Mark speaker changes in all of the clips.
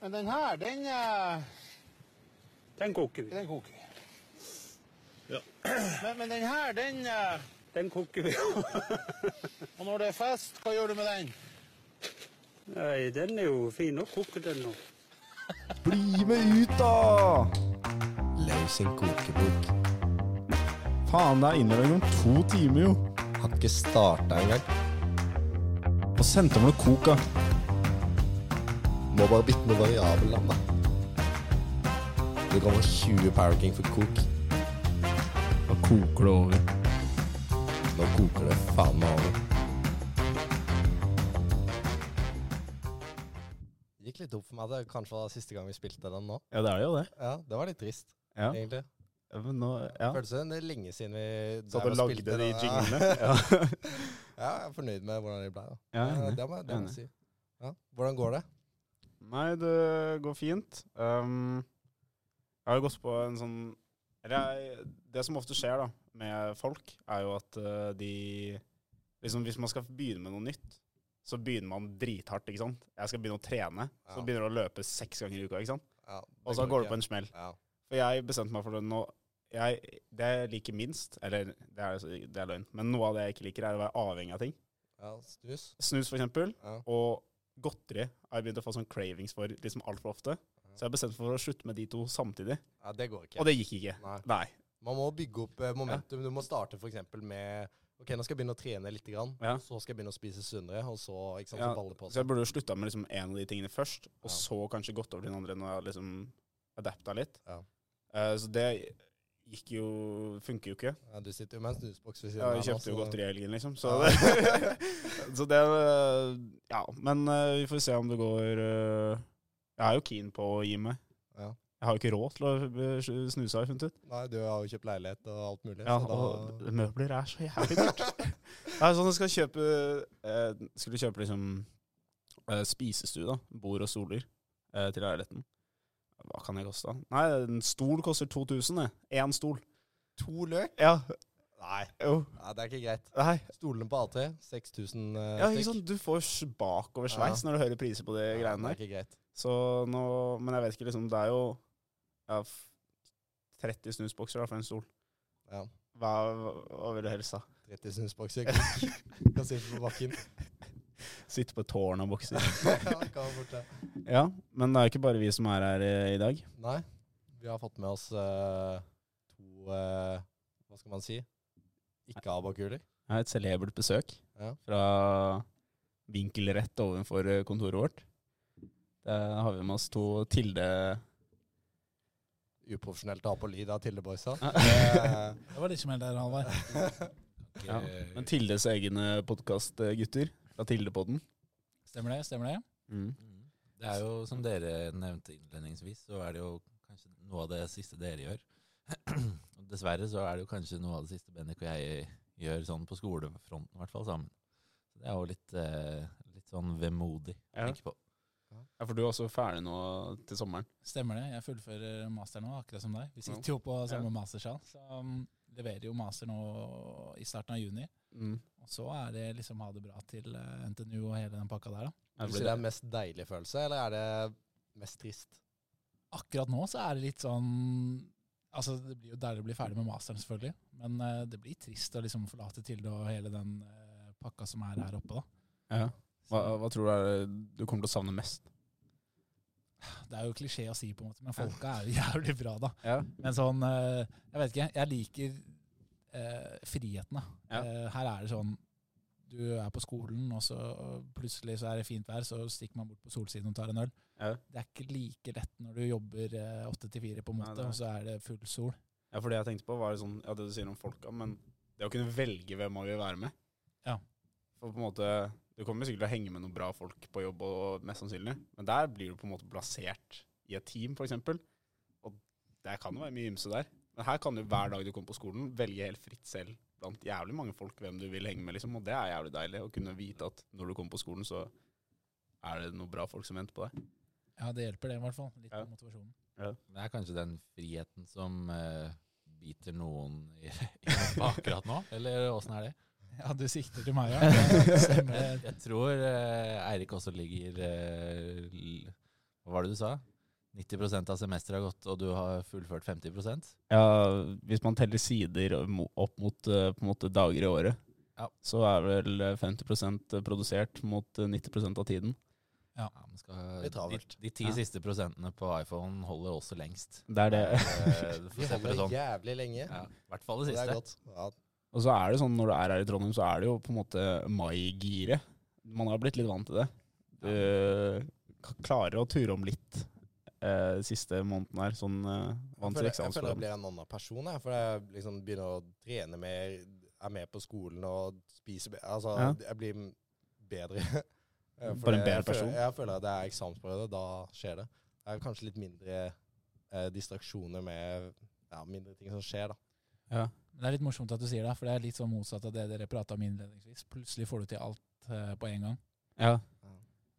Speaker 1: Men den her, den, eh,
Speaker 2: Den koker vi.
Speaker 1: den koker.
Speaker 2: Ja.
Speaker 1: Men, men den her, den eh,
Speaker 2: Den koker vi.
Speaker 1: Og når det er fest, hva gjør du med den?
Speaker 2: Nei, den er jo fin å koke, den nå.
Speaker 3: Bli med ut, da!
Speaker 4: Løs en kokebok.
Speaker 3: Faen, det er innlevering om to timer, jo.
Speaker 4: Har ikke starta engang.
Speaker 3: Og sendte over noe coca.
Speaker 4: Må bare bytte med variabelland, da. Det kommer 20 Power King for kok.
Speaker 3: Da koker det over.
Speaker 4: Nå koker det faen meg over. Det gikk litt opp for meg at det kanskje var siste gang vi spilte den nå.
Speaker 3: Ja, det er jo det.
Speaker 4: Ja, Det var litt trist,
Speaker 3: Ja.
Speaker 4: egentlig.
Speaker 3: Ja, Men nå, ja.
Speaker 4: Føltes som det er lenge siden vi
Speaker 3: Så du
Speaker 4: drev og
Speaker 3: lagde
Speaker 4: spilte
Speaker 3: de
Speaker 4: den.
Speaker 3: jinglene?
Speaker 4: Ja.
Speaker 3: Ja.
Speaker 4: ja, jeg er fornøyd med hvordan de ble. da.
Speaker 3: Ja, jeg er
Speaker 4: Ja,
Speaker 3: enig.
Speaker 4: det må jeg det må
Speaker 3: Enig.
Speaker 4: jeg si. Ja. Hvordan går det?
Speaker 3: Nei, det går fint. Um, jeg har jo gått på en sånn eller jeg, Det som ofte skjer da, med folk, er jo at eh, de liksom Hvis man skal begynne med noe nytt, så begynner man drithardt, ikke sant. Jeg skal begynne å trene, så
Speaker 4: Ja.
Speaker 3: begynner du å løpe seks ganger i uka, ikke sant.
Speaker 4: Ja,
Speaker 3: Og så går du
Speaker 4: ikke.
Speaker 3: på en smell.
Speaker 4: ja.
Speaker 3: For jeg bestemte meg for det nå. Jeg, det jeg liker minst, eller det er, det er løgn, men noe av det jeg ikke liker, er å være avhengig av ting.
Speaker 4: ja, snus.
Speaker 3: Snus, for eksempel,
Speaker 4: Ja.
Speaker 3: og godteri har jeg begynt å få sånn cravings for liksom altfor ofte. Så jeg bestemte for å slutte med de to samtidig.
Speaker 4: ja, det går ikke.
Speaker 3: Og det gikk ikke.
Speaker 4: Nei.
Speaker 3: Nei.
Speaker 4: Man må bygge opp eh, momentum. Du må starte for eksempel med Ok, nå skal jeg begynne å trene litt, grann,
Speaker 3: Ja.
Speaker 4: så skal jeg begynne å spise sunnere, og så ikke sant,
Speaker 3: Ja,
Speaker 4: så baller det på
Speaker 3: Så
Speaker 4: seg.
Speaker 3: jeg burde jo slutta med liksom en av de tingene først, og
Speaker 4: Ja.
Speaker 3: så kanskje gått over til den andre når jeg har liksom adapta litt.
Speaker 4: Ja.
Speaker 3: Eh, så det gikk jo Funker jo ikke.
Speaker 4: Ja, du sitter jo med en snusboks ved siden
Speaker 3: Jeg
Speaker 4: her nå,
Speaker 3: kjøpte jo
Speaker 4: så-
Speaker 3: godteri i helgen, liksom. Så
Speaker 4: Ja.
Speaker 3: det, så det eh, Ja. Men eh, vi får se om det går eh, Jeg er jo keen på å gi meg.
Speaker 4: Ja.
Speaker 3: Jeg har jo ikke råd til å eh, snuse, har jeg funnet ut.
Speaker 4: Nei, du har jo kjøpt leilighet og alt mulig.
Speaker 3: Ja,
Speaker 4: så da,
Speaker 3: og møbler er så jævlig dyrt. Det er sånn at jeg skal kjøpe eh, Skulle kjøpe liksom eh, spisestue, da. Bord og stoler eh, til leiligheten. Hva kan det koste? da? Nei, en stol koster 2000, det. Én stol.
Speaker 4: to løk?
Speaker 3: Ja.
Speaker 4: Nei.
Speaker 3: Jo.
Speaker 4: Nei, det er ikke greit.
Speaker 3: Nei.
Speaker 4: Stolene på AT, 6000 eh,
Speaker 3: Ja,
Speaker 4: stykk.
Speaker 3: ikke sant? Du får s- bakoversveis når du hører priser på de
Speaker 4: Ja,
Speaker 3: greiene
Speaker 4: Det
Speaker 3: der.
Speaker 4: er ikke greit.
Speaker 3: Så nå Men jeg vet ikke, liksom. Det er jo ja, f- 30 snusbokser da, for en stol.
Speaker 4: Ja.
Speaker 3: Hva, hva vil du helst, da?
Speaker 4: 30 snusbokser. Kan kan sitte på bakken.
Speaker 3: Sitte på et tårn av bokser?
Speaker 4: Ja, kan være borte.
Speaker 3: Ja, men det er jo ikke bare vi som er her eh, i, i dag.
Speaker 4: Nei, vi har fått med oss eh, to eh, Hva skal man si? Ikke abakuler.
Speaker 3: Det er et celebert besøk
Speaker 4: Ja.
Speaker 3: fra vinkelrett ovenfor eh, kontoret vårt. Der har vi med oss to Tilde
Speaker 4: Uprofesjonelt å ha på lyd av Eh, Tilleboysa.
Speaker 5: Det var litt som helt der, Halvard.
Speaker 3: ja. Men Tildes egne podkastgutter fra Tildepodden.
Speaker 5: Stemmer det? stemmer det?
Speaker 3: Mm.
Speaker 6: Mm. Det er jo, som dere nevnte innledningsvis, så er det jo kanskje noe av det siste dere gjør. Og Dessverre så er det jo kanskje noe av det siste Bendik og jeg gjør sånn på skolefronten, i hvert fall sammen. Så det er jo litt, eh, litt sånn vemodig å
Speaker 3: Ja.
Speaker 6: tenke på.
Speaker 3: Ja, for du er også ferdig nå til sommeren.
Speaker 5: Stemmer det. Jeg fullfører master nå, akkurat som deg. Vi sitter jo på samme mastersal. Så um, leverer jo master nå i starten av juni.
Speaker 3: Mm.
Speaker 5: Og så er det liksom ha det bra til eh, NTNU og hele den pakka der, da.
Speaker 3: Ja,
Speaker 4: Vil
Speaker 3: blir
Speaker 4: du si det
Speaker 3: det.
Speaker 4: er mest deilig følelse, eller er det mest trist?
Speaker 5: Akkurat nå så er det litt sånn Altså, det blir jo deilig å bli ferdig med masteren, selvfølgelig. Men eh, det blir trist å liksom forlate Tilde og hele den eh, pakka som er her oppe, da.
Speaker 3: Ja. Hva, hva tror du er det du kommer til å savne mest?
Speaker 5: Det er jo klisjé å si, på en måte, men folka er jo jævlig bra, da.
Speaker 3: Ja.
Speaker 5: Men sånn eh, Jeg vet ikke. Jeg liker eh, friheten, da.
Speaker 3: Ja.
Speaker 5: Eh, her er det sånn Du er på skolen, og så plutselig så er det fint vær, så stikker man bort på solsiden og tar en øl.
Speaker 3: Ja.
Speaker 5: Det er ikke like lett når du jobber eh, åtte til fire, på en
Speaker 3: Nei,
Speaker 5: måte,
Speaker 3: det er
Speaker 5: og så er det full sol.
Speaker 3: Ja, for det jeg tenkte på var sånn, ja, det du sier om folka, men det å kunne velge hvem man vil være med.
Speaker 5: Ja.
Speaker 3: For på en måte, du kommer sikkert til å henge med noen bra folk på jobb, og mest sannsynlig, men der blir du på en måte plassert i et team, for eksempel. Og det kan jo være mye ymse der. Men her kan du hver dag du kommer på skolen, velge helt fritt selv blant jævlig mange folk hvem du vil henge med, liksom. Og det er jævlig deilig å kunne vite at når du kommer på skolen, så er det noen bra folk som venter på deg.
Speaker 5: Ja, det hjelper det, i hvert fall. Litt
Speaker 3: Ja.
Speaker 5: av motivasjonen.
Speaker 6: Det er kanskje den friheten som eh, biter noen i, i rumpa akkurat nå, eller åssen er det?
Speaker 5: Ja, du sikter til meg, ja. Stemmer
Speaker 6: Jeg,
Speaker 5: det.
Speaker 6: jeg tror eh, Eirik også ligger eh, l- Hva var det du sa? 90 av semesteret har gått, og du har fullført 50
Speaker 3: Ja, hvis man teller sider mo- opp mot eh, på en måte dager i året,
Speaker 6: Ja.
Speaker 3: så er vel eh, 50 produsert mot eh, 90 av tiden.
Speaker 6: Ja, men skal,
Speaker 4: Litt travelt.
Speaker 6: De, de ti
Speaker 3: Ja.
Speaker 6: siste prosentene på iPhone holder også lengst.
Speaker 3: Det er det.
Speaker 6: Eh, du
Speaker 4: Vi
Speaker 6: får se på det
Speaker 4: holder
Speaker 6: sånn.
Speaker 4: jævlig lenge.
Speaker 6: Ja, I hvert fall det
Speaker 4: Det er
Speaker 6: siste.
Speaker 4: godt. Ja,
Speaker 3: Og så er det sånn når du er her i Trondheim, så er det jo på en måte mai-giret. Man har blitt litt vant til det. Du k- klarer å ture om litt eh, de siste måneden her, sånn eh,
Speaker 4: jeg,
Speaker 3: vant til
Speaker 4: føler, jeg føler jeg
Speaker 3: eksamensperioden.
Speaker 4: blir en annen person jeg, for jeg liksom begynner å trene mer, er med på skolen og spiser bedre. Altså,
Speaker 3: Ja.
Speaker 4: jeg blir m- bedre. Eh, for
Speaker 3: Bare en
Speaker 4: det-
Speaker 3: bedre
Speaker 4: jeg føler-
Speaker 3: person.
Speaker 4: Jeg føler at det er eksamensperiode, da skjer det. Det er kanskje litt mindre eh, distraksjoner med ja, mindre ting som skjer, da.
Speaker 5: Men det er litt morsomt at du sier det, for det er litt sånn motsatt av det dere prata om innledningsvis. Plutselig får du til alt eh, på en gang.
Speaker 3: Ja.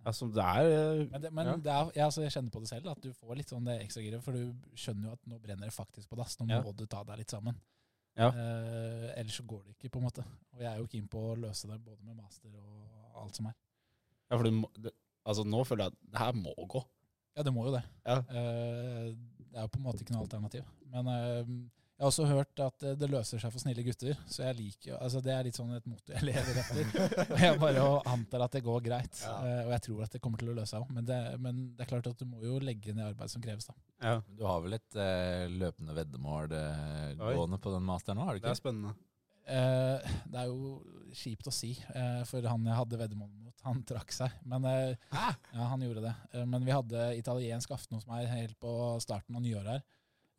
Speaker 3: Altså, det er eh,
Speaker 5: Men, det, men
Speaker 3: Ja.
Speaker 5: det er, ja, altså, jeg kjenner på det selv, at du får litt sånn det ekstragiret. For du skjønner jo at nå brenner det faktisk på dass. Nå
Speaker 3: Ja.
Speaker 5: må du ta deg litt sammen.
Speaker 3: Ja.
Speaker 5: Eh, ellers så går det ikke, på en måte. Og jeg er jo keen på å løse det både med master og alt som er.
Speaker 3: Ja, for du må det, Altså, nå føler jeg at det her må gå.
Speaker 5: Ja, det må jo det.
Speaker 3: Ja.
Speaker 5: Eh, det er jo på en måte ikke noe alternativ. Men eh, jeg har også hørt at eh, det løser seg for snille gutter, så jeg liker jo altså Det er litt sånn et motto jeg lever etter. Og jeg bare antar at det går greit.
Speaker 4: Ja.
Speaker 5: Eh, og jeg tror at det kommer til å løse seg òg. Men, det- men det er klart at du må jo legge ned arbeid som kreves, da.
Speaker 3: Ja,
Speaker 6: Men Du har vel et eh, løpende veddemål eh,
Speaker 3: Oi.
Speaker 6: gående på den masteren nå, har du
Speaker 3: det
Speaker 6: ikke?
Speaker 3: er spennende.
Speaker 5: Eh, det er jo kjipt å si, eh, for han jeg hadde veddemål mot, han trakk seg. Men, eh, ja, han gjorde det. Eh, men vi hadde italiensk aften hos meg helt på starten av nyåret her.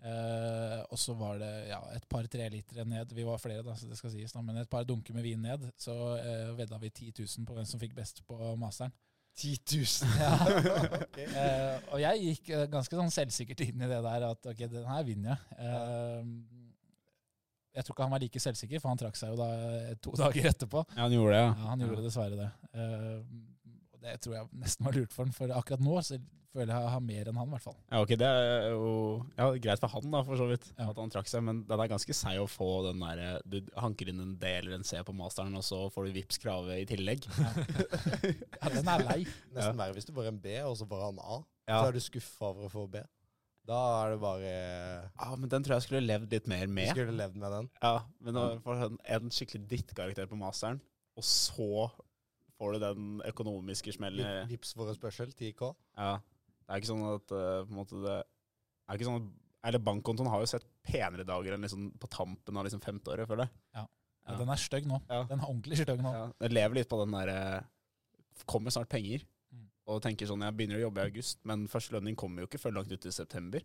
Speaker 5: Eh, og så var det ja, et par trelitere ned. Vi var flere, da, så det skal sies. Da, men et par dunker med vin ned. Så eh, vedda vi 10 000 på hvem som fikk best på masteren.
Speaker 4: 10 000!
Speaker 5: Ja.
Speaker 4: Ok.
Speaker 5: Eh, og jeg gikk eh, ganske sånn selvsikkert inn i det der at ok, den her vinner jeg. Eh, jeg tror ikke han var like selvsikker, for han trakk seg jo da eh, to dager etterpå.
Speaker 3: Ja, han gjorde det,
Speaker 5: Ja,
Speaker 3: ja.
Speaker 5: han gjorde dessverre det. Eh, og det tror jeg nesten var lurt for han, for akkurat nå så føler jeg jeg har mer enn han, i hvert fall.
Speaker 3: Ja, ok, Det er jo ja, greit for han, da, for så vidt,
Speaker 5: Ja.
Speaker 3: at han trakk seg. Men den er ganske seig å få den derre Du hanker inn en D eller en C på masteren, og så får du vips krave i tillegg.
Speaker 5: Ja, den er lei.
Speaker 4: Nesten verre hvis du får en B, og så får han A.
Speaker 3: Ja.
Speaker 4: Så er du skuffa over å få B. Da er det bare
Speaker 3: Ja, men den tror jeg skulle levd litt mer
Speaker 4: Du
Speaker 3: med.
Speaker 4: skulle levd med den.
Speaker 3: Ja, men å få sånn en skikkelig drittkarakter på masteren, og så får du den økonomiske
Speaker 4: Vip-
Speaker 3: smellen.
Speaker 4: Vips for en spørsmål, 10K.
Speaker 3: Ja. Det er ikke sånn at eh, på en måte det er ikke sånn at, Eller bankkontoen har jo sett penere dager enn liksom på tampen av liksom femte året, føler jeg.
Speaker 5: Ja, den er stygg nå.
Speaker 3: Ja.
Speaker 5: Den er ordentlig stygg nå.
Speaker 3: Ja, jeg lever litt på den der eh, Kommer snart penger.
Speaker 5: Mm.
Speaker 3: Og tenker sånn, jeg begynner å jobbe i august, men første lønning kommer jo ikke før langt ut i september.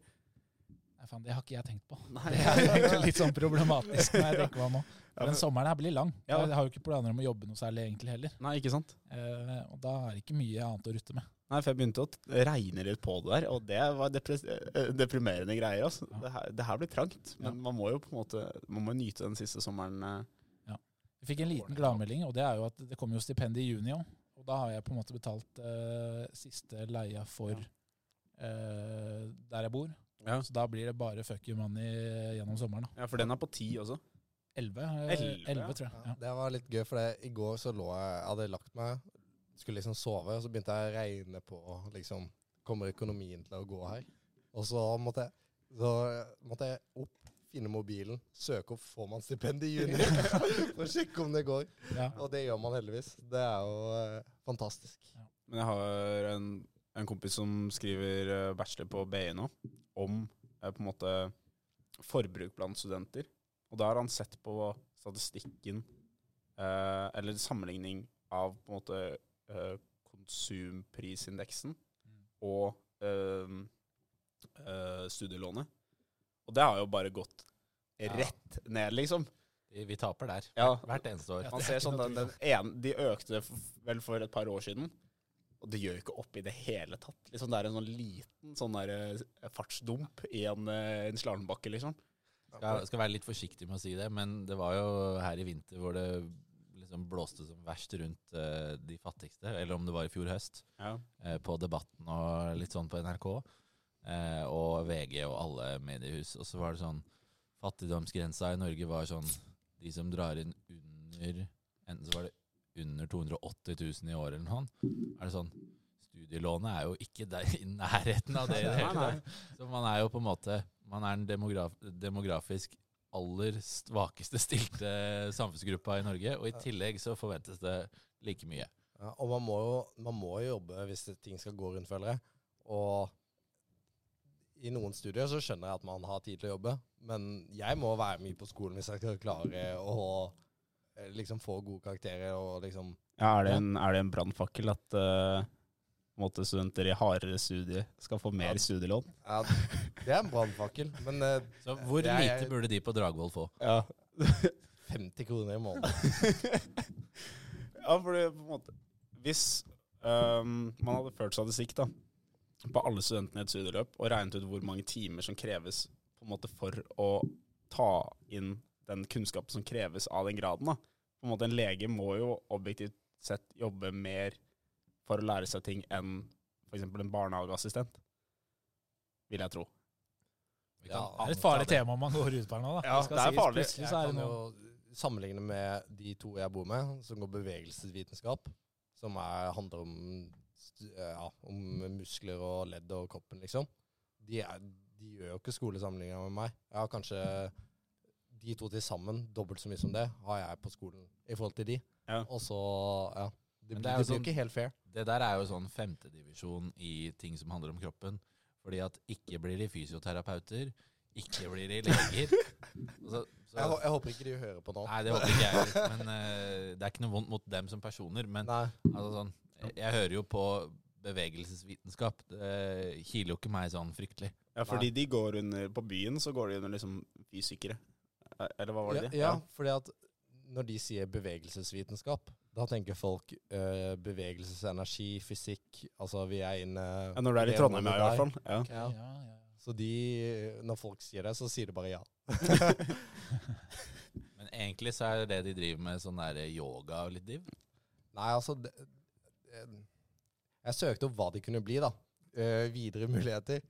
Speaker 5: Nei, faen, det har ikke jeg tenkt på.
Speaker 3: Nei.
Speaker 5: Det er egentlig litt sånn problematisk når jeg tenker meg om nå.
Speaker 3: Ja,
Speaker 5: Men
Speaker 3: men-
Speaker 5: sommeren her blir lang.
Speaker 3: Ja.
Speaker 5: Jeg har jo ikke planer om å jobbe noe særlig egentlig heller.
Speaker 3: Nei, ikke sant?
Speaker 5: Eh, og da er det ikke mye annet å rutte med.
Speaker 3: Nei, for jeg begynte å t- regne litt på det der, og det var depres eh, deprimerende greier. Altså.
Speaker 5: Ja.
Speaker 3: Det, her, det her blir trangt, men
Speaker 5: Ja.
Speaker 3: man må jo på en måte Man må nyte den siste sommeren. eh.
Speaker 5: Vi fikk en liten gladmelding, og det er jo at det kommer jo stipend i juni òg. Og da har jeg på en måte betalt eh, siste leia for eh, der jeg bor.
Speaker 3: Ja.
Speaker 5: Så da blir det bare fuck you money eh, gjennom sommeren. da.
Speaker 3: Ja, For den er på ti også.
Speaker 5: 11,
Speaker 3: Elleve,
Speaker 5: 11,
Speaker 3: ja.
Speaker 5: tror jeg.
Speaker 4: Ja.
Speaker 5: Ja.
Speaker 4: Det var litt gøy, for det, i går så lå jeg Jeg hadde lagt meg, skulle liksom sove, og så begynte jeg å regne på liksom Kommer økonomien til å gå her? Og så måtte jeg, så måtte jeg opp, finne mobilen, søke opp Får man stipend i juni? For å sjekke om det går.
Speaker 5: Ja.
Speaker 4: Og det gjør man heldigvis. Det er jo eh, fantastisk.
Speaker 3: Men jeg har en, en kompis som skriver eh, bachelor på BI nå, om eh, på en måte forbruk blant studenter. Og da har han sett på statistikken, eh, eller sammenligning av på en måte eh, konsumprisindeksen og eh, eh, studielånet. Og det har jo bare gått
Speaker 6: Ja.
Speaker 3: rett ned, liksom.
Speaker 6: Vi- Vi taper der.
Speaker 3: Ja.
Speaker 6: Hvert eneste år.
Speaker 5: Ja.
Speaker 3: Man
Speaker 5: det er
Speaker 3: ser
Speaker 5: ikke
Speaker 3: sånn
Speaker 5: noe
Speaker 3: den, den ene, De økte f- vel for et par år siden, og det gjør jo ikke opp i det hele tatt. Liksom Det er en sånn liten sånn der, eh, fartsdump i en, eh, en slalåmbakke, liksom.
Speaker 6: Skal, skal være litt forsiktig med å si det, men det var jo her i vinter hvor det liksom blåste som verst rundt eh, de fattigste, eller om det var i fjor høst,
Speaker 3: Ja.
Speaker 6: eh, på Debatten og litt sånn på NRK, eh, og VG og alle mediehus. Og så var det sånn Fattigdomsgrensa i Norge var sånn De som drar inn under Enten så var det under 280 000 i året eller noe sånt. Er det sånn Hvis studielånet er jo ikke der, i nærheten av det. i det hele tatt. Så man er jo på en måte Man er den demograf, demografisk aller svakeste stilte samfunnsgruppa i Norge, og i tillegg så forventes det like mye.
Speaker 4: Ja, og man må, jo, man må jo jobbe hvis det- ting skal gå rundt, føler jeg. Og i noen studier så skjønner jeg at man har tid til å jobbe, men jeg må være mye på skolen hvis jeg skal klare å eh, liksom få gode karakterer og liksom
Speaker 3: Ja, er det en, er det en brannfakkel at eh, på en måte studenter i hardere studie skal få mer
Speaker 4: Ja.
Speaker 3: studielån?
Speaker 4: ja, Det er en brannfakkel, men eh,
Speaker 6: Så hvor
Speaker 4: Det er-
Speaker 6: lite burde de på Dragvoll få?
Speaker 3: Ja.
Speaker 4: 50 kroner i måneden
Speaker 3: ja, for det på en måte Hvis ehm, man hadde ført statistikk da, på alle studentene i et studieløp, og regnet ut hvor mange timer som kreves på en måte for å ta inn den kunnskapen som kreves av den graden da. På en måte En lege må jo objektivt sett jobbe mer for å lære seg ting enn f.eks. en barnehageassistent, vil jeg tro.
Speaker 6: Vi kan
Speaker 4: Ja,
Speaker 5: Det er et
Speaker 6: anta
Speaker 5: farlig tema man går ut på her nå. da.
Speaker 3: Ja,
Speaker 5: skal
Speaker 3: det er
Speaker 5: sies.
Speaker 3: farlig.
Speaker 5: Plutselig så er
Speaker 4: Jeg
Speaker 5: det
Speaker 4: kan
Speaker 5: noe.
Speaker 4: jo sammenligne med de to jeg bor med, som går bevegelsesvitenskap, som er, handler om, st- ja, om muskler og ledd og kroppen, liksom. De, er, de gjør jo ikke skolesammenligninger med meg. Jeg har kanskje de to til sammen, dobbelt så mye som det, har jeg på skolen i forhold til de.
Speaker 3: Ja.
Speaker 4: Og så, ja. Det,
Speaker 6: Men
Speaker 4: blir-
Speaker 6: det er
Speaker 4: det blir
Speaker 6: jo
Speaker 4: jo
Speaker 6: sånn-
Speaker 4: ikke helt fair.
Speaker 6: Det der er jo sånn femtedivisjon i ting som handler om kroppen. Fordi at ikke blir de fysioterapeuter, ikke blir de leger. Og Så, så,
Speaker 4: Jeg, hå- jeg håper ikke de hører på nå.
Speaker 6: nei, det håper ikke jeg heller. Men eh, det er ikke noe vondt mot dem som personer. Men
Speaker 4: Nei.
Speaker 6: altså, sånn, jeg, jeg hører jo på bevegelsesvitenskap. Det kiler jo ikke meg sånn fryktelig.
Speaker 3: Ja, fordi de går under På byen så går de under liksom fysikere. Eh, Eller hva var det?
Speaker 4: Ja,
Speaker 3: de?
Speaker 4: ja, fordi at når de sier bevegelsesvitenskap, da tenker folk eh, bevegelsesenergi, fysikk Altså vi er inne
Speaker 3: Ja, når du er i
Speaker 4: det
Speaker 3: Trondheim, ja,
Speaker 4: området
Speaker 3: i hvert fall. Ja.
Speaker 4: Ja.
Speaker 5: Ja, ja, ja.
Speaker 4: Så de Når folk sier det, så sier de bare ja.
Speaker 6: Men egentlig så er det de driver med sånn der yoga og litt div.
Speaker 4: Nei, altså det, eh, Jeg søkte opp hva de kunne bli, da. Eh, videre muligheter.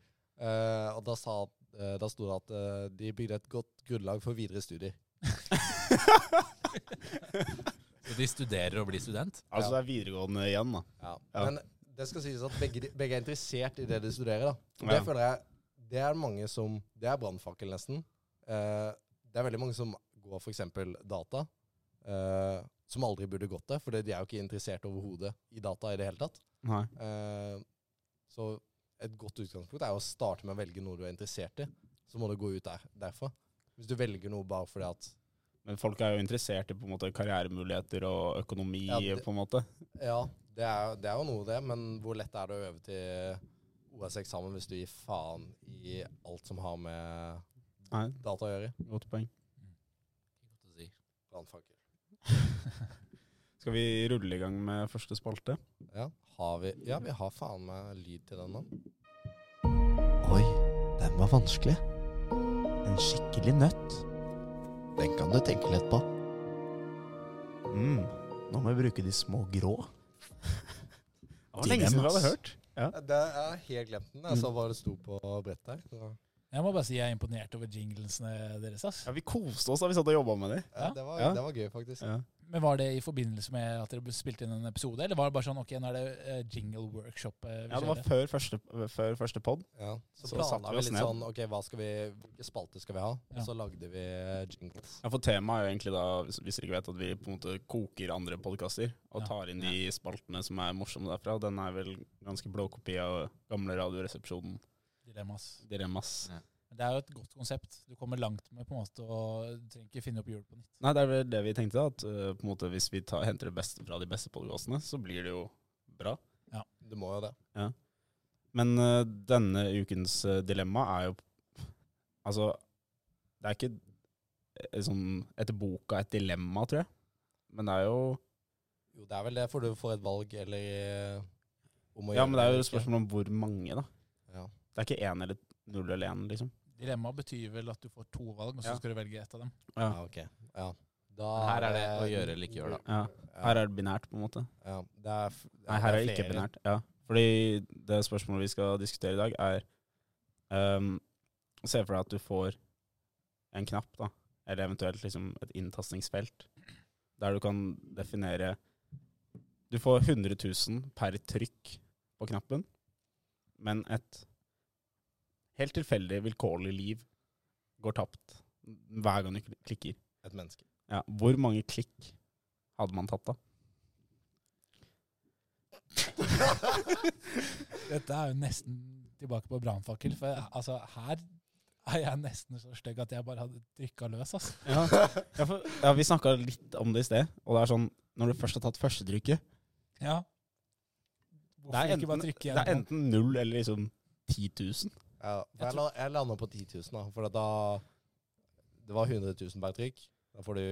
Speaker 4: Eh, og da, sa, eh, da sto det at eh, de bygde et godt grunnlag for videre studier.
Speaker 6: Så de studerer og blir student.
Speaker 3: Altså det er videregående igjen, da. Ja.
Speaker 4: Men det skal sies at begge, de- begge er interessert i det de studerer. da. Og
Speaker 3: Ja.
Speaker 4: Det føler jeg, det er mange som, det er brannfakkel nesten. Eh, det er veldig mange som går for eksempel data, eh, som aldri burde gått det, for de er jo ikke interessert overhodet i data i det hele tatt.
Speaker 3: Nei.
Speaker 4: Eh, så et godt utgangspunkt er jo å starte med å velge noe du er interessert i, så må du gå ut der, derfra. Hvis du velger noe bare fordi at
Speaker 3: Men folk er jo interessert i på en måte karrieremuligheter og økonomi,
Speaker 4: Ja, det-
Speaker 3: på en måte.
Speaker 4: Ja, det er, det er jo noe det, men hvor lett er det å øve til OS-eksamen hvis du gir faen i alt som har med
Speaker 3: Nei,
Speaker 4: data å gjøre?
Speaker 3: godt poeng.
Speaker 6: Godt å si.
Speaker 4: Brannfakkel.
Speaker 3: Skal vi rulle i gang med første spalte?
Speaker 4: Ja, har vi, ja, vi har faen meg lyd til den nå. Oi, den var vanskelig. En skikkelig nøtt. Den kan du tenke litt på.
Speaker 3: Mm. Nå må vi bruke de små grå. Det var lenge
Speaker 6: Dilemmas.
Speaker 3: siden vi hadde hørt.
Speaker 4: Det er helt glemt den. Jeg så hva det sto på brettet her. Så,
Speaker 5: Jeg må bare si jeg er imponert over jinglesene deres. ass.
Speaker 3: Ja, Vi koste oss da vi satt og jobba med de.
Speaker 4: ja,
Speaker 5: Ja.
Speaker 4: det, var,
Speaker 3: Ja.
Speaker 4: det var gøy, faktisk.
Speaker 3: Ja.
Speaker 5: Men Var det i forbindelse med at dere spilte inn en episode, eller var det bare sånn ok, nå er det eh, jingle workshop eh, vi
Speaker 3: Ja, Det var
Speaker 5: kjører?
Speaker 3: før første, før første pod.
Speaker 4: Ja. Så,
Speaker 3: Så satte
Speaker 4: planla
Speaker 3: vi
Speaker 4: vi
Speaker 3: oss
Speaker 4: litt
Speaker 3: ned.
Speaker 4: sånn Ok, hva skal vi, hvilke spalter skal vi ha?
Speaker 5: Ja.
Speaker 4: Og så lagde vi jingles.
Speaker 3: Ja, For temaet er jo egentlig da, hvis hvis dere ikke vet, at vi på en måte koker andre podkaster og
Speaker 5: Ja.
Speaker 3: tar inn de spaltene som er morsomme derfra. Den er vel ganske blåkopi av gamle Radioresepsjonen-dilemmas.
Speaker 5: Dilemmas. Men det er jo et godt konsept. Du kommer langt med på en måte og du trenger ikke finne opp hjul på nytt.
Speaker 3: Nei, det er vel det vi tenkte, da. At eh, på en måte hvis vi tar, henter det beste fra de beste podkastene, så blir det jo bra.
Speaker 4: Du må jo det.
Speaker 3: Men eh, denne ukens eh, dilemma er jo Altså, det er ikke eh, sånn etter boka et dilemma, tror jeg. Men det er jo
Speaker 4: Jo, det er vel det, for du får et valg eller eh, om å
Speaker 3: Ja,
Speaker 4: gjøre
Speaker 3: men det er jo
Speaker 4: eller
Speaker 3: et spørsmål om hvor mange, da.
Speaker 4: ikke. Ja.
Speaker 3: Det er ikke én eller null eller én, liksom.
Speaker 5: Dilemma betyr vel at du får to valg, og så
Speaker 3: Ja.
Speaker 5: skal du velge ett av dem.
Speaker 3: Ja.
Speaker 4: ja, Ah, ok. Ja. Da
Speaker 6: Men her er det å gjøre eller ikke gjøre,
Speaker 3: Ja. Her er det binært, på en måte.
Speaker 4: Ja, det er f
Speaker 3: Nei, her er det
Speaker 4: flere.
Speaker 3: ikke binært. Ja. Fordi det spørsmålet vi skal diskutere i dag, er um, Se for deg at du får en knapp, da, eller eventuelt liksom et inntastingsfelt, der du kan definere Du får 100 000 per trykk på knappen, men et helt tilfeldig, vilkårlig liv går tapt hver gang du kl- klikker.
Speaker 4: Et menneske.
Speaker 3: Ja, hvor mange klikk hadde man tatt da?
Speaker 5: Dette er jo nesten tilbake på brannfakkel, for altså, her er jeg nesten så stygg at jeg bare hadde trykka løs. Altså.
Speaker 3: Ja, for, ja vi snakka litt om det i sted, og det er sånn når du først har tatt førstetrykket
Speaker 5: Ja.
Speaker 3: det
Speaker 5: Hvorfor
Speaker 3: er,
Speaker 5: ikke bare
Speaker 3: enten,
Speaker 5: trykke
Speaker 3: det
Speaker 5: igjen?
Speaker 3: er enten null eller liksom 10 000.
Speaker 4: Ja, for jeg, la- jeg landa på 10 000, da. For at da Det var 100 000 per trykk. Da får du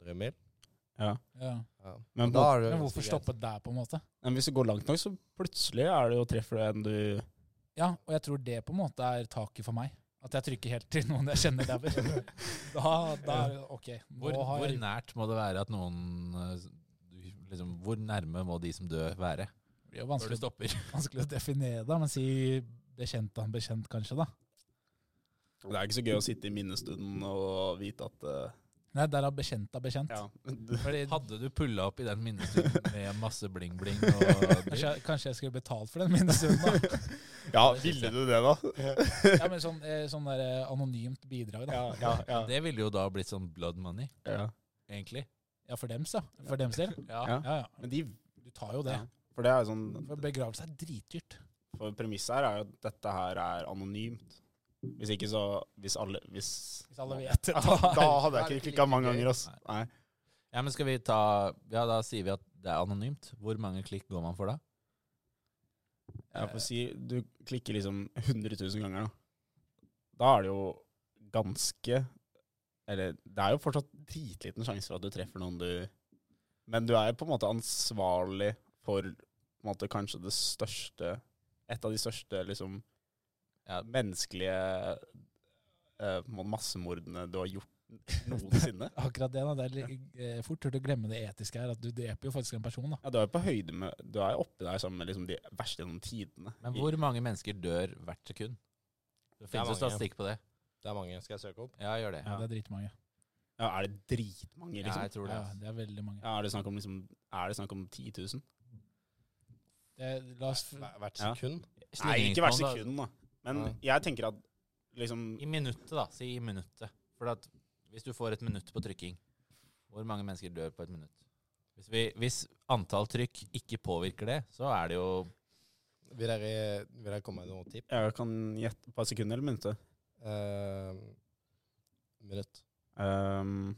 Speaker 4: 100 mil.
Speaker 5: ja.
Speaker 4: Ja.
Speaker 3: Men,
Speaker 4: Da
Speaker 3: på,
Speaker 4: er det
Speaker 5: Men hvorfor stoppe der, på en måte?
Speaker 3: men hvis du går langt nok, så plutselig er det jo treffer du en du
Speaker 5: Ja, og jeg tror det på en måte er taket for meg. At jeg trykker helt til noen jeg kjenner der. Da, da er det ok. Nå
Speaker 6: Hvor,
Speaker 5: har
Speaker 6: hvor
Speaker 5: jeg,
Speaker 6: nært må det være at noen eh, du- liksom, Hvor nærme må de som dør, være?
Speaker 5: det blir jo
Speaker 6: Før du
Speaker 5: vanskelig,
Speaker 6: stopper.
Speaker 5: vanskelig å definere, da, men si bekjent av en bekjent, kanskje. da.
Speaker 3: Det er ikke så gøy å sitte i minnestunden og vite at eh,
Speaker 5: Nei, der er bekjent av bekjent.
Speaker 3: ja,
Speaker 6: Hadde du pulla opp i den minnestunden med masse bling-bling og
Speaker 5: Kanskje, jeg- kanskje jeg skulle betalt for den minnestunden, da.
Speaker 3: ja, ville du det, da?
Speaker 5: Ja, men sånn, eh, sånn der, eh, anonymt bidrag, da.
Speaker 3: Ja, ja, ja.
Speaker 6: Det ville jo da blitt sånn blood money,
Speaker 3: ja.
Speaker 6: egentlig.
Speaker 5: Ja, for dems, ja. For dems del.
Speaker 3: Ja.
Speaker 5: Ja, ja.
Speaker 3: Men de,
Speaker 5: Du tar jo det.
Speaker 3: Ja. for det er jo sånn
Speaker 5: For begravelse er dritdyrt.
Speaker 3: For premisset her er jo at dette her er anonymt. Hvis ikke så Hvis alle Hvis
Speaker 5: Hvis alle vet det.
Speaker 3: Da hadde jeg ikke klikka mange ganger, ass. Nei.
Speaker 6: Ja, men skal vi ta Ja, da sier vi at det er anonymt. Hvor mange klikk går man for da?
Speaker 3: Jeg får si Du klikker liksom 100 000 ganger, da. Da er det jo ganske Eller det er jo fortsatt dritliten sjanse for at du treffer noen du Men du er jo på en måte ansvarlig for på en måte kanskje det største Et av de største liksom
Speaker 6: Ja.
Speaker 3: menneskelige eh, på en måte massemordene du har gjort noensinne.
Speaker 5: Akkurat det, da. Det er litt, eh, fort gjort å glemme det etiske her, at du dreper jo faktisk en person, da.
Speaker 3: Ja, du er jo på høyde med Du er jo oppe der sammen med liksom de verste gjennom tidene.
Speaker 6: Men hvor mange mennesker dør hvert sekund? Det
Speaker 4: Det er
Speaker 6: finnes jo
Speaker 4: mange.
Speaker 6: statistikk på det.
Speaker 4: Det er mange. Skal jeg søke opp?
Speaker 6: Ja, gjør det.
Speaker 5: Ja, det er dritmange.
Speaker 3: Ja, er det dritmange,
Speaker 6: Ja,
Speaker 3: liksom?
Speaker 6: jeg tror det.
Speaker 5: Ja,
Speaker 6: ass.
Speaker 5: det er veldig mange.
Speaker 3: Ja, er det snakk om liksom Er det snakk om 10 000?
Speaker 5: Det, la oss
Speaker 4: Hver- Hvert
Speaker 3: Ja.
Speaker 4: sekund?
Speaker 3: Nei, ikke hvert
Speaker 6: Slingringsmonn, da.
Speaker 3: sekund, da. Men jeg tenker at liksom
Speaker 6: I minuttet, da. Si i minuttet. For at hvis du får et minutt på trykking, hvor mange mennesker dør på et minutt? Hvis, vi, hvis antall trykk ikke påvirker det, så er det jo
Speaker 4: Vil dere, vil dere komme med noen tipp?
Speaker 3: Jeg kan gjette på sekundet eller minuttet.
Speaker 4: Eh, minutt.
Speaker 3: Ehm,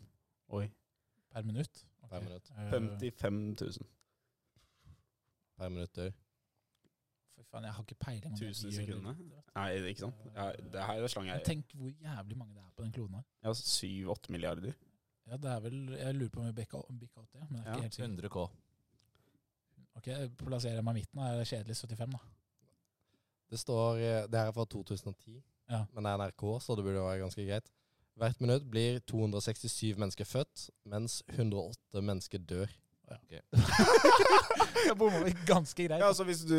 Speaker 3: oi.
Speaker 5: Per minutt? Ok.
Speaker 4: Per minutt.
Speaker 5: Eh,
Speaker 3: 55 000.
Speaker 4: Per minutt dør.
Speaker 5: Fy faen, jeg har ikke peiling. om det.
Speaker 3: 1000
Speaker 5: Vi gjør
Speaker 3: sekunder.
Speaker 5: det.
Speaker 3: Nei, det er ikke sant? Ja, det her er slang
Speaker 5: Men
Speaker 3: jeg
Speaker 5: tenk hvor jævlig mange det er på den kloden her.
Speaker 3: Ja, 7-8 milliarder.
Speaker 5: Ja, det er vel, Jeg lurer på om vi bikka bikka 80, ja, men jeg er
Speaker 3: Ja,
Speaker 5: ikke helt sikker.
Speaker 6: 100 K.
Speaker 5: Ok, Plasserer jeg meg midten, da er det kjedelig 75, da.
Speaker 4: Det står eh, Det her er fra 2010,
Speaker 5: Ja.
Speaker 4: men det er NRK, så det burde være ganske greit. Hvert minutt blir 267 mennesker født, mens 108 mennesker dør.
Speaker 5: Jeg bomma vel ganske greit.
Speaker 3: Ja, altså hvis du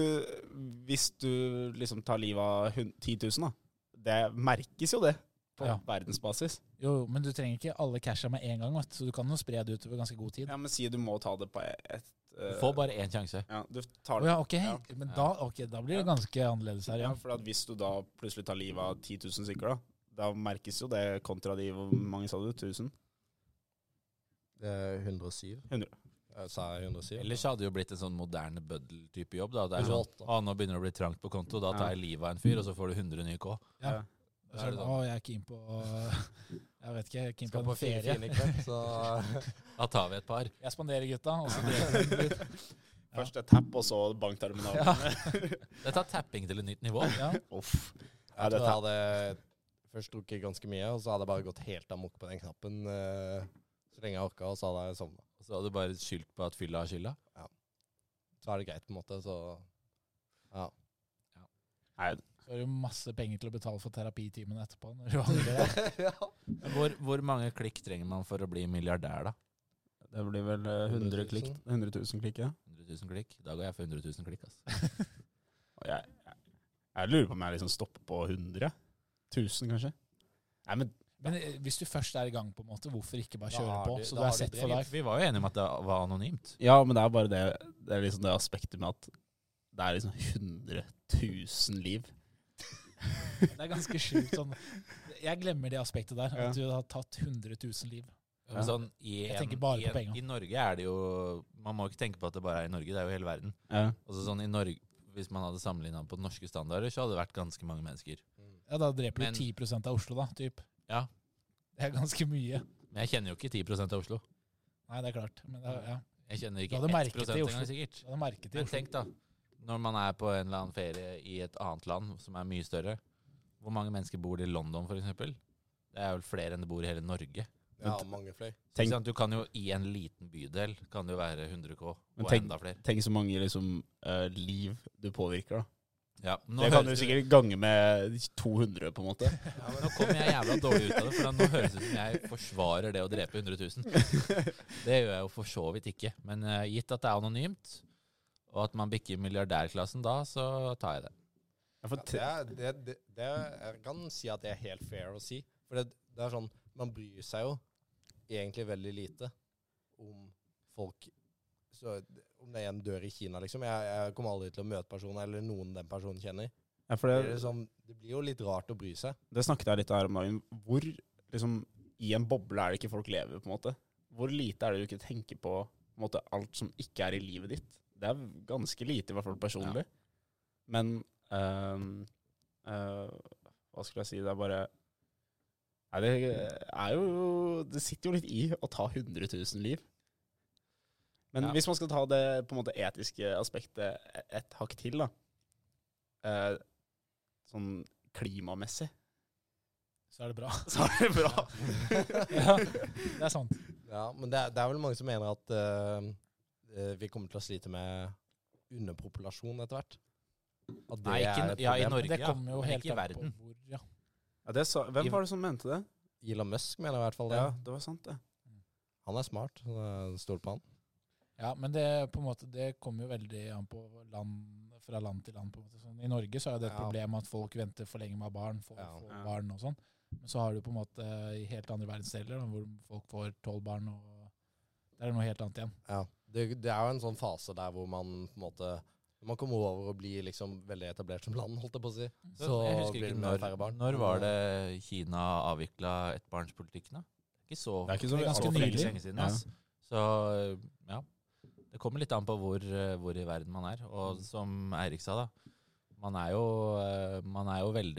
Speaker 3: Hvis du liksom tar livet av hun- 10 000, da. Det merkes jo, det. På
Speaker 5: Ja.
Speaker 3: verdensbasis.
Speaker 5: Jo, jo, men du trenger ikke alle casha med en gang, vet, du, så du kan jo spre det ut over ganske god tid.
Speaker 3: Ja, men si du må ta det på et
Speaker 6: Du
Speaker 3: eh,
Speaker 6: får bare én sjanse.
Speaker 3: Ja, du
Speaker 5: Å
Speaker 3: tar det
Speaker 5: ja, ok,
Speaker 3: Ja.
Speaker 5: men da, ok, da blir det ganske annerledes her, ja.
Speaker 3: Ja, for at hvis du da plutselig tar livet av 10 000 stykker, da da merkes jo det kontra de Hvor mange sa du? 1000?
Speaker 4: Det er 107.
Speaker 3: 100.
Speaker 4: Jeg sa 107.
Speaker 6: Ellers hadde det jo blitt en sånn moderne bøddel-type jobb. da. Det er sånn,
Speaker 4: 108.
Speaker 6: å, nå begynner det å bli trangt på konto, da tar jeg livet av en fyr, og så får du 100 nye K.
Speaker 5: Ja.
Speaker 3: Ja.
Speaker 5: Så er det sånn, Å, jeg er keen på Jeg vet ikke, jeg er keen på
Speaker 4: skal
Speaker 5: en
Speaker 4: på fire
Speaker 5: ferie.
Speaker 4: fine i kveld, så
Speaker 6: Da tar vi et par.
Speaker 5: Jeg spanderer gutta, og så deler vi den ut.
Speaker 3: Først et tapp, og så bankterminalen.
Speaker 5: Ja.
Speaker 6: Det tar tapping til et nytt nivå.
Speaker 5: Ja.
Speaker 3: Uff. Ja,
Speaker 4: Jeg
Speaker 3: det er
Speaker 4: tror jeg hadde først drukket ganske mye, og så hadde jeg bare gått helt amok på den knappen eh, så lenge jeg orka, og så hadde jeg sovna.
Speaker 6: Og så hadde du bare skyldt på at fylla har skylda.
Speaker 4: Så er det greit, på en måte. Så ja.
Speaker 3: Nei,
Speaker 5: Så har du masse penger til å betale for terapitimen etterpå. Når du har det.
Speaker 6: Men Hvor, hvor mange klikk trenger man for å bli milliardær, da?
Speaker 3: det blir vel eh, 100
Speaker 4: 100 000.
Speaker 3: klikk. 100 000 klikk, ja.
Speaker 6: 100 000 klikk? Da går jeg for 100 000 klikk, altså.
Speaker 3: Og jeg, jeg, jeg lurer på om jeg liksom stopper på 100. 1000, kanskje. Nei, men
Speaker 5: Men eh, hvis du først er i gang, på en måte, hvorfor ikke bare
Speaker 4: Da
Speaker 5: kjøre
Speaker 4: har
Speaker 5: på?
Speaker 4: du-
Speaker 5: Så
Speaker 4: da
Speaker 5: du er
Speaker 4: har du
Speaker 5: sett
Speaker 4: det.
Speaker 5: for life.
Speaker 6: Vi var jo enige om at det var anonymt.
Speaker 3: Ja, men det er bare det Det er liksom det aspektet med at Det er liksom 100 000 liv.
Speaker 5: Det er ganske sjukt. Sånn. Jeg glemmer det aspektet der. At du har tatt 100 000 liv.
Speaker 6: Men Sånn, i,
Speaker 5: Jeg
Speaker 6: en,
Speaker 5: tenker bare
Speaker 6: i,
Speaker 5: på
Speaker 6: en-
Speaker 5: penger.
Speaker 6: I Norge er det jo Man må ikke tenke på at det bare er i Norge, det er jo hele verden.
Speaker 3: Ja.
Speaker 6: Altså sånn i Norge, Hvis man hadde sammenligna på norske standarder, så hadde det vært ganske mange mennesker.
Speaker 5: Ja, Da dreper
Speaker 6: Men-
Speaker 5: du 10 av Oslo, da. Typ.
Speaker 6: Ja.
Speaker 5: Det er ganske mye.
Speaker 6: Men jeg kjenner jo ikke 10 av Oslo.
Speaker 5: Nei, det er klart. Men det er, ja.
Speaker 6: Jeg kjenner
Speaker 5: Du
Speaker 6: ikke
Speaker 5: hadde
Speaker 6: 1
Speaker 5: merket det i Oslo.
Speaker 6: engang, sikkert.
Speaker 5: Du hadde merket det i
Speaker 6: Men
Speaker 5: Oslo.
Speaker 6: tenk, da. Når man er på en eller annen ferie i et annet land som er mye større. Hvor mange mennesker bor det i London, f.eks.? Det er vel flere enn det bor i hele Norge.
Speaker 4: Ja, mange flere.
Speaker 6: Så,
Speaker 3: Tenk-
Speaker 6: ikke sant, du kan jo I en liten bydel kan det jo være 100 K,
Speaker 3: Men
Speaker 6: og
Speaker 3: tenk-
Speaker 6: enda flere.
Speaker 3: Tenk så mange liksom, eh, liv du påvirker, da.
Speaker 6: Ja, nå
Speaker 3: det kan du
Speaker 6: høres det-
Speaker 3: sikkert gange med 200, på en måte.
Speaker 6: Nå kommer jeg jævla dårlig ut av det, for da nå høres det ut som jeg forsvarer det å drepe 100 000. Det gjør jeg jo for så vidt ikke. Men eh, gitt at det er anonymt, og at man bikker milliardærklassen da, så tar jeg det.
Speaker 3: Ja, for
Speaker 4: Det, er- det, det, det er- jeg kan si at det er helt fair å si. For det, det er sånn, man bryr seg jo egentlig veldig lite om folk så, Om det er en dør i Kina, liksom. Jeg, jeg kommer aldri til å møte personen eller noen den personen kjenner.
Speaker 3: ja, for
Speaker 4: Det, er
Speaker 3: det,
Speaker 4: liksom, det blir jo litt rart å bry seg.
Speaker 3: det snakket jeg litt om her om dagen. Hvor liksom, i en boble er det ikke folk lever, på en måte? Hvor lite er det du ikke tenker på, på en måte, alt som ikke er i livet ditt? Det er ganske lite, i hvert fall personlig. Men ehm, eh, Hva skulle jeg si? Det er bare Nei, det er jo Det sitter jo litt i å ta 100 000 liv. Men
Speaker 6: Ja.
Speaker 3: hvis man skal ta det på en måte etiske aspektet et- et hakk til, da eh, Sånn klimamessig,
Speaker 5: Så er det bra.
Speaker 3: så er det bra.
Speaker 5: Ja, det er sant.
Speaker 4: Ja, Men det, er- det er vel mange som mener at eh, eh, vi kommer til å slite med underpopulasjon etter hvert. At det
Speaker 6: Nei, ikke
Speaker 4: er
Speaker 6: no-
Speaker 4: et
Speaker 6: ja, i
Speaker 4: problem.
Speaker 5: Men
Speaker 6: Norge,
Speaker 5: det kommer jo
Speaker 6: men
Speaker 5: helt
Speaker 6: ikke i
Speaker 5: an på
Speaker 6: verden.
Speaker 5: hvor. Ja.
Speaker 3: Ja, det sa, hvem var det som mente det?
Speaker 4: Elon Musk mener i hvert fall det.
Speaker 3: Ja, det var sant, det.
Speaker 4: Han er smart. så jeg Stoler på han.
Speaker 5: Ja, men det, på en måte, det kommer jo veldig an på land, fra land til land. på en måte. Sånn, I Norge så er det et
Speaker 4: Ja.
Speaker 5: problem at folk venter for lenge med å ha barn. Folk
Speaker 4: Ja.
Speaker 5: får
Speaker 3: Ja.
Speaker 5: barn og sånn. Men så har du på en måte i helt andre verdensdeler da, hvor folk får tolv barn, og det er noe helt annet igjen.
Speaker 4: Ja, det, det er jo en sånn fase der hvor man på en måte Man kommer over og blir liksom veldig etablert som land, holdt jeg på å si. Så
Speaker 6: jeg husker
Speaker 4: blir
Speaker 6: ikke
Speaker 4: det mer
Speaker 6: når,
Speaker 4: færre barn.
Speaker 6: når var det Kina avvikla ettbarnspolitikken, da? Ikke så
Speaker 3: Det er ikke
Speaker 5: Det er ganske
Speaker 6: så
Speaker 5: nylig.
Speaker 6: lenge siden. ass. Så ja. Det kommer litt an på hvor, eh, hvor i verden man er. Og som Eirik sa, da. Man er jo, eh, man er jo veldig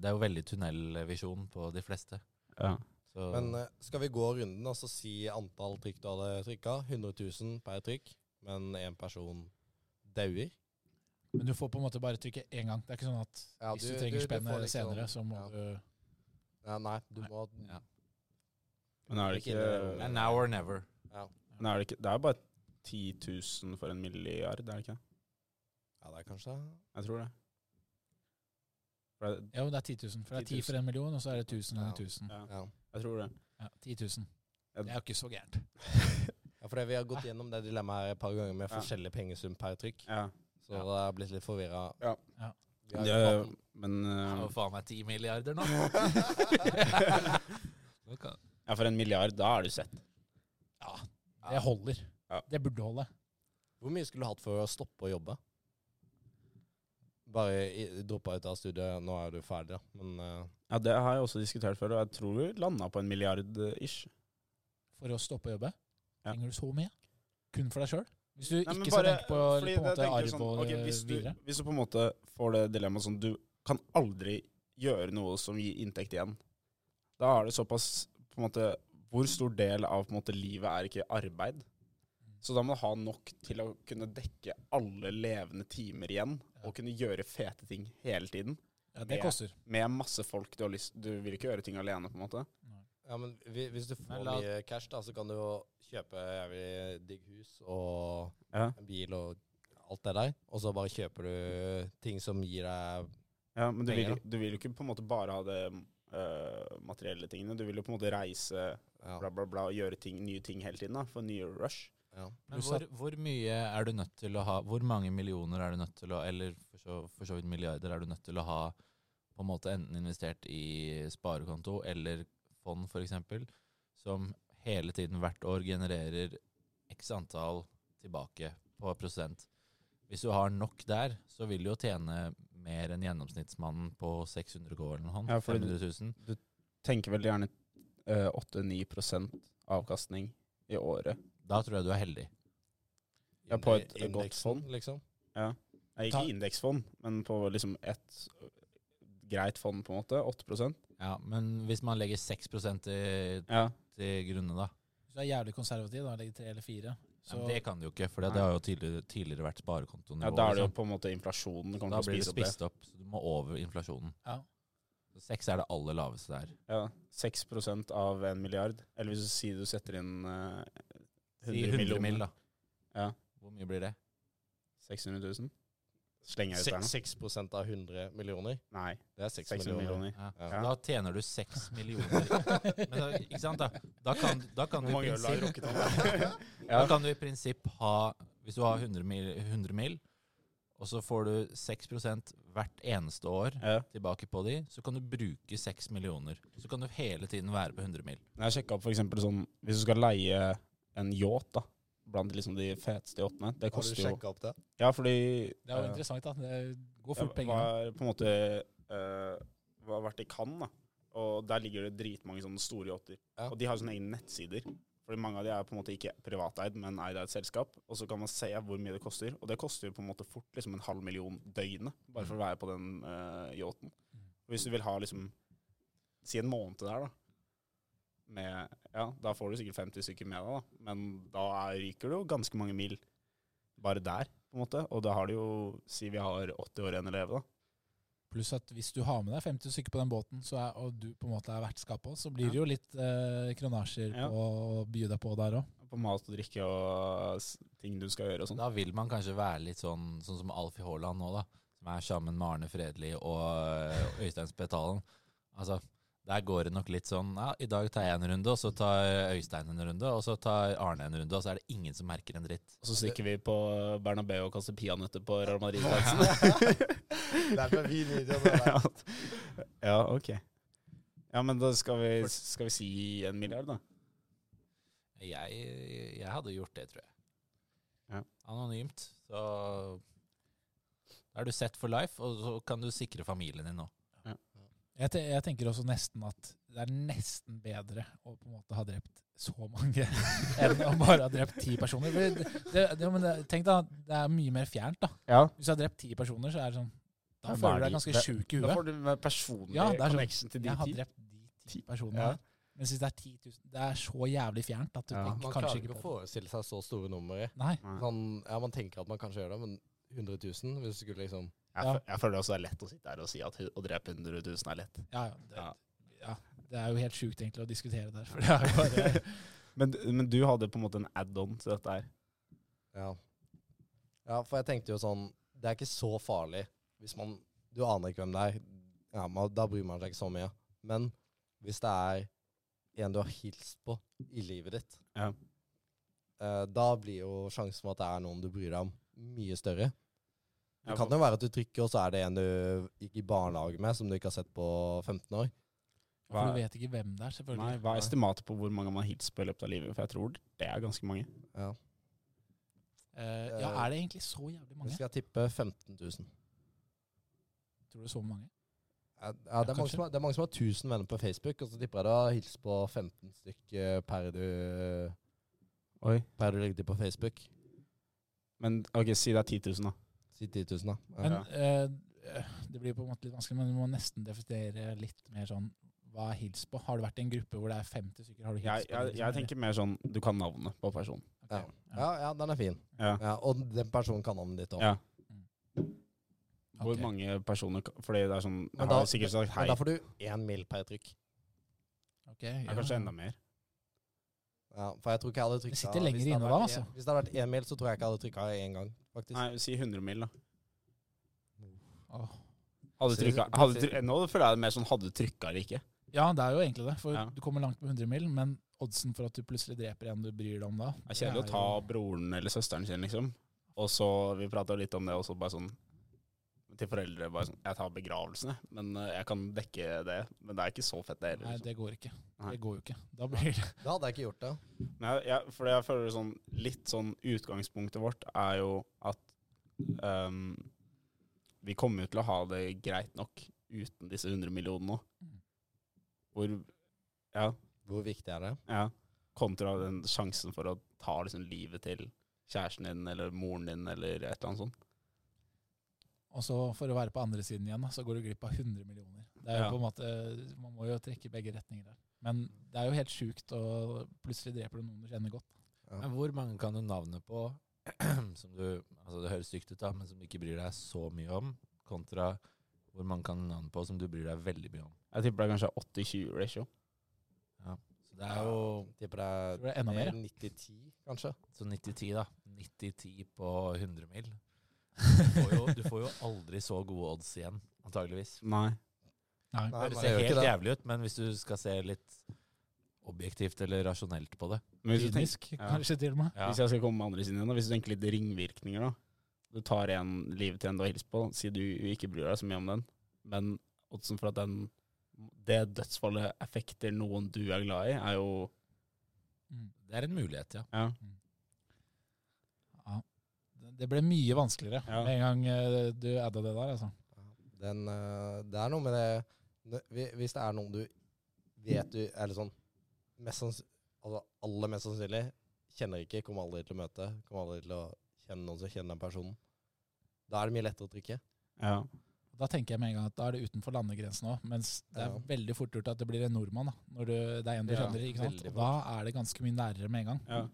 Speaker 6: Det er jo veldig tunnelvisjon på de fleste.
Speaker 3: Ja.
Speaker 6: Så
Speaker 4: Men eh, skal vi gå runden og så si antall trykk du hadde trykka? 100 000 per trykk, men én person dauer.
Speaker 5: Men du får på en måte bare trykke én gang. Det er ikke sånn at
Speaker 4: Ja,
Speaker 5: hvis
Speaker 4: du-
Speaker 5: du
Speaker 4: du-
Speaker 5: trenger
Speaker 4: du
Speaker 5: spennet
Speaker 4: får liksom-
Speaker 5: senere, så må
Speaker 4: ja.
Speaker 5: du
Speaker 4: Ja, nei, du må
Speaker 6: Ja.
Speaker 3: Men er det
Speaker 4: Ikke det-
Speaker 3: ikke
Speaker 6: det er now or never.
Speaker 3: Men er det ikke Det er bare 10 000 for en milliard, er det ikke? det?
Speaker 4: Ja, det er kanskje
Speaker 3: Jeg tror det. For det
Speaker 5: Jo, det er 10 000. For det er 10 for en million, og så er det 1000 eller
Speaker 4: Ja.
Speaker 5: 1000.
Speaker 3: ja,
Speaker 4: Ja.
Speaker 3: jeg tror det.
Speaker 5: Ja, 10 000. Det er jo ikke så gærent.
Speaker 4: Ja, for det, vi har gått gjennom det dilemmaet her et par ganger med
Speaker 3: Ja.
Speaker 4: forskjellig pengesum per trykk.
Speaker 3: Ja.
Speaker 4: Så det har blitt litt forvirra.
Speaker 3: Ja.
Speaker 5: Ja.
Speaker 3: Det, men
Speaker 6: Det er
Speaker 3: eh,
Speaker 6: jo faen meg ti milliarder nå. Nå kan-
Speaker 3: ja, for en milliard, da er du sett.
Speaker 5: Det holder.
Speaker 3: Ja.
Speaker 5: Det burde holde.
Speaker 4: Hvor mye skulle du hatt for å stoppe å jobbe? Bare i- droppa ut av studiet, nå er du ferdig, da. Men eh,
Speaker 3: Ja, Det har jeg også diskutert før, og jeg tror vi landa på en milliard eh, ish.
Speaker 5: for å stoppe å jobbe?
Speaker 3: Ja.
Speaker 5: Trenger du så mye? Kun for deg sjøl? Hvis du
Speaker 3: Nei, men
Speaker 5: ikke skal
Speaker 3: bare-
Speaker 5: tenke på, på
Speaker 3: fordi
Speaker 5: en
Speaker 3: det-
Speaker 5: måte
Speaker 3: jeg tenker
Speaker 5: arv
Speaker 3: sånn,
Speaker 5: og eh,
Speaker 3: ok, hvis du,
Speaker 5: videre?
Speaker 3: Hvis du på en måte får det dilemmaet sånn Du kan aldri gjøre noe som gir inntekt igjen. Da er det såpass på en måte, Hvor stor del av på en måte, livet er ikke arbeid? Så da må du ha nok til å kunne dekke alle levende timer igjen, og kunne gjøre fete ting hele tiden.
Speaker 5: Ja, det
Speaker 3: med-
Speaker 5: koster.
Speaker 3: Med masse folk du har lyst Du vil ikke gjøre ting alene, på en måte.
Speaker 4: ja, men hvi- hvis du får
Speaker 6: Men la-
Speaker 4: mye cash, da, så kan du jo kjøpe jævlig digg hus og
Speaker 3: Ja.
Speaker 4: en bil og alt det der. Og så bare kjøper du ting som gir deg
Speaker 3: Ja, men du vil,
Speaker 4: Penger,
Speaker 3: du vil jo ikke på en måte bare ha det øh, materielle tingene. Du vil jo på en måte reise
Speaker 4: ja,
Speaker 3: bla, bla, bla, og gjøre ting, nye ting hele tiden. da, For nye rush.
Speaker 4: ja.
Speaker 6: Men hvor, hvor mye er du nødt til å ha Hvor mange millioner er du nødt til å Eller for så, for så vidt milliarder er du nødt til å ha på en måte enten investert i sparekonto eller fond f.eks., som hele tiden hvert år genererer x antall tilbake på prosent. Hvis du har nok der, så vil du jo tjene mer enn gjennomsnittsmannen på 600 K eller noe sånt.
Speaker 3: Ja, fordi du-
Speaker 6: 500 000.
Speaker 3: Tenker veldig gjerne eh, 8-9 avkastning i året.
Speaker 6: Da tror jeg du er heldig.
Speaker 3: Ja, på et
Speaker 4: Indeksen,
Speaker 3: godt fond.
Speaker 4: liksom.
Speaker 3: Nei,
Speaker 5: Ta-
Speaker 3: ikke indeksfond, men på liksom et greit fond, på en måte. 8
Speaker 6: Ja, Men hvis man legger 6 til,
Speaker 3: Ja.
Speaker 6: til grunne, da
Speaker 5: Hvis du er jævlig konservativ, da legger tre eller fire.
Speaker 6: Ja,
Speaker 5: Så
Speaker 6: men det kan du jo ikke, for det
Speaker 3: Nei.
Speaker 6: har jo tidligere, tidligere vært sparekontonivå.
Speaker 3: ja, da er det jo
Speaker 6: liksom.
Speaker 3: på en måte inflasjonen kommer
Speaker 6: da
Speaker 3: til å
Speaker 6: blir det
Speaker 3: spise opp det.
Speaker 6: spist opp, så du må over inflasjonen.
Speaker 5: Ja.
Speaker 6: Så Seks er det aller laveste der.
Speaker 3: Ja, 6 av en milliard. Eller hvis du sier du setter inn eh,
Speaker 6: Si
Speaker 3: 100 millioner.
Speaker 6: mil, da.
Speaker 3: Ja.
Speaker 6: Hvor mye blir det?
Speaker 3: 600 000? Slenger jeg ut der
Speaker 4: Se-
Speaker 3: nå?
Speaker 4: 6 av 100 millioner.
Speaker 3: Nei,
Speaker 4: Det er 6
Speaker 3: 600
Speaker 4: millioner.
Speaker 3: millioner.
Speaker 6: Ja.
Speaker 4: Ja.
Speaker 6: Da tjener du seks millioner. Men da, ikke sant, da? Da kan, da kan, du, i prinsipp,
Speaker 3: rukket han?
Speaker 6: da kan du i prinsipp ha Hvis du har 100 mil, 100 mil og så får du 6 hvert eneste år
Speaker 3: ja.
Speaker 6: tilbake på de, så kan du bruke 6 millioner. Så kan du hele tiden være på 100 mil.
Speaker 3: Jeg har sjekka opp for eksempel sånn Hvis du skal leie en yacht, da, blant liksom de feteste yachtene Det
Speaker 4: Har du
Speaker 3: koster jo
Speaker 4: sjekka opp det?
Speaker 3: Ja, fordi
Speaker 5: det er jo
Speaker 3: eh,
Speaker 5: interessant, da. Det går
Speaker 3: Jeg
Speaker 5: fort penger. nå.
Speaker 3: var på en måte eh, Var vært i Cannes, da. Og der ligger det dritmange sånne store yachter.
Speaker 4: Ja.
Speaker 3: Og de har sånne egne nettsider. Fordi mange av de er på en måte ikke privateid, men eid av et selskap. Og så kan man se hvor mye det koster. Og det koster jo på en måte fort liksom en halv million døgnet bare for å være på den eh, yachten.
Speaker 5: Mm.
Speaker 3: Og hvis du vil ha liksom Si en måned der, da. Med, ja, da får du sikkert 50 stykker med deg, da. Men da er, ryker du jo ganske mange mil bare der, på en måte. Og da har du jo Si vi har 80 år igjen å leve, da.
Speaker 5: Pluss at hvis du har med deg 50 stykker på den båten, så er, og du på en måte er vertskap òg, så blir det jo litt eh, kronasjer
Speaker 3: Ja.
Speaker 5: på å by deg på der òg.
Speaker 3: På mat og drikke og s- ting du skal gjøre og sånn.
Speaker 6: Da vil man kanskje være litt sånn, sånn som Alfie Haaland nå, da. Som er sammen med Arne Fredli og øh, Øystein Spetalen. Altså, der går det nok litt sånn ja, I dag tar jeg en runde, og så tar Øystein en runde, og så tar Arne en runde, og så er det ingen som merker en dritt.
Speaker 3: Og så stikker vi på Bernabeu og kaster peanøtter på Real Madrid-fansen.
Speaker 4: Derfor er vi videoer med deg.
Speaker 3: ja, ok. Ja, men da skal vi, skal vi si en milliard, da.
Speaker 6: Jeg, jeg hadde gjort det, tror jeg.
Speaker 3: Ja.
Speaker 6: Anonymt. Så da er du set for life, og så kan du sikre familien din nå.
Speaker 5: Jeg, te jeg tenker også nesten at det er nesten bedre å på en måte ha drept så mange enn å bare ha drept ti personer. For det, det, det, men det, tenk da, det er mye mer fjernt, da.
Speaker 3: Ja.
Speaker 5: Hvis du har drept ti personer, så er det sånn
Speaker 3: Ja, hva
Speaker 5: Da
Speaker 3: er
Speaker 5: føler du deg
Speaker 3: de-
Speaker 5: ganske
Speaker 3: det-
Speaker 5: sjuk i
Speaker 3: Da
Speaker 5: huet.
Speaker 3: får du en personlig
Speaker 5: Ja, det er sånn.
Speaker 3: connection til de
Speaker 5: Jeg har
Speaker 3: ti.
Speaker 5: drept de ti personene
Speaker 3: Ja.
Speaker 5: her. Men hvis det er 10 000 Det er så jævlig fjernt at du
Speaker 3: Ja.
Speaker 5: tenker
Speaker 4: Man
Speaker 5: kanskje
Speaker 4: klarer
Speaker 5: ikke
Speaker 4: ikke å
Speaker 5: på det.
Speaker 4: forestille seg så store numre.
Speaker 5: Nei.
Speaker 4: Sånn, ja, man tenker at man kanskje gjør det, men 100 000 hvis du skulle liksom
Speaker 3: Jeg,
Speaker 5: Ja.
Speaker 3: fø- jeg føler også det er lett å sitte her og si at hu- å drepe 100 000 er lett.
Speaker 5: Ja, ja, det,
Speaker 3: Ja.
Speaker 5: ja, det er jo helt sjukt egentlig å diskutere det her. For det er jo bare
Speaker 3: Men, men du hadde på en måte en add-on til dette her.
Speaker 4: Ja. ja, for jeg tenkte jo sånn Det er ikke så farlig hvis man Du aner ikke hvem det er. Ja, man, da bryr man seg ikke så mye. Men hvis det er en du har hilst på i livet ditt,
Speaker 3: Ja.
Speaker 4: eh, da blir jo sjansen for at det er noen du bryr deg om, mye større. Det
Speaker 3: Ja,
Speaker 4: kan
Speaker 3: for-
Speaker 4: jo være at du trykker, og så er det en du gikk i barnehage med, som du ikke har sett på 15 år.
Speaker 5: For
Speaker 3: Hva-
Speaker 5: du vet ikke hvem det er,
Speaker 3: Nei,
Speaker 5: selvfølgelig.
Speaker 3: hva er estimatet på hvor mange man har hilst på i løpet av livet? For jeg tror det er ganske mange.
Speaker 4: Ja.
Speaker 5: Eh, ja, er det egentlig så jævlig
Speaker 4: Jeg
Speaker 5: mange?
Speaker 4: skal tippe 15 000.
Speaker 5: Tror du så mange?
Speaker 4: Ja, ja, det, er mange
Speaker 5: kanskje.
Speaker 4: som har, det er mange som har 1000 venner på Facebook, og så tipper jeg du har hilst på 15 stykker per du
Speaker 3: Oi.
Speaker 4: Per du legger til på Facebook.
Speaker 3: Men ok, si det er 10 000, da.
Speaker 4: Si 10 000, da.
Speaker 5: Men
Speaker 4: Ja.
Speaker 5: eh, Det blir på en måte litt vanskelig, men du må nesten definere litt mer sånn Hva er hils på? Har du vært i en gruppe hvor det er 50 stykker? Har du hils
Speaker 3: Jeg,
Speaker 5: på?
Speaker 3: jeg, jeg tenker mer sånn du kan navnet på personen.
Speaker 4: Ja. ja, ja, den er fin.
Speaker 3: Ja.
Speaker 4: Ja, og den personen kan navnet ditt òg.
Speaker 3: Ja.
Speaker 5: Ok.
Speaker 3: Hvor mange personer ka- Fordi det er sånn Jeg
Speaker 4: Men
Speaker 3: har
Speaker 4: da-
Speaker 3: jo sikkert sagt hei.
Speaker 4: Men da får du én mil per trykk.
Speaker 5: Ok, ja.
Speaker 3: Det er kanskje enda mer.
Speaker 4: Ja, for jeg tror ikke jeg hadde trykket,
Speaker 5: sitter
Speaker 4: hvis
Speaker 5: lenger
Speaker 4: hadde
Speaker 5: inne
Speaker 4: vært
Speaker 5: da,
Speaker 4: en-
Speaker 5: altså.
Speaker 4: Hvis det hadde vært én mil, så tror jeg ikke jeg hadde trykka én gang, faktisk.
Speaker 3: Nei, si 100 mil, da.
Speaker 5: Åh.
Speaker 3: Hadde
Speaker 4: Si-
Speaker 3: trykka, sånn, hadde try- nå føler jeg det mer sånn hadde du trykka eller ikke.
Speaker 5: ja, det er jo egentlig det. For
Speaker 3: Ja.
Speaker 5: du kommer langt med 100 mil, men oddsen for at du plutselig dreper en du bryr deg om da
Speaker 3: Det er kjedelig å ta broren eller søsteren sin, liksom. Og så Vi prata litt om det, og så bare sånn til foreldre bare sånn, Jeg tar begravelsene, men eh, jeg kan dekke det. Men det er ikke så fett, det heller.
Speaker 5: Nei,
Speaker 3: Liksom.
Speaker 5: det går ikke.
Speaker 3: Nei.
Speaker 5: Det går jo ikke. Da blir det
Speaker 4: Da hadde jeg ikke gjort det.
Speaker 3: Men jeg, jeg, fordi jeg føler sånn, litt sånn utgangspunktet vårt er jo at ehm, vi kommer jo til å ha det greit nok uten disse 100 millionene nå. Hvor Ja,
Speaker 4: Hvor viktig er det?
Speaker 3: ja. Kontra den sjansen for å ta liksom livet til kjæresten din eller moren din eller et eller annet sånt.
Speaker 5: Og så for å være på andre siden igjen, da, så går du glipp av 100 millioner. Det er jo
Speaker 3: Ja.
Speaker 5: på en måte, Man må jo trekke i begge retninger der. Men det er jo helt sjukt, og plutselig dreper du noen du kjenner godt.
Speaker 6: Men hvor mange kan du navnet på som du Altså, det høres stygt ut, da, men som du ikke bryr deg så mye om, kontra hvor mange kan du navnet på som du bryr deg veldig mye om.
Speaker 3: Jeg tipper det er kanskje 80-20 ratio.
Speaker 6: Så det er jo
Speaker 4: Tipper
Speaker 5: Tror du det er
Speaker 4: det
Speaker 5: enda mer?
Speaker 4: er 90-10, kanskje.
Speaker 6: Så 90-10, da. 90-10 på 100 mil. Du får, jo, du får jo aldri så gode odds igjen, antageligvis.
Speaker 3: Nei.
Speaker 5: Nei.
Speaker 4: Nei,
Speaker 6: Det
Speaker 4: man
Speaker 6: ser
Speaker 4: gjør ikke
Speaker 6: helt
Speaker 4: det.
Speaker 6: jævlig ut, men hvis du skal se litt objektivt eller rasjonelt på det
Speaker 3: Men hvis du tenker,
Speaker 5: Kynisk,
Speaker 3: ja.
Speaker 5: kanskje til og med.
Speaker 6: ja.
Speaker 3: Hvis jeg skal komme med andre siden igjen, da, hvis du tenker litt ringvirkninger, da. Du tar en livet til en du har hilst på, si du ikke bryr deg så mye om den, men oddsen for at den, det dødsfallet effekter noen du er glad i, er jo
Speaker 5: Mm.
Speaker 6: Det er en mulighet, ja.
Speaker 3: Ja.
Speaker 5: Ja. Det- Det ble mye vanskeligere
Speaker 3: Ja.
Speaker 5: med en gang eh, du adda det der, altså.
Speaker 4: Den, eh, det er noe med det nø- hvi- Hvis det er noen du vet du Eller sånn mest sanns- altså Aller mest sannsynlig kjenner ikke, kommer aldri til å møte, kommer aldri til å kjenne noen som kjenner den personen. Da er det mye lettere å trykke.
Speaker 3: ja.
Speaker 5: Da tenker jeg med en gang at da er det utenfor landegrensen òg, mens det er
Speaker 4: Ja.
Speaker 5: veldig fort gjort at det blir en nordmann. da, når du, Det er en du
Speaker 4: Ja,
Speaker 5: kjenner, ikke sant?
Speaker 4: veldig
Speaker 5: Og da er det ganske mye nærere med en gang.
Speaker 3: Ja.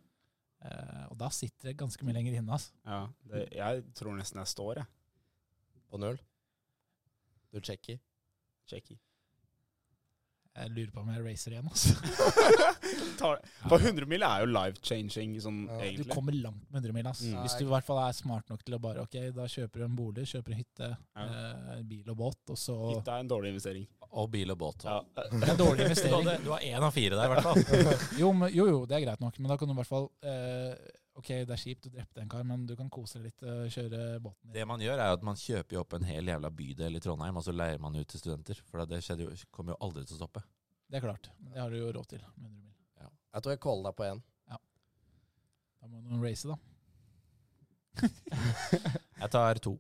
Speaker 5: Eh, og da sitter det ganske mye lenger inne. altså.
Speaker 3: ja. Det, jeg tror nesten jeg står, jeg.
Speaker 4: På null. Du sjekker.
Speaker 3: Checky.
Speaker 5: Jeg lurer på om jeg racer igjen. altså.
Speaker 3: Tar- For 100 mil er jo life changing, sånn
Speaker 4: Ja, du
Speaker 5: Du
Speaker 3: egentlig.
Speaker 5: kommer langt med 100 mil. Altså.
Speaker 3: Mm.
Speaker 5: Hvis du i hvert fall er smart nok til å bare ok, da kjøper du en bolig, kjøper en hytte,
Speaker 3: Ja.
Speaker 5: eh, bil og båt, og så
Speaker 3: Hytta er en dårlig investering.
Speaker 6: Og bil og båt.
Speaker 3: Ja.
Speaker 6: også.
Speaker 5: Det er dårlig investering.
Speaker 6: Du har én av fire der, i hvert fall.
Speaker 5: Jo, men, jo, jo, det er greit nok, men da kan du i hvert fall eh, Ok, det er kjipt, du drepte en kar, men du kan kose deg litt, eh, kjøre båten din.
Speaker 6: Det man gjør, er at man kjøper jo opp en hel jævla bydel i Trondheim, og så leier man ut til studenter. For det skjedde jo, kommer jo aldri til å stoppe.
Speaker 5: Det er klart. men Det har du jo råd til. med 100 mil.
Speaker 4: Jeg tror jeg caller deg på én.
Speaker 5: Da må noen race, da.
Speaker 6: Jeg tar to.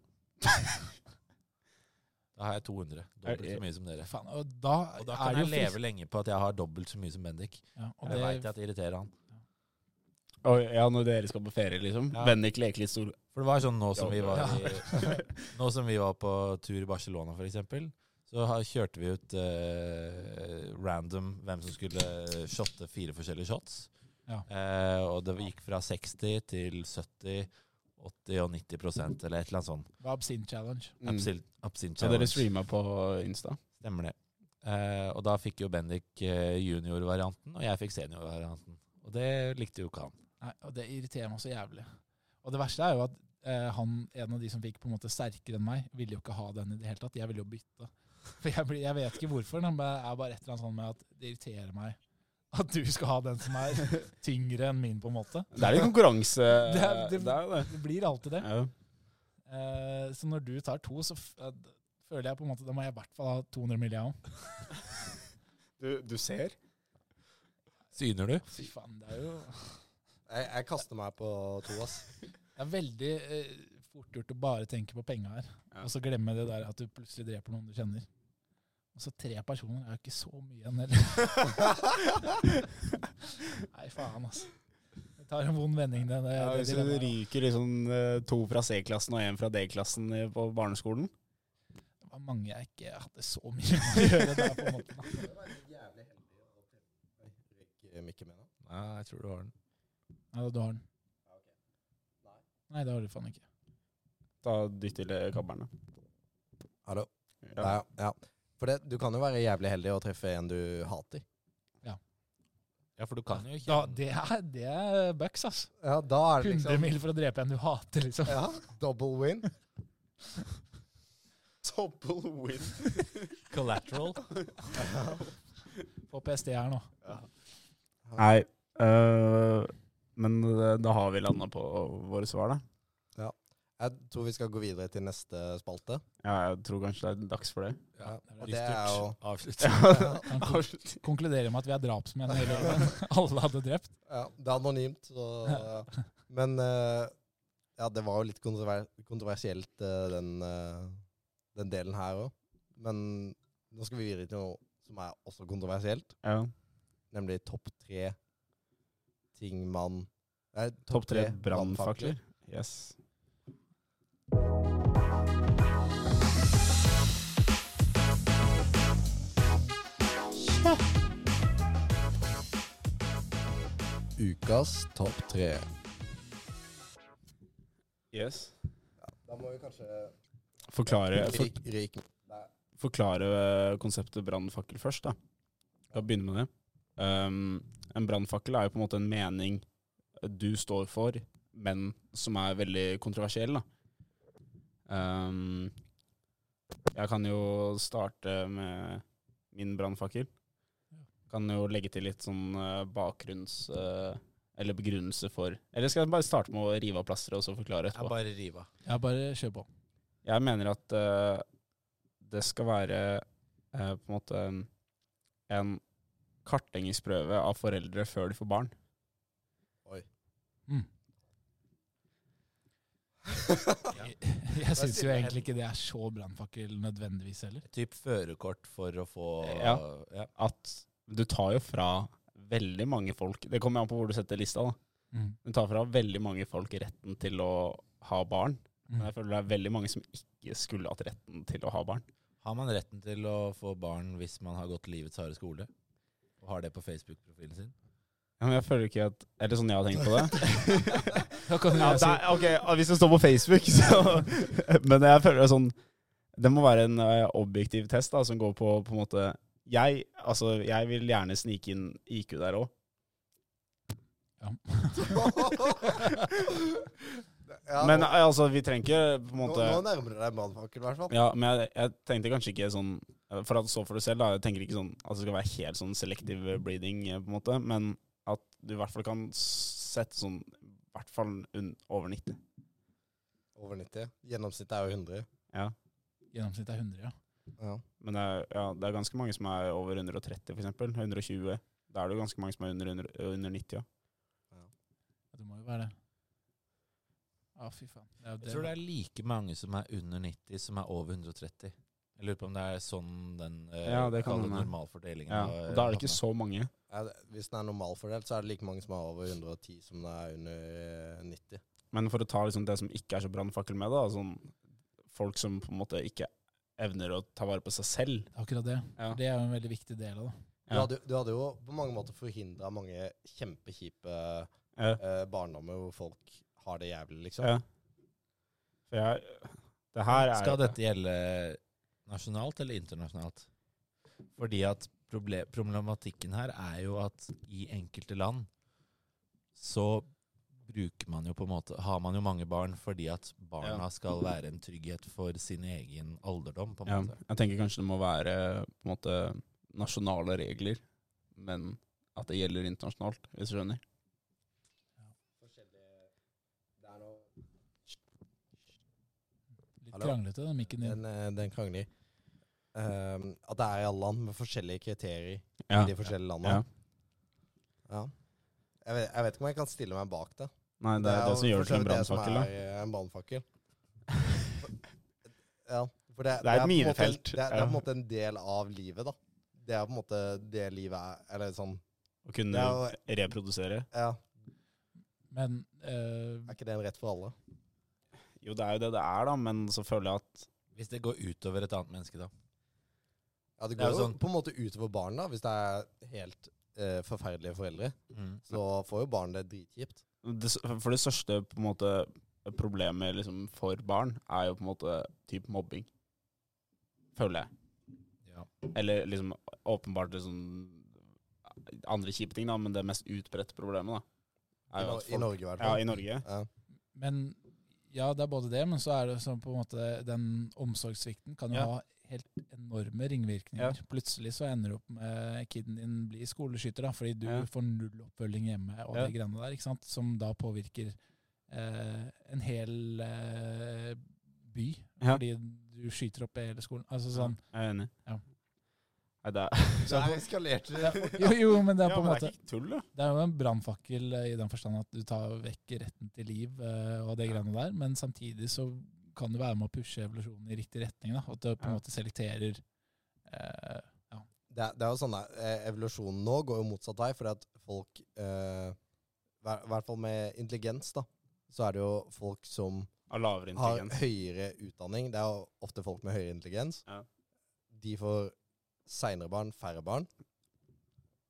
Speaker 6: Da har jeg 200. Dobbelt så mye som dere.
Speaker 5: Faen, og da,
Speaker 6: Og da
Speaker 5: er
Speaker 6: kan
Speaker 5: det
Speaker 6: jeg
Speaker 5: jo
Speaker 6: leve lenge på at jeg har dobbelt så mye som Bendik.
Speaker 5: frist- Ja, og
Speaker 6: Og det veit
Speaker 5: det,
Speaker 6: jeg at det irriterer han.
Speaker 3: Og ja, når dere skal på ferie, liksom.
Speaker 6: Ja.
Speaker 3: Bendik leker litt stor.
Speaker 6: For det var sånn nå som vi var, i,
Speaker 3: Ja.
Speaker 6: nå som vi var på tur i Barcelona, for eksempel, så har- kjørte vi ut eh, random hvem som skulle shotte fire forskjellige shots.
Speaker 5: Ja.
Speaker 6: Eh, og det gikk fra 60 til 70, 80 og 90 prosent, eller et eller annet sånt.
Speaker 5: var Absinthe Challenge.
Speaker 3: Mm.
Speaker 6: Absil- Absinthe
Speaker 3: Så dere
Speaker 6: challenge.
Speaker 3: streama på Insta?
Speaker 6: Stemmer det. Eh, og da fikk jo Bendik eh, junior-varianten, og jeg fikk senior-varianten. Og det likte jo ikke han.
Speaker 5: Nei, og det irriterer meg så jævlig. Og det verste er jo at eh, han, en av de som fikk på en måte sterkere enn meg, ville jo ikke ha den i det hele tatt. Jeg ville jo bytte. For jeg, blir, jeg vet ikke hvorfor, men det er bare et eller annet sånn med at det irriterer meg at du skal ha den som er tyngre enn min, på en måte.
Speaker 3: Det er litt konkurranse.
Speaker 5: Det er- det-
Speaker 3: det er jo det.
Speaker 5: Det blir alltid det.
Speaker 3: Ja.
Speaker 5: Eh, så når du tar to, så f eh, d- føler jeg på en måte Da må jeg i hvert fall ha 200 mill. jeg òg.
Speaker 3: Du, du ser?
Speaker 6: Syner du?
Speaker 5: Fy faen, det er jo
Speaker 4: Jeg, jeg kaster meg på to, ass.
Speaker 5: Det er veldig eh, fort gjort å bare tenke på penga her,
Speaker 3: Ja.
Speaker 5: og så glemme det der at du plutselig dreper noen du kjenner. Og så tre personer er jo ikke så mye igjen heller. Nei, faen, altså. Det tar en vond vending, det. det,
Speaker 3: Ja,
Speaker 5: det
Speaker 3: hvis du
Speaker 5: dilemmaet her.
Speaker 3: ryker liksom eh, to fra C-klassen og én fra D-klassen i- på barneskolen
Speaker 5: det var mange jeg ikke hadde så mye med å gjøre der, på en måte. da.
Speaker 4: Ikke Mikke mener.
Speaker 6: Nei, jeg tror du har den.
Speaker 5: Nei, da, du har den. Nei, det har du faen ikke.
Speaker 3: Da dytter de kabberne.
Speaker 4: Hallo.
Speaker 3: Ja.
Speaker 4: Ja, ja. For det, du kan jo være jævlig heldig og treffe en du hater.
Speaker 6: Ja, for du kan jo ikke
Speaker 5: Da, det, er, det er bucks, ass.
Speaker 4: Ja, da er det
Speaker 5: 100
Speaker 4: liksom
Speaker 5: mil for å drepe en du hater, liksom.
Speaker 4: ja, Double win.
Speaker 3: Double win.
Speaker 6: collateral.
Speaker 5: På PST her nå.
Speaker 3: Nei, øh, men eh, da har vi landa på våre svar, da.
Speaker 4: Jeg tror vi skal gå videre til neste spalte.
Speaker 3: Ja, jeg tror kanskje det er dags for det.
Speaker 4: Ja,
Speaker 5: det er
Speaker 4: og det er jo
Speaker 6: Avslutt.
Speaker 5: Han kon- konkluderer med at vi er drapsmenn, hele alle hadde drept.
Speaker 4: ja, Det er anonymt, så Men eh, Ja, det var jo litt kontrover kontroversielt, eh, den, eh, den delen her òg. Men nå skal vi videre til noe som er også kontroversielt,
Speaker 3: Ja.
Speaker 4: nemlig topp tre ting man Nei,
Speaker 3: Topp tre
Speaker 4: brannfakler.
Speaker 3: brannfakler. Yes.
Speaker 4: Ukas topp tre.
Speaker 3: yes.
Speaker 4: Da må vi kanskje
Speaker 3: Forklare, for,
Speaker 4: ryk, ryk.
Speaker 3: forklare eh, konseptet brannfakkel først, da. Vi kan begynne med det. Um, en brannfakkel er jo på en måte en mening du står for, men som er veldig kontroversiell, da. Um, jeg kan jo starte med min brannfakkel. Kan jo legge til litt sånn eh, bakgrunns... eh, eller begrunnelse for Eller skal jeg bare starte med å rive av plasteret og så forklare etterpå?
Speaker 6: Jeg bare river av.
Speaker 5: Ja, bare kjør på.
Speaker 3: Jeg mener at eh, det skal være eh, på en måte en kartleggingsprøve av foreldre før de får barn.
Speaker 5: Mm. Jeg, jeg syns jo egentlig ikke det er så brannfakkel nødvendigvis heller.
Speaker 6: Typ førerkort for å få
Speaker 3: Ja.
Speaker 6: ja.
Speaker 3: At du tar jo fra veldig mange folk Det kommer an på hvor du setter lista. da. Du tar fra veldig mange folk retten til å ha barn.
Speaker 5: Mm.
Speaker 3: Men jeg føler det er veldig mange som ikke skulle hatt retten til å ha barn.
Speaker 6: Har man retten til å få barn hvis man har gått livets harde skole? Og har det på Facebook-profilen sin?
Speaker 3: Ja, men jeg føler ikke at Eller sånn jeg har tenkt på det.
Speaker 5: Da kan
Speaker 3: Ja,
Speaker 5: jeg si
Speaker 3: det er- ok, ah, Hvis det står på Facebook, så Men jeg føler det er sånn Det må være en eh, objektiv test da, som går på på en måte jeg, altså, jeg vil gjerne snike inn IQ der òg.
Speaker 4: Ja,
Speaker 3: men
Speaker 4: nå,
Speaker 3: eh, altså, vi trenger ikke på en
Speaker 4: nå,
Speaker 3: måte
Speaker 4: nå nærmer du deg brannfakkel, i hvert fall.
Speaker 3: Ja, men jeg, jeg tenkte kanskje ikke sånn For at så for deg selv, da. Jeg tenker ikke sånn at det skal være helt sånn selective breeding, eh, på en måte. Men at du i hvert fall kan sette sånn I hvert fall un over 90.
Speaker 4: Over 90. Gjennomsnittet er jo 100.
Speaker 5: gjennomsnittet er 100, ja.
Speaker 4: Ja.
Speaker 3: Men det er, ja, det er ganske mange som er over 130, f.eks. 120. Da er det jo ganske mange som er under, under, under 90. Ja.
Speaker 5: Det må jo være det. Ja, fy faen. Det er jo
Speaker 6: Jeg tror det er like mange som er under 90 som er over 130. Jeg lurer på om det er sånn den eh,
Speaker 3: Ja, det kan
Speaker 6: kalde
Speaker 3: hende.
Speaker 6: normalfordelingen
Speaker 3: Ja.
Speaker 6: har-
Speaker 3: Og da er det ikke så mange.
Speaker 4: Ja, det- Hvis den er normalfordelt, så er det like mange som er over 110 som det er under eh, 90.
Speaker 3: Men for å ta liksom det som ikke er så brannfakkel med, da, sånn folk som på en måte ikke evner å ta vare på seg selv.
Speaker 5: Akkurat det.
Speaker 3: Ja.
Speaker 5: Det er jo en veldig viktig del av det.
Speaker 4: Du,
Speaker 3: Ja.
Speaker 4: hadde, du hadde jo på mange måter forhindra mange kjempekjipe
Speaker 3: Ja.
Speaker 4: eh, barndommer hvor folk har det jævlig, liksom.
Speaker 3: Ja. For jeg, det her er
Speaker 6: Skal dette gjelde nasjonalt eller internasjonalt? Fordi at proble- problematikken her er jo at i enkelte land så bruker man jo på en måte Har man jo mange barn fordi at barna skal være en trygghet for sin egen alderdom, på en
Speaker 3: ja,
Speaker 6: måte.
Speaker 3: Jeg tenker kanskje det må være på en måte nasjonale regler, men at det gjelder internasjonalt, hvis du skjønner.
Speaker 5: Litt
Speaker 4: Hallo?
Speaker 5: kranglete, den mikken din.
Speaker 4: Den, eh, den krangler. Ehm, at det er i alle land med forskjellige kriterier
Speaker 3: Ja.
Speaker 4: i de forskjellige
Speaker 3: Ja.
Speaker 4: landene. Ja. Jeg, vet, jeg vet ikke om jeg kan stille meg bak det.
Speaker 3: Nei, det er det, som gjør det til en brannfakkel, da.
Speaker 4: Det er jo for så vidt det som er, eh, en brannfakkel. Ja, for det,
Speaker 3: Det er et
Speaker 4: på en måte en-
Speaker 3: minefelt,
Speaker 4: Det, er- det er på en
Speaker 3: ja.
Speaker 4: måte en del av livet, da. Det er på en måte det livet er, eller sånn
Speaker 3: Å
Speaker 4: Det
Speaker 3: kunne
Speaker 4: er
Speaker 3: reprodusere.
Speaker 4: Ja,
Speaker 5: Men eh,
Speaker 4: er ikke det en rett for alle?
Speaker 3: Jo, det er jo det det er, da, men så føler jeg at
Speaker 6: Hvis det går utover et annet menneske, da.
Speaker 4: Ja, det
Speaker 6: Det er
Speaker 4: går jo
Speaker 6: jo sånn-
Speaker 4: på en måte utover barn, da, hvis det er helt eh, forferdelige foreldre.
Speaker 6: mm,
Speaker 4: Så får jo barn det dritkjipt.
Speaker 3: det, For det største på en måte problemet liksom, for barn er jo på en måte type mobbing. Føler jeg.
Speaker 6: Ja.
Speaker 3: Eller liksom åpenbart liksom andre kjipe ting, da, men det mest utbredte problemet, da. Er
Speaker 4: I,
Speaker 3: jo
Speaker 4: Nor-
Speaker 3: at
Speaker 4: I
Speaker 3: folk,
Speaker 4: Norge, i hvert
Speaker 3: ja,
Speaker 4: fall.
Speaker 3: i Norge.
Speaker 4: Ja.
Speaker 5: Men ja, det er både det, men så er det sånn på en måte den omsorgssvikten kan jo
Speaker 3: Ja.
Speaker 5: ha helt enorme ringvirkninger. Plutselig så ender du opp med kiden din blir skoleskyter, da, fordi du
Speaker 3: Ja.
Speaker 5: får null oppfølging hjemme og
Speaker 3: Ja.
Speaker 5: de greiene der, ikke sant? som da påvirker eh, en hel eh, by,
Speaker 3: Ja.
Speaker 5: fordi du skyter opp hele skolen. Altså sånn,
Speaker 3: Jeg er enig.
Speaker 5: Ja.
Speaker 3: Nei, Nei, det er,
Speaker 4: Så her eskalerte det.
Speaker 5: Jo, jo, men det
Speaker 3: ja,
Speaker 5: er på
Speaker 3: men det
Speaker 5: en måte
Speaker 3: er ikke tull, da.
Speaker 5: Det er jo en brannfakkel eh, i den forstand at du tar vekk retten til liv eh, og det greiene der, men samtidig så kan du være med å pushe evolusjonen i riktig retning. da, At du på en
Speaker 3: Ja.
Speaker 5: måte selekterer eh,
Speaker 4: det, er- det er jo sånn der, eh, Evolusjonen nå går jo motsatt vei, fordi at folk eh, hver- I hvert fall med intelligens, da. Så er det jo folk som
Speaker 3: Av lavere
Speaker 4: har
Speaker 3: intelligens.
Speaker 4: høyere utdanning. Det er jo ofte folk med høyere intelligens.
Speaker 3: Ja.
Speaker 4: De får seinere barn, færre barn.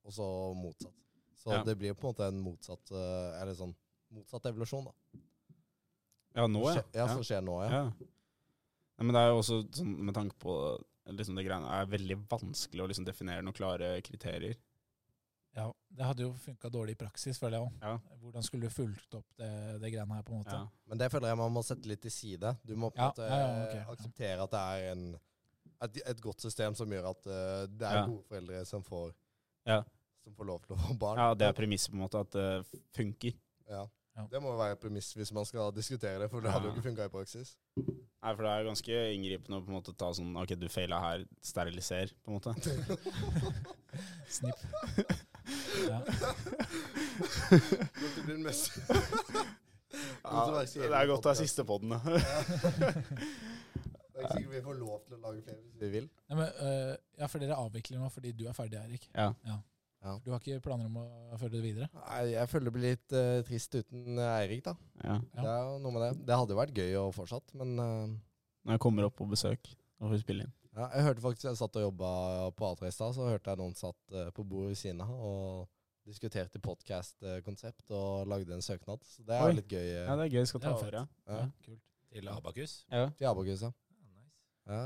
Speaker 4: Og så motsatt. Så
Speaker 3: Ja.
Speaker 4: det blir jo på en måte en motsatt eh, Eller sånn motsatt evolusjon, da.
Speaker 3: Ja, nå, ja.
Speaker 4: Skje- ja, som skjer nå, ja.
Speaker 3: Ja. Nei, men det er jo også sånn, med tanke på liksom det greiene, er veldig vanskelig å liksom definere noen klare kriterier.
Speaker 5: Ja, det hadde jo funka dårlig i praksis, føler jeg òg.
Speaker 3: Ja.
Speaker 5: Hvordan skulle du fulgt opp det, det greiene her, på en måte?
Speaker 3: Ja.
Speaker 4: Men det føler jeg man må sette litt til side. Du må på en
Speaker 5: Ja,
Speaker 4: måte
Speaker 5: ja, ja, ok,
Speaker 4: eh,
Speaker 5: ja.
Speaker 4: akseptere at det er en, et, et godt system som gjør at eh, det er
Speaker 3: Ja.
Speaker 4: gode foreldre som får,
Speaker 3: Ja.
Speaker 4: som får lov til å få barn.
Speaker 3: Ja, det er premisset på en måte, at det funker.
Speaker 4: Ja.
Speaker 5: Ja.
Speaker 4: Det må jo være et premiss hvis man skal diskutere det, for det hadde jo
Speaker 3: Ja.
Speaker 4: ikke funka i praksis.
Speaker 3: Nei, for det er jo ganske inngripende å på en måte ta sånn, ok, du feilet her, steriliser, på en måte.
Speaker 5: Snipp. Ja.
Speaker 4: Dette blir den mest
Speaker 3: Ja, det er godt det er siste podden, da.
Speaker 4: Det er ikke sikkert vi får lov til å lage flere hvis vi vil.
Speaker 5: Nei, men, eh, ja, for dere avvikler nå fordi du er ferdig, Eirik.
Speaker 3: Ja.
Speaker 5: Du har ikke planer om å følge det videre?
Speaker 4: Nei, jeg føler det blir litt eh, trist uten eh, Eirik, da.
Speaker 3: ja.
Speaker 5: Ja.
Speaker 4: Det er jo noe med det. Det hadde jo vært gøy å fortsatt, men eh,
Speaker 3: Når jeg kommer opp på besøk, og får spille inn.
Speaker 4: Ja, jeg hørte faktisk, jeg satt og jobba på A3 i stad, så hørte jeg noen satt eh, på bordet ved siden av og diskuterte podkast-konsept og lagde en søknad. Så det er
Speaker 3: Oi.
Speaker 4: jo litt gøy.
Speaker 3: Ja,
Speaker 4: eh,
Speaker 3: det er gøy, skal
Speaker 5: Det
Speaker 3: ta
Speaker 5: er
Speaker 3: over, ja.
Speaker 4: ja.
Speaker 5: Kult.
Speaker 6: Til Abakus.
Speaker 3: Ja.
Speaker 4: Til Abakus, ja.
Speaker 6: Ja, nice.
Speaker 4: ja.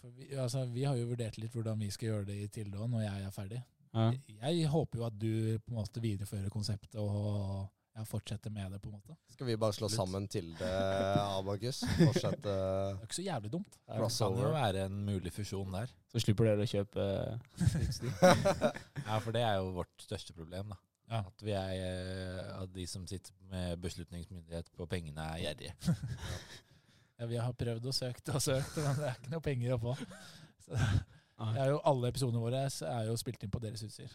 Speaker 5: For vi, altså, vi har jo vurdert litt hvordan vi skal gjøre det i Tilda når jeg er ferdig.
Speaker 3: Ja.
Speaker 5: Jeg håper jo at du på en måte viderefører konseptet og ja, fortsetter med det. på en måte.
Speaker 4: Skal vi bare slå
Speaker 6: Absolutt.
Speaker 4: sammen til det, Abakus? Fortsette
Speaker 5: Det er ikke så jævlig dumt.
Speaker 6: Det kan jo
Speaker 4: crossover?
Speaker 6: være en mulig fusjon der.
Speaker 3: Så slipper dere å kjøpe...
Speaker 6: Ja, for det er jo vårt største problem, da.
Speaker 5: Ja.
Speaker 6: At vi er eh, at de som sitter med beslutningsmyndighet på pengene, er gjerrige.
Speaker 5: Ja, vi har prøvd og søkt og søkt, men det er ikke noe penger å få. Så det er jo, alle episodene våre er jo spilt inn på deres utstyr.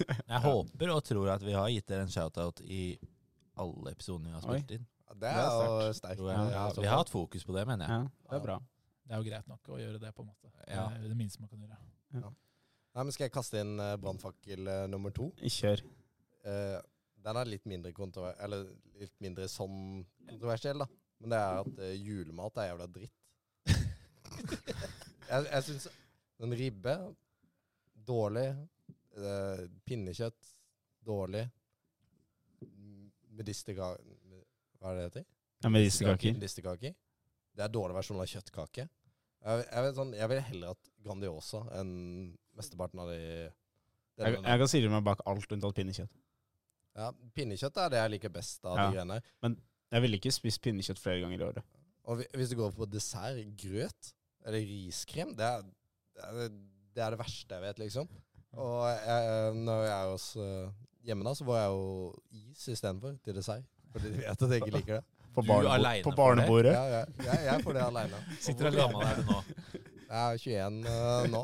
Speaker 6: Jeg håper og tror at vi har gitt dere en shout-out i alle episodene vi har spilt inn.
Speaker 4: Det er jo sterkt.
Speaker 6: Tror jeg.
Speaker 4: Ja,
Speaker 6: Ja,
Speaker 4: så
Speaker 6: vi har hatt fokus på det, mener jeg.
Speaker 3: Ja, det er bra.
Speaker 5: Det er jo greit nok å gjøre det. på en måte.
Speaker 6: Ja.
Speaker 5: Det er det minste man kan gjøre.
Speaker 4: Nei, men Skal jeg kaste inn eh, brannfakkel eh, nummer to?
Speaker 3: Kjør.
Speaker 4: Eh, den er litt mindre, kontrover eller litt mindre sånn kontroversiell, da. Men det er at eh, julemat er jævla dritt. jeg jeg syns en ribbe dårlig. eh, pinnekjøtt dårlig. M- Medisterka... med- Hva er det det heter?
Speaker 3: Ja, med disse kaker.
Speaker 4: Medisterkaker. Det er dårlig versjon av kjøttkake. Jeg, jeg, vet sånn, jeg vil heller hatt Grandiosa enn mesteparten av de
Speaker 3: Jeg,
Speaker 4: delene der.
Speaker 3: jeg kan stille meg bak alt unntatt pinnekjøtt.
Speaker 4: Ja, Pinnekjøtt er det jeg liker best av
Speaker 3: Ja.
Speaker 4: de greiene.
Speaker 3: Jeg ville ikke spist pinnekjøtt flere ganger i året.
Speaker 4: Og hvi- hvis du går på dessert, grøt eller riskrem, det er det, er, det, er det verste jeg vet, liksom. Og jeg, når jeg er hos eh, hjemme da, så får jeg jo is istedenfor til dessert. Fordi de vet at jeg ikke liker det.
Speaker 3: På,
Speaker 6: Du
Speaker 3: barnebo
Speaker 6: alene
Speaker 3: på
Speaker 6: på
Speaker 3: barnebordet.
Speaker 4: Ja, ja, jeg, jeg får det aleine.
Speaker 6: Sitter Hvor gammel er du nå?
Speaker 4: Jeg er 21 eh, nå.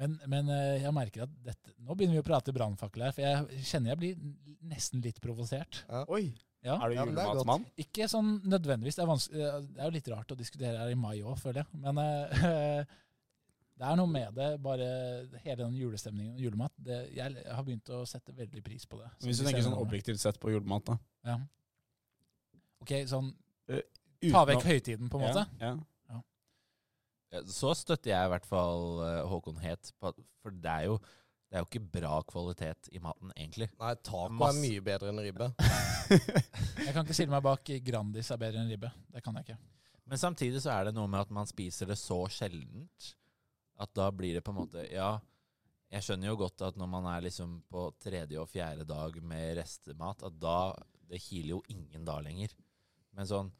Speaker 5: Men, men eh, jeg merker at dette, nå begynner vi å prate brannfakkel her, for jeg kjenner jeg blir nesten litt provosert.
Speaker 3: Oi!
Speaker 5: Ja.
Speaker 3: Er du
Speaker 4: Ja, men det er godt.
Speaker 3: julematmann?
Speaker 5: Ikke sånn nødvendigvis. Det er, vanske- eh, det er jo litt rart å diskutere her i mai òg, føler jeg. Men eh, det er noe med det. Bare hele den julestemningen og julemat. Det, jeg har begynt å sette veldig pris på det.
Speaker 3: Hvis du
Speaker 5: de
Speaker 3: tenker sånn
Speaker 5: senere årene.
Speaker 3: objektivt sett på julemat, da.
Speaker 5: ja. Ok, sånn ta vekk høytiden, på en måte.
Speaker 3: Ja,
Speaker 6: Ja, Så støtter jeg i hvert fall eh, Håkon Het, på at- for det er jo det er jo ikke bra kvalitet i maten, egentlig.
Speaker 4: Nei, taco er
Speaker 6: Masse.
Speaker 4: mye bedre enn ribbe.
Speaker 5: Jeg kan ikke stille meg bak Grandis er bedre enn ribbe. Det kan jeg ikke.
Speaker 6: Men samtidig så er det noe med at man spiser det så sjeldent, at da blir det på en måte Ja, jeg skjønner jo godt at når man er liksom på tredje og fjerde dag med restemat, at da Det kiler jo ingen da lenger. Men sånn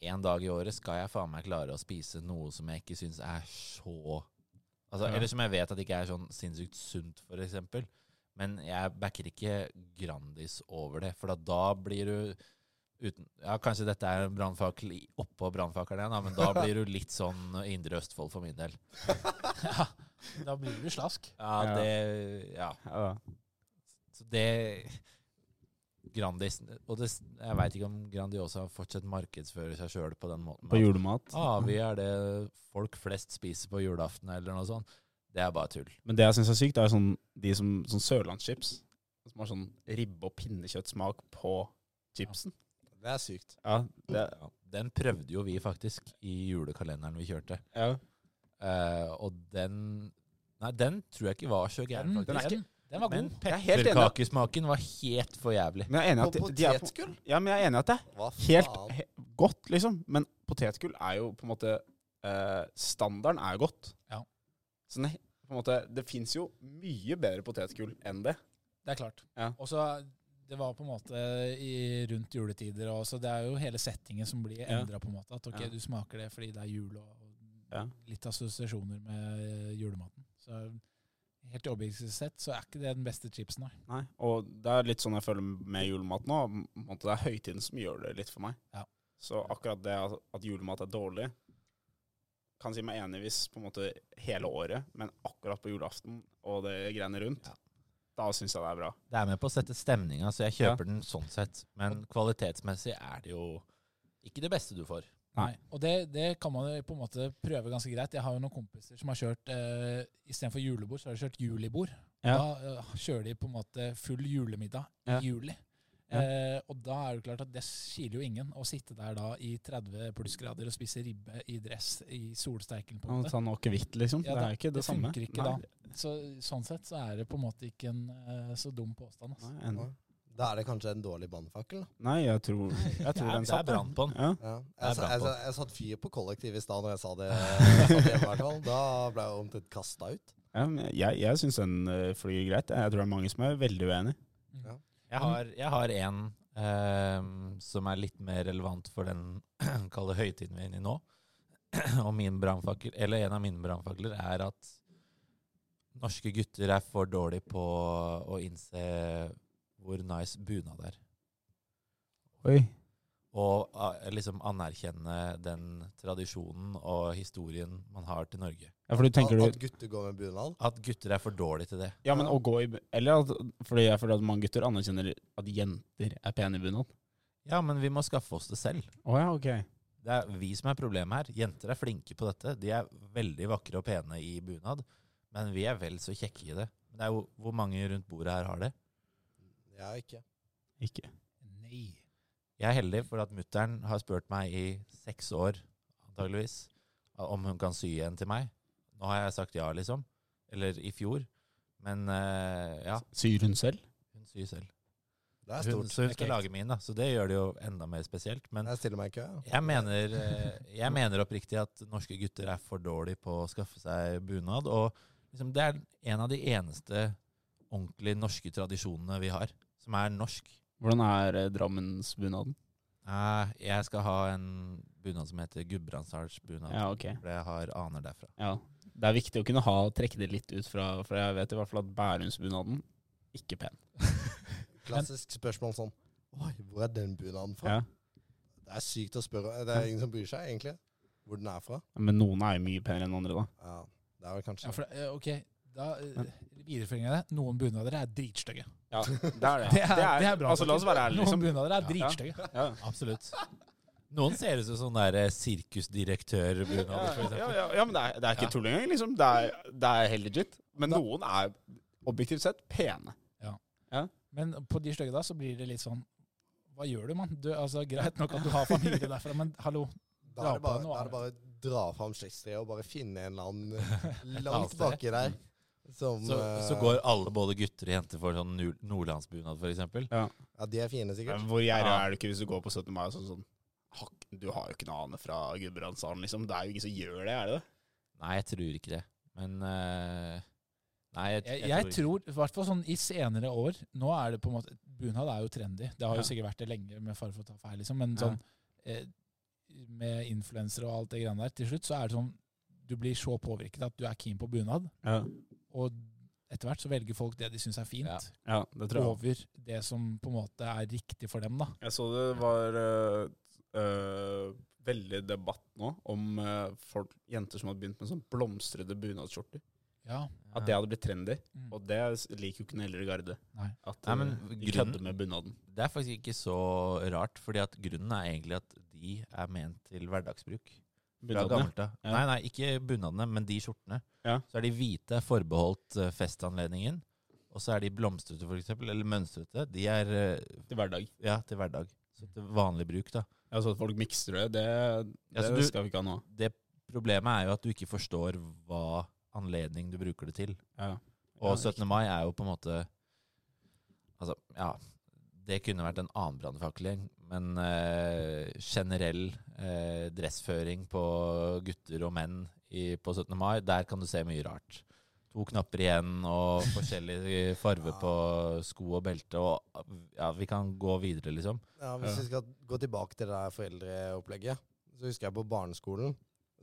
Speaker 6: en dag i året skal jeg faen meg klare å spise noe som jeg ikke syns er så Altså,
Speaker 3: Ja.
Speaker 6: Eller som jeg vet at ikke er sånn sinnssykt sunt, for eksempel. Men jeg backer ikke Grandis over det, for da, da blir du uten, ja, Kanskje dette er en brannfakkel i- oppå brannfakkelen igjen, da, men da blir du litt sånn Indre Østfold for min del.
Speaker 5: Da blir du slask.
Speaker 6: Ja,
Speaker 3: Ja.
Speaker 6: det Ja.
Speaker 3: Ja, da.
Speaker 6: Så det Grandis Og det, jeg veit ikke om Grandiosa fortsatt markedsfører seg sjøl på den måten.
Speaker 3: På julemat.
Speaker 6: Avig er det folk flest spiser på julaften, eller noe sånt. Det er bare tull.
Speaker 3: Men det jeg syns er sykt, er sånn, de som, sånn sørlandschips. Som har sånn ribbe- og pinnekjøttsmak på chipsen.
Speaker 4: Det er sykt.
Speaker 3: Ja, det,
Speaker 6: Ja. Den prøvde jo vi faktisk i julekalenderen vi kjørte.
Speaker 3: ja.
Speaker 6: Eh, og den Nei, den tror jeg ikke var så gæren,
Speaker 5: Den,
Speaker 6: faktisk.
Speaker 5: den, den var
Speaker 6: Men
Speaker 5: god.
Speaker 3: Jeg er helt enig. at-
Speaker 6: pepperkakesmaken var helt for jævlig.
Speaker 3: Men jeg er enig
Speaker 4: Og
Speaker 3: at de, de er på,
Speaker 4: potetgull?
Speaker 3: ja, men jeg er enig at det er
Speaker 4: Hva
Speaker 3: helt
Speaker 4: faen?
Speaker 3: he, godt, liksom. Men potetgull er jo på en måte eh, Standarden er jo godt.
Speaker 5: Ja.
Speaker 3: Så den, er he- på en måte, det fins jo mye bedre potetgull enn det.
Speaker 5: Det er klart.
Speaker 3: Ja.
Speaker 5: Og så det var på en måte i, rundt juletider, og så det er jo hele settingen som blir
Speaker 3: Ja.
Speaker 5: endra på en måte. At ok,
Speaker 3: Ja.
Speaker 5: du smaker det fordi det er jul og
Speaker 3: Ja.
Speaker 5: litt assosiasjoner med eh, julematen. Så helt objektivt sett så er ikke det den beste chipsen, nei.
Speaker 3: Nei, og det er litt sånn jeg føler med julemat nå. på en måte Det er høytiden som gjør det litt for meg.
Speaker 5: Ja.
Speaker 3: Så akkurat det at at julemat er dårlig, kan si meg enig hvis på en måte hele året, men akkurat på julaften og det greiene rundt,
Speaker 6: Ja.
Speaker 3: da syns jeg det er bra.
Speaker 6: Det er med på å sette stemninga, så jeg
Speaker 3: Ja.
Speaker 6: kjøper den sånn sett. Men kvalitetsmessig er det jo ikke det beste du får.
Speaker 3: Nei.
Speaker 5: Og det, det kan man jo på en måte prøve ganske greit. Jeg har jo noen kompiser som har kjørt eh, istedenfor julebord, så har de kjørt julibord.
Speaker 3: Ja.
Speaker 5: Da eh, kjører de på en måte full julemiddag
Speaker 3: Ja.
Speaker 5: i juli.
Speaker 3: Ja.
Speaker 5: Eh, og da er det klart at det kiler jo ingen å sitte der da i 30 plussgrader og spise ribbe i dress i solsteiken. på en måte.
Speaker 3: sånn akevitt, liksom.
Speaker 5: Ja,
Speaker 3: det er ikke det,
Speaker 5: det
Speaker 3: samme.
Speaker 5: funker ikke
Speaker 3: Nei.
Speaker 5: da. Så, sånn sett så er det på en måte ikke en eh, så dum påstand. Altså.
Speaker 3: Nei, en,
Speaker 4: Da er det kanskje en dårlig brannfakkel. da.
Speaker 3: nei, jeg tror, jeg
Speaker 6: Det
Speaker 3: tror
Speaker 6: er,
Speaker 3: den
Speaker 6: det er
Speaker 3: satt. der.
Speaker 6: brann på den.
Speaker 3: Ja.
Speaker 4: Ja.
Speaker 6: er
Speaker 4: Jeg, sa- jeg,
Speaker 6: brannfakkel.
Speaker 4: sa- jeg satt fyr på kollektivet i stad når jeg sa det. Jeg satt hjemme, i hvert fall. Da ble jeg omtrent kasta ut.
Speaker 3: Ja, men jeg jeg syns den eh, flyr greit. Jeg tror det er mange som er veldig uenig.
Speaker 6: Jeg har, jeg har en ehm, som er litt mer relevant for den kalde høytiden vi er inne i nå. Og min brannfakkel, eller en av mine brannfakler, er at norske gutter er for dårlige på å innse hvor nice bunad er.
Speaker 3: Oi.
Speaker 6: Og ah, liksom anerkjenne den tradisjonen og historien man har til Norge.
Speaker 3: Ja, for du
Speaker 4: At,
Speaker 3: tenker du
Speaker 4: at gutter går med bunad.
Speaker 6: At gutter er for dårlige til det.
Speaker 3: Ja, men å gå i bu- Eller at, fordi jeg føler at mange gutter anerkjenner at jenter er pene i bunad.
Speaker 6: Ja, men vi må skaffe oss det selv.
Speaker 3: Å ja, ok.
Speaker 6: Det er vi som er problemet her. Jenter er flinke på dette. De er veldig vakre og pene i bunad, men vi er vel så kjekke i det. Men det er jo hvor mange rundt bordet her har det.
Speaker 4: Jeg ikke.
Speaker 3: Ikke.
Speaker 5: Nei.
Speaker 6: Jeg er heldig for at mutter'n har spurt meg i seks år, antageligvis, om hun kan sy en til meg. Nå har jeg sagt ja, liksom. Eller i fjor. Men eh, ja,
Speaker 3: Syr hun selv?
Speaker 6: hun syr selv.
Speaker 4: Det er
Speaker 6: Hun,
Speaker 4: stort.
Speaker 6: så hun
Speaker 5: Det er
Speaker 6: skal
Speaker 5: kult.
Speaker 6: lage min, da. Så det gjør det jo enda mer spesielt. Men
Speaker 4: Jeg stiller meg i kø. ja.
Speaker 6: Jeg mener, eh, jeg mener oppriktig at norske gutter er for dårlige på å skaffe seg bunad. Og liksom, det er en av de eneste ordentlig norske tradisjonene vi har, som er norsk.
Speaker 3: Hvordan er eh, Drammensbunaden?
Speaker 6: Eh, Jeg skal ha en bunad som heter Gudbrandsdalsbunad.
Speaker 3: Ja, ok.
Speaker 6: For jeg har aner derfra.
Speaker 3: Ja. Det er viktig å kunne ha, trekke det litt ut fra For jeg vet i hvert fall at Bærumsbunaden ikke pen.
Speaker 4: Klassisk spørsmål sånn Oi, hvor er den bunaden fra?
Speaker 3: Ja.
Speaker 4: Det er sykt å spørre. Det er ingen som bryr seg, egentlig. Hvor den er fra.
Speaker 3: Men noen er jo mye penere enn andre, da.
Speaker 4: Ja, det er vel kanskje
Speaker 5: Ja, for, det- eh, ok, da eh, viderefører jeg det. Noen bunader er dritstygge.
Speaker 3: Ja, det er det.
Speaker 5: Det er, det er, bra.
Speaker 3: altså, la oss være ærlige,
Speaker 5: Noen
Speaker 3: liksom.
Speaker 5: bunader er
Speaker 3: Ja.
Speaker 5: dritstygge.
Speaker 3: Ja.
Speaker 6: Absolutt. Noen ser ut som sånn der eh, sirkusdirektørbunad. for
Speaker 3: Ja, ja,
Speaker 6: eksempel.
Speaker 3: ja, ja, men det er, det er ikke tull engang. Liksom. Det, er, det er helt legit. Men noen er objektivt sett pene.
Speaker 5: Men på de stygge da, så blir det litt sånn Hva gjør du, mann? Du, altså, greit nok at du har familie derfra, men hallo.
Speaker 4: Da er det bare,
Speaker 5: Dra på
Speaker 4: da
Speaker 5: noe
Speaker 4: er det bare å dra fram slektstreet og bare finne en eller annen langt
Speaker 6: sted.
Speaker 4: baki der som
Speaker 6: Så,
Speaker 4: eh,
Speaker 6: så går alle, både gutter og jenter, for sånn nul- nordlandsbunad, for eksempel.
Speaker 4: Ja, de er fine, sikkert.
Speaker 3: Hvor gjerrig
Speaker 6: Ja.
Speaker 3: er du ikke hvis du går på 17. mai og sånn sånn «Hakk, Du har jo ikke noe annet fra Gudbrandsdalen, liksom. Det er jo ingen som gjør det, er det det?
Speaker 6: Nei, jeg tror ikke det. Men eh, Nei, jeg,
Speaker 5: Jeg,
Speaker 6: jeg
Speaker 5: jeg
Speaker 6: ikke-
Speaker 5: tror, i hvert fall sånn i senere år Nå er det på en måte Bunad er jo trendy. Det har
Speaker 3: Ja.
Speaker 5: jo sikkert vært det lenge, med fare for å ta feil, liksom. Men
Speaker 3: Ja.
Speaker 5: sånn eh, med influensere og alt det greiene der, til slutt så er det sånn Du blir så påvirket at du er keen på bunad,
Speaker 3: Ja,
Speaker 5: og etter hvert så velger folk det de syns er fint,
Speaker 6: Ja.
Speaker 3: det
Speaker 5: over det som på en måte er riktig for dem, da.
Speaker 3: Jeg så det var øh, øh, eh, veldig debatt nå om øh, folk, jenter som hadde begynt med sånn blomstrede bunadsskjorter.
Speaker 5: Ja.
Speaker 3: At det hadde blitt trendy.
Speaker 5: Mm.
Speaker 3: Og det liker jo ikke den eldre garde.
Speaker 5: Nei.
Speaker 3: At
Speaker 6: Nei, men
Speaker 3: eh, de
Speaker 6: grunnen-
Speaker 3: kødder med bunaden.
Speaker 6: Det er faktisk ikke så rart, fordi at grunnen er egentlig at de er ment til hverdagsbruk. Fra
Speaker 3: Bunadene.
Speaker 6: gammelt av.
Speaker 3: Ja.
Speaker 6: Nei, nei, ikke bunadene, men de skjortene.
Speaker 3: Ja.
Speaker 6: Så er de hvite forbeholdt eh, festanledningen, og så er de blomstrete for eksempel, eller mønstrete. De er eh,
Speaker 3: Til hverdag.
Speaker 6: ja, til hverdag. Så til vanlig bruk, da.
Speaker 3: Ja, så at folk mikser det, det,
Speaker 6: Ja,
Speaker 3: det
Speaker 6: så du-
Speaker 3: skal vi ikke ha nå.
Speaker 6: Det problemet er jo at du ikke forstår hva anledning du bruker det til.
Speaker 3: Ja.
Speaker 6: Og
Speaker 3: Ja,
Speaker 6: 17. mai er jo på en måte Altså, ja. Det kunne vært en annen brannfakkel, men eh, generell eh, dressføring på gutter og menn i, på 17. mai, der kan du se mye rart. To knapper igjen og forskjellig farve på sko og belte og Ja, vi kan gå videre, liksom.
Speaker 4: Ja, hvis vi skal gå tilbake til det der foreldreopplegget, så husker jeg på barneskolen.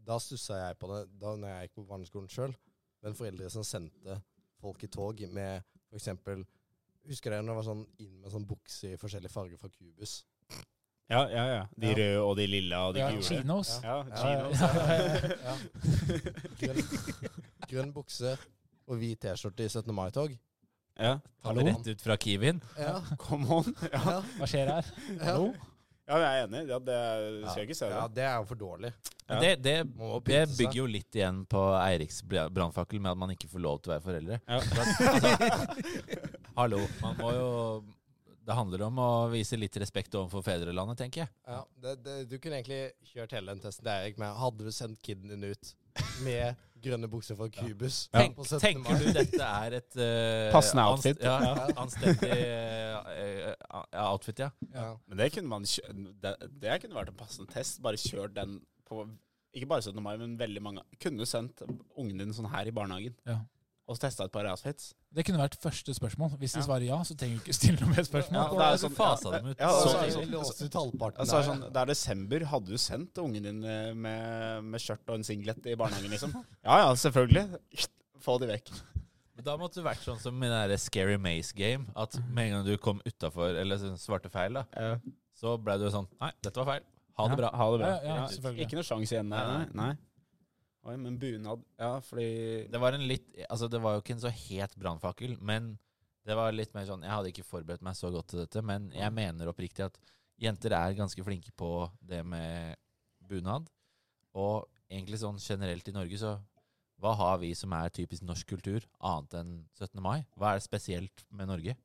Speaker 4: Da stussa jeg på det da når jeg gikk på barneskolen sjøl. Men foreldre som sendte folk i tog med f.eks. Husker dere når det var sånn inn med sånn bukse i forskjellige farger fra Cubus?
Speaker 3: Ja, ja, ja. De
Speaker 4: Ja.
Speaker 3: røde og de lilla og de
Speaker 5: Ja,
Speaker 3: gule.
Speaker 5: Chinos.
Speaker 3: Ja,
Speaker 4: Ja,
Speaker 3: chinos.
Speaker 4: Ja. Grønn, grønn bukse og hvit T-skjorte i 17. mai-tog.
Speaker 3: Ja.
Speaker 6: Hallo? Rett ut fra Kiwien.
Speaker 4: Ja.
Speaker 3: Come on. Ja,
Speaker 4: Ja.
Speaker 5: Hva skjer her?
Speaker 4: Ja.
Speaker 3: ja jeg er enig. Ja, det skal jeg ikke se det.
Speaker 4: ja, det er jo for dårlig.
Speaker 6: Men
Speaker 3: Ja.
Speaker 6: det,
Speaker 4: Må
Speaker 6: det,
Speaker 4: jo
Speaker 6: det
Speaker 4: pynte seg.
Speaker 6: bygger jo litt igjen på Eiriks bl- brannfakkel med at man ikke får lov til å være foreldre.
Speaker 3: Ja.
Speaker 6: For at- altså, hallo, man må jo Det handler om å vise litt respekt overfor fedrelandet, tenker jeg.
Speaker 4: Ja, det, det, du kunne egentlig kjørt hele den testen der, Erik, men hadde du sendt kiden din ut med grønne bukser fra Cubus
Speaker 6: Tenk,
Speaker 4: på 17.
Speaker 6: tenker
Speaker 4: mai?
Speaker 6: du dette er et eh,
Speaker 3: Passende
Speaker 6: ans-
Speaker 3: outfit.
Speaker 6: Ja, anstendig eh, eh, ja, outfit, ja.
Speaker 4: Ja.
Speaker 3: Men det kunne man kjø det, det kunne vært en passende test. Bare kjør den på Ikke bare 17. mai, men veldig mange. Kunne du sendt ungen din sånn her i barnehagen
Speaker 5: Ja.
Speaker 3: og testa et par outfits?
Speaker 5: Det kunne vært første spørsmål. Hvis
Speaker 3: Ja.
Speaker 5: de svarer ja, så trenger du ikke stille noe mer
Speaker 3: Ja,
Speaker 5: spørsmål.
Speaker 3: det er
Speaker 6: så
Speaker 3: sånn-
Speaker 6: fasa dem ut.
Speaker 3: Ja,
Speaker 4: Og
Speaker 3: og
Speaker 4: så
Speaker 3: så-
Speaker 4: er
Speaker 3: så-
Speaker 4: vi låst ut halvparten
Speaker 3: Altså, det, er
Speaker 4: der.
Speaker 3: sånn, det er desember. Hadde du sendt ungen din eh, med, med skjørt og en singlet i barnehagen, liksom? Ja ja, selvfølgelig. Få de vekk.
Speaker 6: Men Da måtte det vært sånn som i det der Scary Maze Game, at med en gang du kom utafor, eller sånn svarte feil, da, så ble du sånn Nei, dette var feil. Ha det
Speaker 5: Ja.
Speaker 6: bra.
Speaker 3: Ha det bra.
Speaker 5: Ja, ja, selvfølgelig.
Speaker 3: Ikke noe sjanse igjen, nei.
Speaker 6: Nei,
Speaker 3: nei. nei. Oi, men bunad Ja, fordi
Speaker 6: Det var en litt Altså, det var jo ikke en så het brannfakkel, men det var litt mer sånn Jeg hadde ikke forberedt meg så godt til dette, men jeg mener oppriktig at jenter er ganske flinke på det med bunad. Og egentlig sånn generelt i Norge, så hva har vi som er typisk norsk kultur, annet enn 17. mai? Hva er det spesielt med Norge?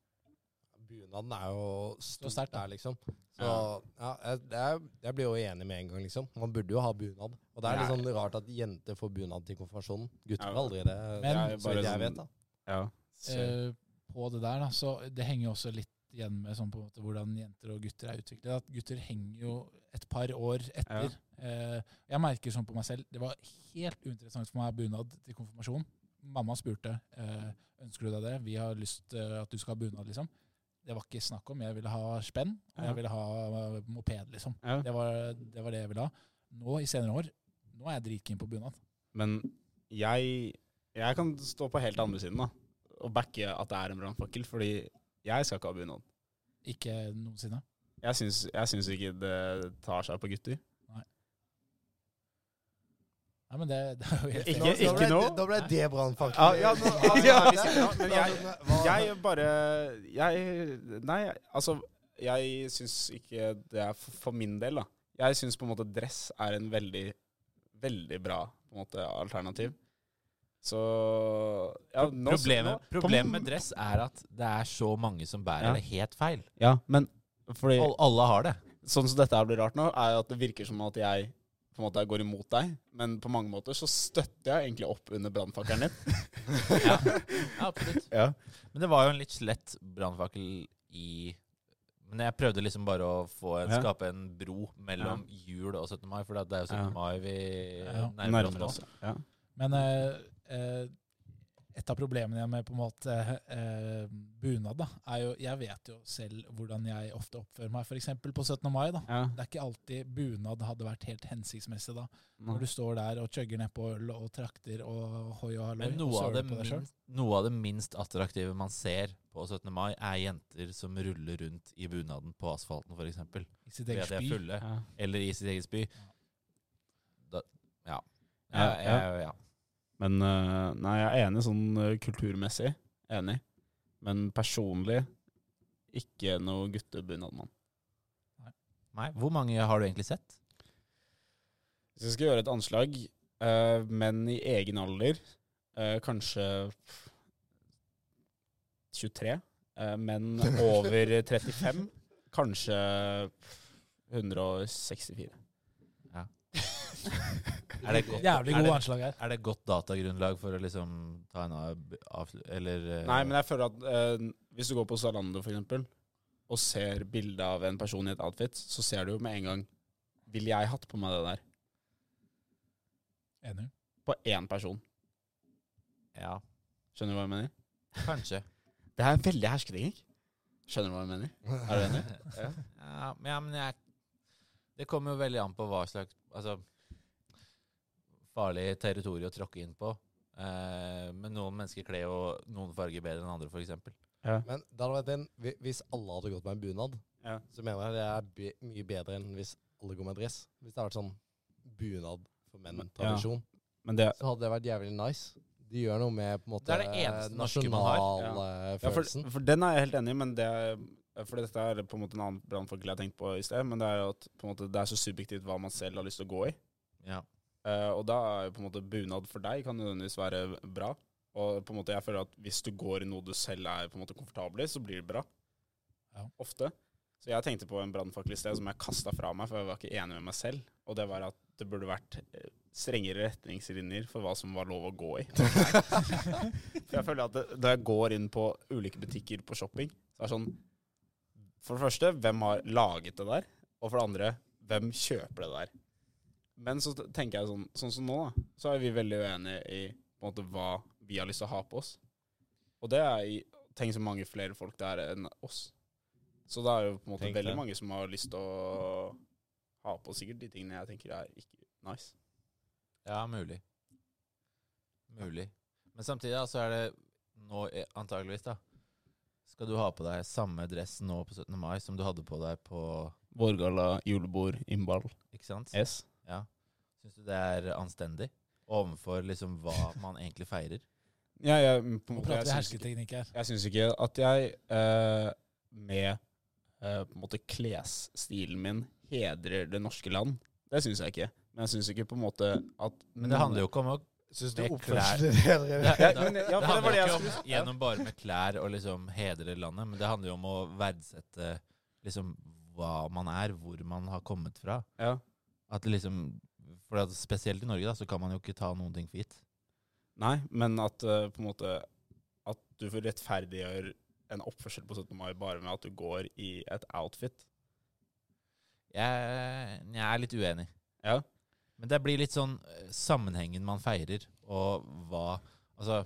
Speaker 4: Bunaden er jo
Speaker 5: Så
Speaker 4: stort
Speaker 5: sterkt, da.
Speaker 4: der, liksom. Så
Speaker 3: Ja.
Speaker 4: ja, jeg, det er, jeg blir jo enig med en gang, liksom. Man burde jo ha bunad. Og det er litt
Speaker 3: Ja.
Speaker 4: sånn rart at jenter får bunad til konfirmasjonen. Gutter
Speaker 3: Ja.
Speaker 4: får aldri det,
Speaker 5: Men-
Speaker 4: det er
Speaker 3: Det er
Speaker 4: jo så
Speaker 3: bare
Speaker 4: vidt jeg
Speaker 3: sånn-
Speaker 4: vet, da.
Speaker 3: Ja.
Speaker 5: Eh, på det der, da, så det henger jo også litt igjen med sånn på en måte hvordan jenter og gutter er utviklet. At gutter henger jo et par år etter. Eh, jeg merker sånn på meg selv Det var helt uinteressant for meg å ha bunad til konfirmasjon. Mamma spurte eh, ønsker du deg det. Vi har lyst eh, at du skal ha bunad, liksom. Det var ikke snakk om. Jeg ville ha spenn,
Speaker 3: Ja.
Speaker 5: og jeg ville ha eh, moped, liksom.
Speaker 3: Ja.
Speaker 5: Det var, det var det jeg ville ha. Nå i senere år Nå er jeg dritkeen på bunad.
Speaker 3: Men jeg, jeg kan stå på helt andre siden da, og backe at det er en brannfakkel, fordi jeg skal ikke ha bunad.
Speaker 5: Ikke noensinne.
Speaker 3: Jeg syns, jeg syns ikke det tar seg på gutter.
Speaker 5: Nei, men det, det er jo helt
Speaker 3: Ikke-
Speaker 4: Nå- nå ble-
Speaker 3: nå?
Speaker 4: Da ble det brannfakkel.
Speaker 3: Ja, ja, nå- ja, ja, vi sitter- ja, men
Speaker 4: Hva- hva-
Speaker 3: Jeg bare Jeg Nei, altså Jeg syns ikke det er for, for min del, da. Jeg syns på en måte dress er en veldig, veldig bra på en måte, alternativ. Så ja, nå,
Speaker 6: Problemet,
Speaker 3: nå-
Speaker 6: problemet med dress er at det er så mange som bærer
Speaker 3: Ja. Eh,
Speaker 6: det helt feil.
Speaker 3: Ja, men fordi
Speaker 6: Al- Alle har det.
Speaker 3: sånn som dette her blir rart nå, er jo at det virker som at jeg på en måte går imot deg, men på mange måter så støtter jeg egentlig opp under brannfakkelen din.
Speaker 6: Ja, ja absolutt.
Speaker 3: Ja.
Speaker 6: Men det var jo en litt slett brannfakkel i Men jeg prøvde liksom bare å få en,
Speaker 3: Ja.
Speaker 6: skape en bro mellom jul og 17. mai, for det er jo 17.
Speaker 3: Ja.
Speaker 6: mai vi
Speaker 5: Ja.
Speaker 6: nærmer oss nå.
Speaker 3: Ja.
Speaker 5: Men eh, eh, et av problemene med på en måte eh, bunad, da, er jo Jeg vet jo selv hvordan jeg ofte oppfører meg, f.eks. på 17. mai. da.
Speaker 3: Ja.
Speaker 5: Det er ikke alltid bunad hadde vært helt hensiktsmessig da.
Speaker 3: Nei.
Speaker 5: Når du står der og chugger nedpå øl og trakter og hoi og halloi.
Speaker 6: Men
Speaker 5: og
Speaker 6: noe
Speaker 5: søler
Speaker 6: av, det
Speaker 5: på deg selv.
Speaker 6: minst, noe av det minst attraktive man ser på 17. mai, er jenter som ruller rundt i bunaden på asfalten, f.eks.
Speaker 5: I sitt
Speaker 6: Fordi at
Speaker 5: eget
Speaker 6: de er
Speaker 5: spy.
Speaker 6: fulle.
Speaker 3: Ja.
Speaker 6: Eller i sitt eget spy. Da, ja.
Speaker 3: Ja,
Speaker 6: Ja, ja, ja.
Speaker 3: Men eh, nei, jeg er enig sånn eh, kulturmessig. Enig. Men personlig ikke noe guttebunad, mann.
Speaker 6: Nei, Hvor mange har du egentlig sett?
Speaker 3: Hvis jeg skal gjøre et anslag, eh, men i egen alder, eh, kanskje pff, 23, eh, men over 35, kanskje pff, 164.
Speaker 6: Er det godt,
Speaker 5: Jævlig
Speaker 6: er
Speaker 5: god
Speaker 6: det,
Speaker 5: anslag her.
Speaker 6: er det godt datagrunnlag for å liksom ta en av, av eller eh,
Speaker 3: Nei, men jeg føler at eh, hvis du går på Zalando for eksempel, og ser bildet av en person i et outfit, så ser du jo med en gang, vil jeg hatt på meg det der?
Speaker 5: Enig.
Speaker 3: På én person.
Speaker 6: Ja,
Speaker 3: Skjønner du hva jeg mener?
Speaker 6: kanskje.
Speaker 3: Det er en veldig hersketeknikk. Skjønner du hva jeg mener? Er du enig?
Speaker 6: Ja, men, ja, men jeg Det kommer jo veldig an på hva slags Altså Farlig territorium å tråkke inn på. Eh, men noen mennesker kler jo noen farger bedre enn andre, f.eks.
Speaker 4: Men det hadde vært en, hvi- hvis alle hadde gått med en bunad,
Speaker 3: Ja.
Speaker 4: så mener jeg det er be, mye bedre enn hvis alle går med dress. Hvis det hadde vært sånn bunad for menn-tradisjon,
Speaker 3: Men det,
Speaker 4: så hadde det vært jævlig nice. De gjør noe med på en måte eh,
Speaker 6: Det er det eneste norske man har.
Speaker 3: Ja, for,
Speaker 4: nasjonalfølelsen.
Speaker 3: for den er jeg helt enig i, men det er, for dette er på en måte en annen brannfakkel jeg har tenkt på i sted. Men det er jo at på en måte, det er så subjektivt hva man selv har lyst til å gå i.
Speaker 6: Ja.
Speaker 3: Eh, og da er jo på en måte bunad for deg kan nødvendigvis være bra. Og på en måte jeg føler at hvis du går i noe du selv er på en måte komfortabel i, så blir det bra.
Speaker 5: Ja.
Speaker 3: Ofte. Så jeg tenkte på en brannfakkel i sted som jeg kasta fra meg, for jeg var ikke enig med meg selv. Og det var at det burde vært eh, strengere retningslinjer for hva som var lov å gå i. For jeg føler at det, når jeg går inn på ulike butikker på shopping, så er det sånn For det første, hvem har laget det der? Og for det andre, hvem kjøper det der? Men så tenker jeg sånn Sånn som nå, da. Så er vi veldig uenige i på en måte, hva vi har lyst til å ha på oss. Og det er i Tenk så mange flere folk det er enn oss. Så det er jo på en måte
Speaker 6: Tenk
Speaker 3: veldig
Speaker 6: det.
Speaker 3: mange som har lyst til å ha på sikkert de tingene jeg tenker er ikke nice.
Speaker 6: Ja, mulig. Mulig. Men samtidig da, så er det nå eh, antageligvis da Skal du ha på deg samme dress nå på 17. mai som du hadde på deg på
Speaker 3: Vårgalla, julebord, innball,
Speaker 6: Ikke sant?
Speaker 3: S.
Speaker 6: Ja. Syns du det er anstendig overfor liksom hva man egentlig feirer?
Speaker 3: Ja, jeg, på en
Speaker 5: Nå
Speaker 3: måte,
Speaker 5: prater
Speaker 3: jeg
Speaker 5: vi
Speaker 3: syns ikke-
Speaker 5: hersketeknikk her.
Speaker 3: Jeg syns ikke at jeg eh, med eh, på en måte klesstilen min hedrer det norske land. Det syns jeg ikke. Men jeg syns ikke på en måte at
Speaker 6: Men det handler jo ikke om å
Speaker 4: Syns
Speaker 6: det
Speaker 4: dere
Speaker 3: Mm. Ja, men- ja, for det
Speaker 6: det
Speaker 3: var
Speaker 6: handler
Speaker 3: det
Speaker 6: jo
Speaker 3: jeg
Speaker 6: ikke om
Speaker 3: skulle- ja.
Speaker 6: gjennom bare med klær og liksom hedre landet, men det handler jo om å verdsette liksom hva man er, hvor man har kommet fra.
Speaker 3: ja.
Speaker 6: At det liksom For at spesielt i Norge, da, så kan man jo ikke ta noen ting for gitt.
Speaker 3: Nei, men at eh, på en måte At du får rettferdiggjør en oppførsel på 17. mai bare med at du går i et outfit.
Speaker 6: Jeg, jeg er litt uenig.
Speaker 3: Ja.
Speaker 6: Men det blir litt sånn eh, sammenhengen man feirer, og hva Altså,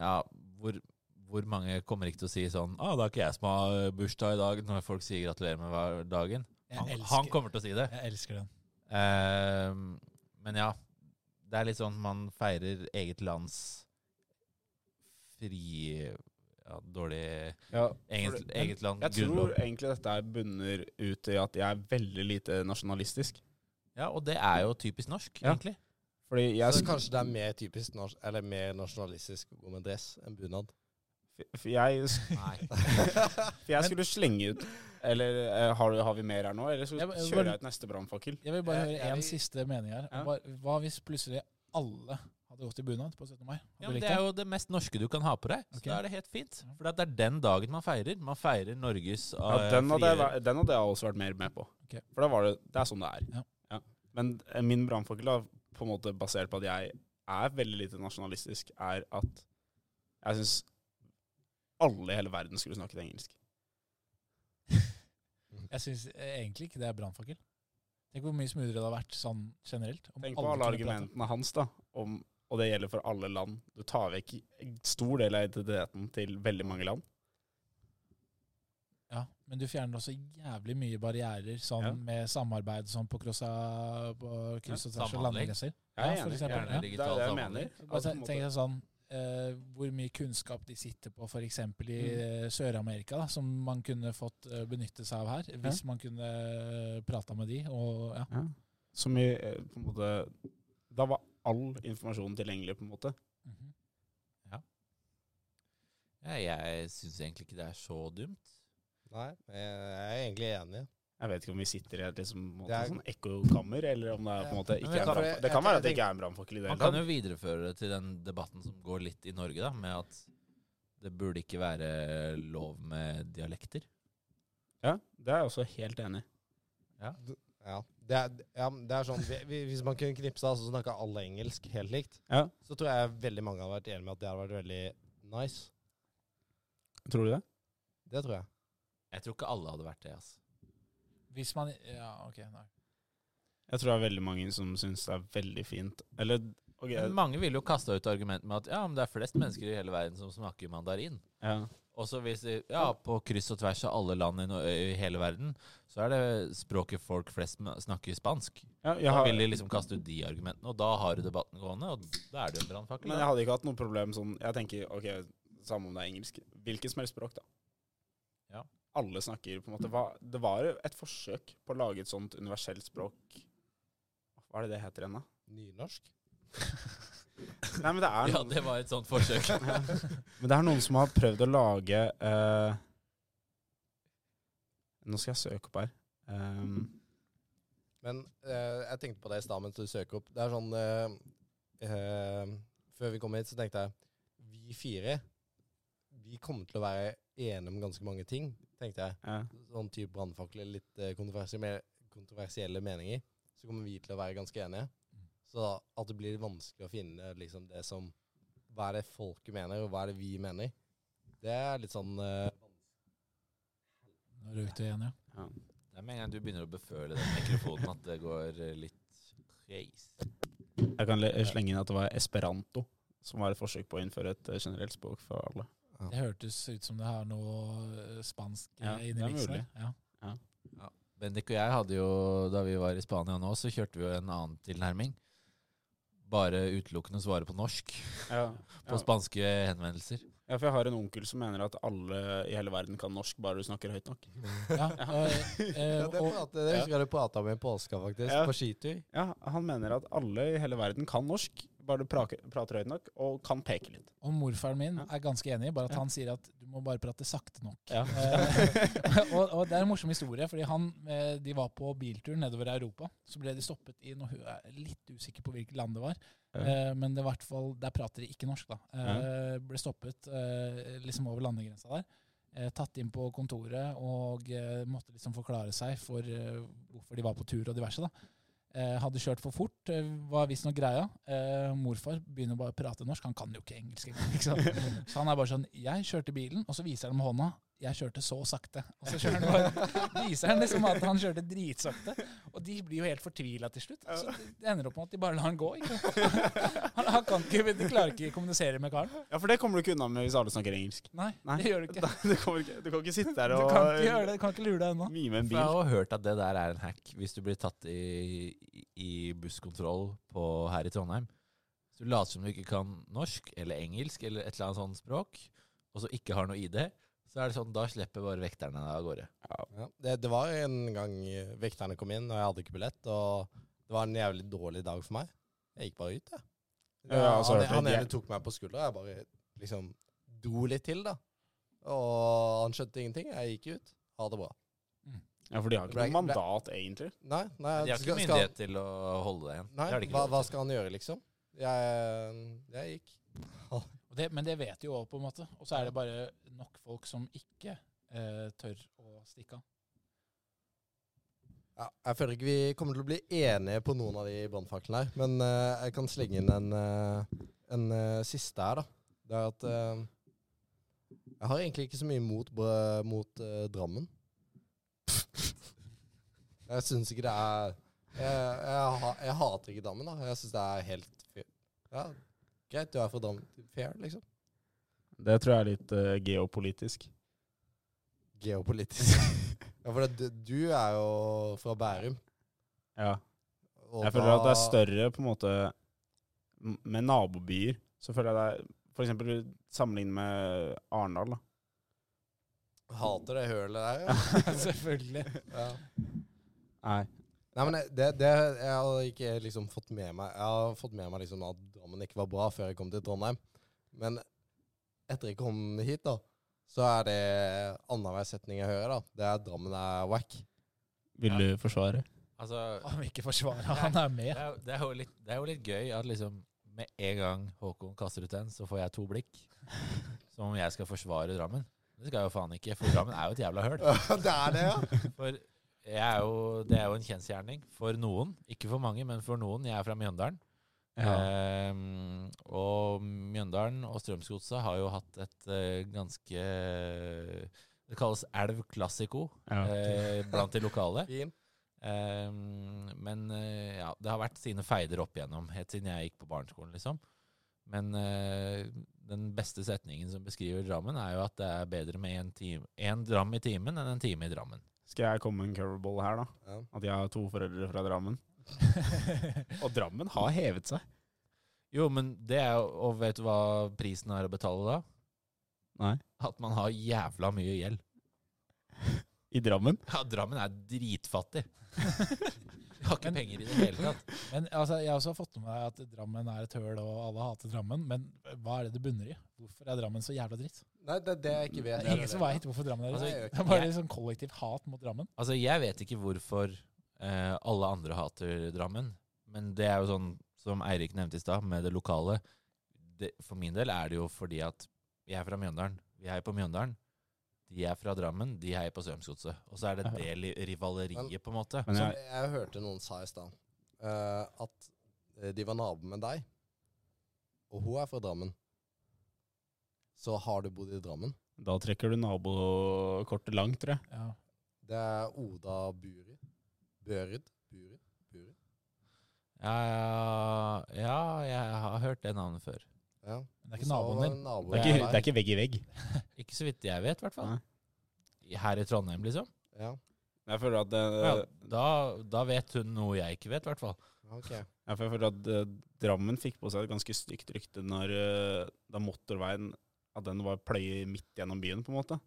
Speaker 6: ja, hvor, hvor mange kommer ikke til å si sånn 'Å, det er ikke jeg som har eh, bursdag i dag', når folk sier 'gratulerer med hver dagen'. Han,
Speaker 5: Jeg
Speaker 6: han
Speaker 5: elsker,
Speaker 6: kommer til å si det.
Speaker 5: jeg elsker den.
Speaker 6: Ehm, men ja, det er litt sånn man feirer eget lands fri ja, Dårlig eget,
Speaker 3: For det-
Speaker 6: eget land,
Speaker 3: Jeg tror
Speaker 6: grunnlov.
Speaker 3: egentlig dette her bunner ut i at jeg er veldig lite nasjonalistisk.
Speaker 6: Ja, og det er jo typisk norsk,
Speaker 3: Ja.
Speaker 6: egentlig.
Speaker 3: Fordi jeg,
Speaker 4: Så kanskje det er mer typisk norsk, eller mer nasjonalistisk å gå med dress enn bunad.
Speaker 3: for jeg
Speaker 6: Nei.
Speaker 3: For jeg skulle slenge ut Eller eh, har, du- har vi mer her nå? Eller skal
Speaker 5: Jeg-
Speaker 3: vi
Speaker 5: jeg
Speaker 3: kjøre
Speaker 5: bare-
Speaker 3: ut neste brannfakkel?
Speaker 5: Jeg vil bare
Speaker 4: Eh, jeg
Speaker 5: høre én
Speaker 4: vil-
Speaker 5: siste mening her.
Speaker 3: Ja.
Speaker 5: Hva- Hva hvis plutselig alle hadde gått i bunad på 17. mai?
Speaker 6: Ja,
Speaker 5: Hadde du likt
Speaker 6: men det er jo det mest norske du kan ha på deg. Så
Speaker 5: Ok.
Speaker 6: da er det helt fint. For det er den dagen man feirer. Man feirer Norges
Speaker 3: Ja,
Speaker 6: eh,
Speaker 3: den, hadde jeg,
Speaker 6: frie-
Speaker 3: væ- den hadde jeg også vært mer med på.
Speaker 5: Ok.
Speaker 3: For da var det, det er sånn det er.
Speaker 5: Ja.
Speaker 3: Men eh, min brannfakkel er på en måte basert på at jeg er veldig lite nasjonalistisk, er at jeg syns alle i hele verden skulle snakket engelsk.
Speaker 5: Jeg syns eh, egentlig ikke det er brannfakkel. Tenk hvor mye smoothere det hadde vært sånn generelt. om
Speaker 3: Tenk på
Speaker 5: alle
Speaker 3: alle
Speaker 5: kunne prate.
Speaker 3: argumentene hans, da. Om, og det gjelder for alle land. Du tar vekk en stor del av identiteten til veldig mange land.
Speaker 5: Ja, men du fjerner også jævlig mye barrierer sånn
Speaker 3: Ja.
Speaker 5: med samarbeid sånn på, krossa, på kryss og tvers og
Speaker 6: Samhandling.
Speaker 3: Jeg
Speaker 5: landegrenser.
Speaker 3: er
Speaker 5: Ja, for
Speaker 3: enig.
Speaker 5: eksempel, ja.
Speaker 6: Gjerne
Speaker 3: Det er
Speaker 6: digital
Speaker 3: det jeg
Speaker 6: samhandling.
Speaker 3: mener.
Speaker 5: Bare
Speaker 3: At på en
Speaker 5: ten-
Speaker 3: måte-
Speaker 5: tenk deg sånn eh, hvor mye kunnskap de sitter på f.eks. i eh, Sør-Amerika, da, som man kunne fått eh, benytte seg av her, hvis man kunne eh, prata med de. Og, ja.
Speaker 3: Som i eh, på en måte Da var all informasjon tilgjengelig, på en måte.
Speaker 5: Mhm.
Speaker 6: Ja, jeg syns egentlig ikke det er så dumt.
Speaker 4: Nei, jeg er egentlig enig.
Speaker 3: Jeg vet ikke om vi sitter i et liksom, på en måte,
Speaker 4: Det er-
Speaker 3: sånn ekkokammer, eller om det er på en måte
Speaker 6: Men
Speaker 3: ikke
Speaker 6: jeg
Speaker 3: er
Speaker 6: kan-
Speaker 3: brannfakkel. Det
Speaker 4: jeg-
Speaker 3: kan være at det
Speaker 4: jeg
Speaker 3: ikke er en brannfakkel i det
Speaker 6: Man
Speaker 3: hele
Speaker 6: kan
Speaker 3: tatt.
Speaker 6: jo videreføre det til den debatten som går litt i Norge, da, med at det burde ikke være lov med dialekter.
Speaker 3: Ja, det er jeg også helt enig i.
Speaker 4: Ja, det er, ja, men det er sånn vi- vi- Hvis man kunne knipsa og så snakka alle engelsk helt likt,
Speaker 3: Ja.
Speaker 4: så tror jeg veldig mange hadde vært enige med at det hadde vært veldig nice.
Speaker 3: Tror du det?
Speaker 4: Det tror jeg.
Speaker 6: Jeg tror ikke alle hadde vært det. altså.
Speaker 5: Hvis man Ja, ok. Nei.
Speaker 3: Jeg tror det er veldig mange som syns det er veldig fint. Eller ok,
Speaker 6: Men mange ville jo kasta ut argumentet med at ja, men det er flest mennesker i hele verden som snakker mandarin.
Speaker 3: ja.
Speaker 6: Og så hvis de, ja, På kryss og tvers av alle land i, no- i hele verden, så er det språket folk flest ma- snakker spansk.
Speaker 3: Ja, jeg
Speaker 6: Da
Speaker 3: har,
Speaker 6: vil de liksom kaste ut de argumentene, og da har du debatten gående, og da er det jo en brannfakkel.
Speaker 3: men jeg
Speaker 6: da.
Speaker 3: hadde ikke hatt noe problem sånn Jeg tenker ok, samme om det er engelsk. Hvilket som helst språk, da.
Speaker 6: Ja.
Speaker 3: Alle snakker på en måte hva- Det var et forsøk på å lage et sånt universelt språk Hva er det det heter igjen, da?
Speaker 4: Nynorsk?
Speaker 3: Nei, men det er
Speaker 6: Ja,
Speaker 3: noen-
Speaker 6: det var et sånt forsøk.
Speaker 3: Men det er noen som har prøvd å lage eh, Nå skal jeg søke opp her. Ehm,
Speaker 4: Men eh, jeg tenkte på det i stad mens du søker opp. Det er sånn eh, eh, Før vi kom hit, så tenkte jeg Vi fire Vi kommer til å være enige om ganske mange ting, tenkte jeg.
Speaker 3: ja.
Speaker 4: Sånn type brannfakler, litt eh, kontroversi- mer kontroversielle meninger. Så kommer vi til å være ganske enige. Så da, at det blir vanskelig å finne liksom, det som Hva er det folket mener, og hva er det vi mener? Det er litt sånn eh,
Speaker 5: Nå røyk du igjen, ja.
Speaker 6: Det er med en gang du begynner å beføle den mikrofonen at det går eh, litt crazy.
Speaker 3: Jeg kan le- slenge inn at det var esperanto som var et forsøk på å innføre et eh, generelt språk for alle.
Speaker 5: Det hørtes ut som det har noe eh, spansk
Speaker 3: Ja,
Speaker 5: ja, inni
Speaker 3: det er
Speaker 5: miksen.
Speaker 3: mulig.
Speaker 5: her. Ja.
Speaker 6: Bendik og jeg hadde jo, da vi var i Spania nå, så kjørte vi jo en annen tilnærming. Bare utelukkende svare på norsk,
Speaker 3: Ja.
Speaker 6: på spanske henvendelser.
Speaker 3: ja, for jeg har en onkel som mener at alle i hele verden kan norsk bare du snakker høyt nok.
Speaker 5: Ja, og, eh,
Speaker 4: ja, det,
Speaker 5: og,
Speaker 4: pratet, det husker jeg du prata om i påska, faktisk.
Speaker 3: Ja.
Speaker 4: På skitur.
Speaker 3: Ja, Han mener at alle i hele verden kan norsk bare du praker, prater høyt nok og kan peke litt.
Speaker 5: og morfaren min
Speaker 3: Ja.
Speaker 5: er ganske enig, bare at
Speaker 3: Ja.
Speaker 5: han sier at du må bare prate sakte nok.
Speaker 3: Ja.
Speaker 5: Eh, og, og det er en morsom historie, fordi han, eh, de var på biltur nedover i Europa. Så ble de stoppet i noe, jeg er litt usikker på hvilket land det var.
Speaker 3: Ja.
Speaker 5: Eh, men det var i hvert fall, der prater de ikke norsk, da. Eh, ble stoppet eh, liksom over landegrensa der. Eh, tatt inn på kontoret og eh, måtte liksom forklare seg for eh, hvorfor de var på tur og diverse. da. Eh, hadde kjørt for fort, eh, var visstnok greia. Eh, morfar begynner bare å prate norsk, han kan jo ikke engelsk engang. ikke sant? Så han er bare sånn Jeg kjørte bilen, og så viser han med hånda. Jeg kjørte så sakte. Og så kjører han bare, viser han liksom at han kjørte dritsakte. Og de blir jo helt fortvila til slutt. Så det ender opp med at de bare lar han gå. Ikke? sant? Han, han kan ikke, De klarer ikke å kommunisere med karen.
Speaker 3: Ja, For det kommer du ikke unna med hvis alle snakker engelsk.
Speaker 5: Nei,
Speaker 3: Nei.
Speaker 5: det gjør du ikke.
Speaker 3: Du, kommer ikke, du kan ikke sitte der
Speaker 5: Du
Speaker 3: og
Speaker 5: kan ikke gjøre det, du kan ikke lure deg unna.
Speaker 3: mime en
Speaker 6: For jeg har
Speaker 3: bil.
Speaker 6: også hørt at det der er en hack hvis du blir tatt i, i busskontroll på, her i Trondheim. Så du later som du ikke kan norsk eller engelsk eller et eller annet sånt språk, og så ikke har noe ID, så er det sånn, da slipper bare vekterne deg av gårde.
Speaker 4: Ja, det, det var en gang eh, vekterne kom inn, og jeg hadde ikke billett. Og det var en jævlig dårlig dag for meg. Jeg gikk bare ut, jeg.
Speaker 3: Ja, ja, altså,
Speaker 4: han
Speaker 3: det-
Speaker 4: han
Speaker 3: det-
Speaker 4: ene tok meg på skuldra, og jeg bare liksom dro litt til, da. Og han skjønte ingenting. Jeg gikk ut. Ha det bra.
Speaker 3: Ja, For de har ikke noe mandat, egentlig.
Speaker 4: Nei, nei,
Speaker 6: De har ikke
Speaker 4: skal- skal-
Speaker 6: myndighet til å holde deg igjen.
Speaker 4: Nei,
Speaker 6: det har de ikke
Speaker 4: hva,
Speaker 6: lov
Speaker 4: hva
Speaker 6: til.
Speaker 4: skal han gjøre, liksom? Jeg, jeg gikk.
Speaker 5: Og Det, men det vet de jo òg, på en måte. Og så er det bare nok folk som ikke eh, tør å stikke av.
Speaker 4: Ja, jeg føler ikke vi kommer til å bli enige på noen av de brannfaklene her, men eh, jeg kan slenge inn en, eh, en eh, siste her, da. Det er at eh, jeg har egentlig ikke så mye mot, br- mot eh, Drammen. jeg syns ikke det er jeg, jeg, ha- jeg hater ikke Drammen, da. Jeg syns det er helt fyr. Ja, greit, du er fra Drammen. Fair, liksom.
Speaker 3: Det tror jeg er litt eh, geopolitisk.
Speaker 4: Geopolitisk. ja, for det, du er jo fra Bærum.
Speaker 3: Ja.
Speaker 4: og
Speaker 3: Jeg føler at det er
Speaker 4: da-
Speaker 3: større på en måte m- med nabobyer. Så føler jeg det er For eksempel sammenlignet med Arendal, da.
Speaker 4: Hater det hølet der, ja.
Speaker 5: Selvfølgelig.
Speaker 4: ja.
Speaker 3: Nei.
Speaker 4: Nei, men det, det jeg har ikke liksom fått med meg Jeg har fått med meg liksom at Drammen ikke var bra før jeg kom til Trondheim. Men etter jeg kom hit, da, så er det annenhver setning jeg hører, da. Det er at Drammen er wack.
Speaker 3: Vil du forsvare?
Speaker 6: Altså,
Speaker 5: Han vil ikke forsvare, han er
Speaker 6: det
Speaker 5: med.
Speaker 6: er, det, er jo litt, det er jo litt gøy at liksom med en gang Håkon kaster ut en, så får jeg to blikk. Som om jeg skal forsvare Drammen. Det skal jeg jo faen ikke, for Drammen er jo et jævla høl.
Speaker 4: det er det, ja!
Speaker 6: For jeg er jo, det er jo en kjensgjerning for noen. Ikke for mange, men for noen. Jeg er fra Mjøndalen. Ehm, og Mjøndalen og Strømsgodset har jo hatt et eh, ganske Det kalles Elv Classico eh, blant de lokale.
Speaker 4: Fin.
Speaker 6: Ehm, men eh, ja, det har vært sine feider opp igjennom, helt siden jeg gikk på barneskolen, liksom. Men eh, den beste setningen som beskriver Drammen, er jo at det er bedre med én time- én dram i timen enn en time i Drammen.
Speaker 3: Skal jeg komme med en curveball her, da?
Speaker 4: Ja.
Speaker 3: At jeg har to foreldre fra Drammen. og Drammen har hevet seg.
Speaker 6: Jo, men det er jo Og vet du hva prisen er å betale da?
Speaker 3: Nei.
Speaker 6: At man har jævla mye gjeld.
Speaker 3: I Drammen?
Speaker 6: Ja, Drammen er dritfattig. Jeg har ikke
Speaker 5: Men-
Speaker 6: penger i det hele tatt.
Speaker 5: Men altså, Jeg har også fått med meg at Drammen er et høl, og alle hater Drammen. Men hva er det det bunner i? Hvorfor er Drammen så jævla dritt?
Speaker 4: Nei, det er det jeg ikke
Speaker 5: Det
Speaker 4: vet.
Speaker 5: er ingen som veit hvorfor Drammen er
Speaker 6: Altså,
Speaker 5: dritt.
Speaker 4: jeg-
Speaker 5: Det er bare sånn kollektivt hat mot Drammen.
Speaker 6: Altså, jeg vet ikke hvorfor eh, alle andre hater Drammen, men det er jo sånn som Eirik nevnte i stad, med det lokale. Det, for min del er det jo fordi at jeg er fra Mjøndalen. Vi heier på Mjøndalen. De er fra Drammen, de heier på Strømsgodset. Og så er det det li- rivaleriet, på en måte.
Speaker 3: Men
Speaker 4: Som
Speaker 3: jeg,
Speaker 4: jeg hørte noen sa i stad, eh, at eh, de var nabo med deg, og hun er fra Drammen. Så har du bodd i Drammen.
Speaker 3: da trekker du nabokortet langt, tror jeg.
Speaker 5: Ja.
Speaker 4: Det er Oda Buri. Børud. Buri. Buri.
Speaker 6: Ja, ja, jeg har hørt det navnet før.
Speaker 4: Ja.
Speaker 5: Men det er ikke naboen din.
Speaker 3: Det er ikke, det er ikke vegg i vegg.
Speaker 6: Ikke så vidt jeg vet, i hvert fall.
Speaker 3: Nei. Eh.
Speaker 6: Her i Trondheim, liksom.
Speaker 4: Ja,
Speaker 3: Jeg føler at, det,
Speaker 6: Ja, da, da vet hun noe jeg ikke vet, i hvert fall.
Speaker 4: ok.
Speaker 3: jeg føler at eh, Drammen fikk på seg et ganske stygt rykte når, eh, da motorveien at den var pløye midt gjennom byen, på en måte.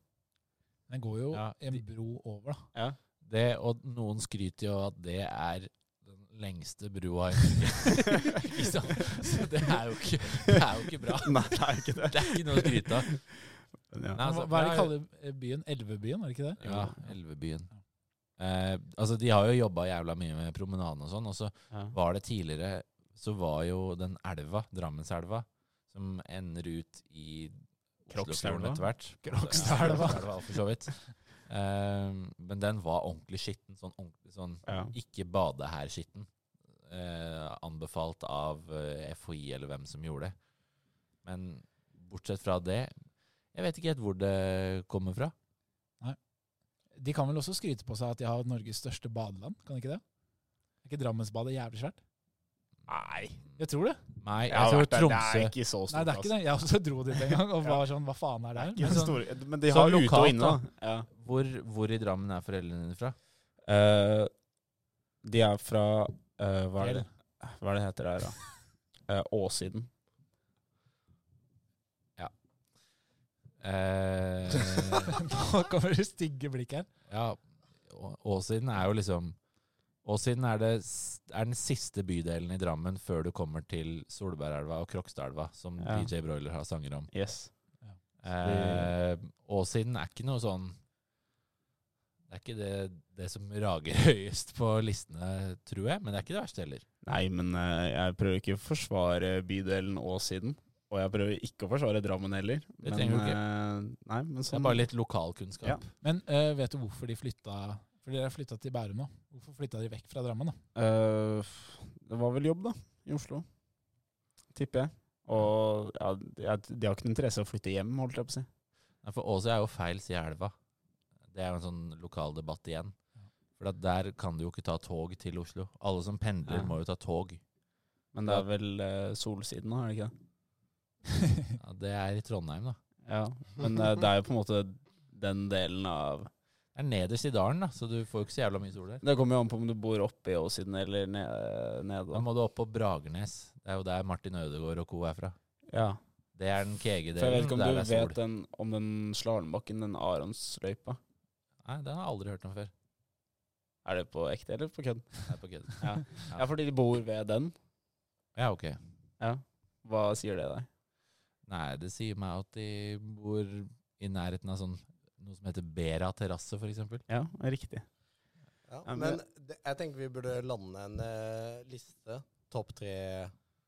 Speaker 5: Den går jo
Speaker 6: Ja,
Speaker 5: en bro over, da.
Speaker 6: Det, og noen skryter jo av at det er den lengste brua i Norge. Ikke sant? så det er, jo ikke, det er jo ikke bra.
Speaker 3: Nei, det er ikke det.
Speaker 6: Det er ikke noe å skryte av.
Speaker 3: Men ja.
Speaker 6: Nei, altså,
Speaker 5: Hva- Hva er det de
Speaker 6: jeg har-
Speaker 5: kaller eh, byen? Elvebyen, er det ikke det?
Speaker 6: Ja, Elvebyen. Eh, altså, de har jo jobba jævla mye med promenaden og sånn, og så var det tidligere Så var jo den elva, Drammenselva, som ender ut i Oslofjorden
Speaker 3: Krokselva.
Speaker 6: etter hvert.
Speaker 5: Krokselva.
Speaker 6: Ja, Krokselva, for så vidt. Ehm, men den var ordentlig skitten. Sånn, ordentlig, sånn
Speaker 3: Ja.
Speaker 6: ikke bade her-skitten. Eh, anbefalt av eh, FHI eller hvem som gjorde det. Men bortsett fra det Jeg vet ikke helt hvor det kommer fra.
Speaker 5: De kan vel også skryte på seg at de har Norges største badeland, kan de ikke det? Er ikke Drammensbadet jævlig svært?
Speaker 3: Nei.
Speaker 5: Jeg tror det.
Speaker 6: Nei,
Speaker 3: Jeg har
Speaker 6: jeg tror
Speaker 3: vært der. Det
Speaker 6: Tromsø
Speaker 3: er ikke så stort. altså.
Speaker 5: Nei, det er ikke det. Jeg også dro dit en gang og var sånn Hva faen er det her?
Speaker 3: Men,
Speaker 6: Men sånn-
Speaker 3: men de
Speaker 6: så
Speaker 3: har jo ute
Speaker 6: lokalt,
Speaker 3: og inne, da. Ja.
Speaker 6: Hvor, hvor i Drammen er foreldrene dine fra?
Speaker 3: Eh, de er fra eh, hva, er det, hva er det heter der, da? Eh, Åssiden.
Speaker 6: Eh,
Speaker 5: Nå kommer det stygge blikk her.
Speaker 6: Ja, Å- Åssiden er jo liksom Åssiden er, det, s- er den siste bydelen i Drammen før du kommer til Solbergelva og Krokstadelva, som
Speaker 3: Ja.
Speaker 6: DJ Broiler har sanger om.
Speaker 3: Yes.
Speaker 6: Eh, Åssiden er ikke noe sånn Det er ikke det, det som rager høyest på listene, tror jeg, men det er ikke det verste heller.
Speaker 3: Nei, men eh, jeg prøver ikke å forsvare bydelen Åssiden. Og jeg prøver ikke å forsvare Drammen heller.
Speaker 6: Det trenger du ikke.
Speaker 3: eh, nei, men
Speaker 6: Det er
Speaker 3: sånn,
Speaker 6: bare litt lokalkunnskap.
Speaker 3: Ja.
Speaker 5: Men eh, vet du hvorfor de flytta For dere har flytta til Bærum nå. Hvorfor flytta de vekk fra Drammen? da?
Speaker 3: Eh, det var vel jobb, da. I Oslo. Tipper jeg. Og ja, jeg- de har ikke noe interesse av å flytte hjem, holdt jeg på å si.
Speaker 6: Nei, For Åse er jo feil side av elva. Det er jo en sånn lokal debatt igjen. For at der kan du jo ikke ta tog til Oslo. Alle som pendler,
Speaker 3: Nei.
Speaker 6: må jo ta tog.
Speaker 3: Men det er vel eh, Solsiden, da, er det ikke det?
Speaker 6: Ja, det er i Trondheim, da.
Speaker 3: Ja, men eh, det er jo på en måte den delen av
Speaker 6: Det er nederst i dalen, da, så du får jo ikke så jævla mye sol der.
Speaker 3: Det kommer jo an på om du bor oppe i Åssiden eller nede.
Speaker 6: Da
Speaker 3: nede da.
Speaker 6: må du opp på Bragernes. Det er jo der Martin Ødegaard og co. er fra.
Speaker 3: Ja.
Speaker 6: Det er den kege
Speaker 3: For jeg vet
Speaker 6: delen.
Speaker 3: ikke om
Speaker 6: Der
Speaker 3: du
Speaker 6: det er
Speaker 3: vet
Speaker 6: sol.
Speaker 3: den, om den slalåmbakken, den Aronsløypa.
Speaker 6: Nei, den har jeg aldri hørt om før.
Speaker 3: Er det på ekte eller på kødd?
Speaker 6: Det er på kødd.
Speaker 3: Ja, fordi de bor ved den.
Speaker 6: Ja, ok.
Speaker 3: Ja. Hva sier det deg?
Speaker 6: Nei, det sier meg at de bor i nærheten av sånn noe som heter Bera terrasse, for eksempel.
Speaker 3: Ja, riktig. Ja,
Speaker 4: Ja,
Speaker 3: men
Speaker 4: men det, jeg tenker vi burde lande en eh, liste. Topp tre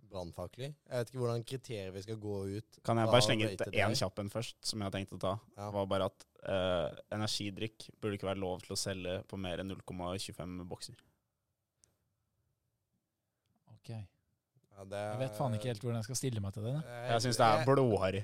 Speaker 4: brannfakler. Jeg vet ikke hvordan kriterier vi skal gå ut.
Speaker 3: Kan jeg
Speaker 4: Hva
Speaker 3: bare slenge ut
Speaker 4: rater
Speaker 3: én
Speaker 4: deg?
Speaker 3: kjapp en først, som jeg har tenkt å ta?
Speaker 4: Ja.
Speaker 3: var bare at eh, energidrikk burde ikke være lov til å selge på mer enn 0,25 bokser.
Speaker 5: Ok. Jeg
Speaker 4: Ja, det er- Eh,
Speaker 5: vet faen ikke helt hvordan jeg skal stille meg til det. da.
Speaker 3: Jeg syns det er blodharry.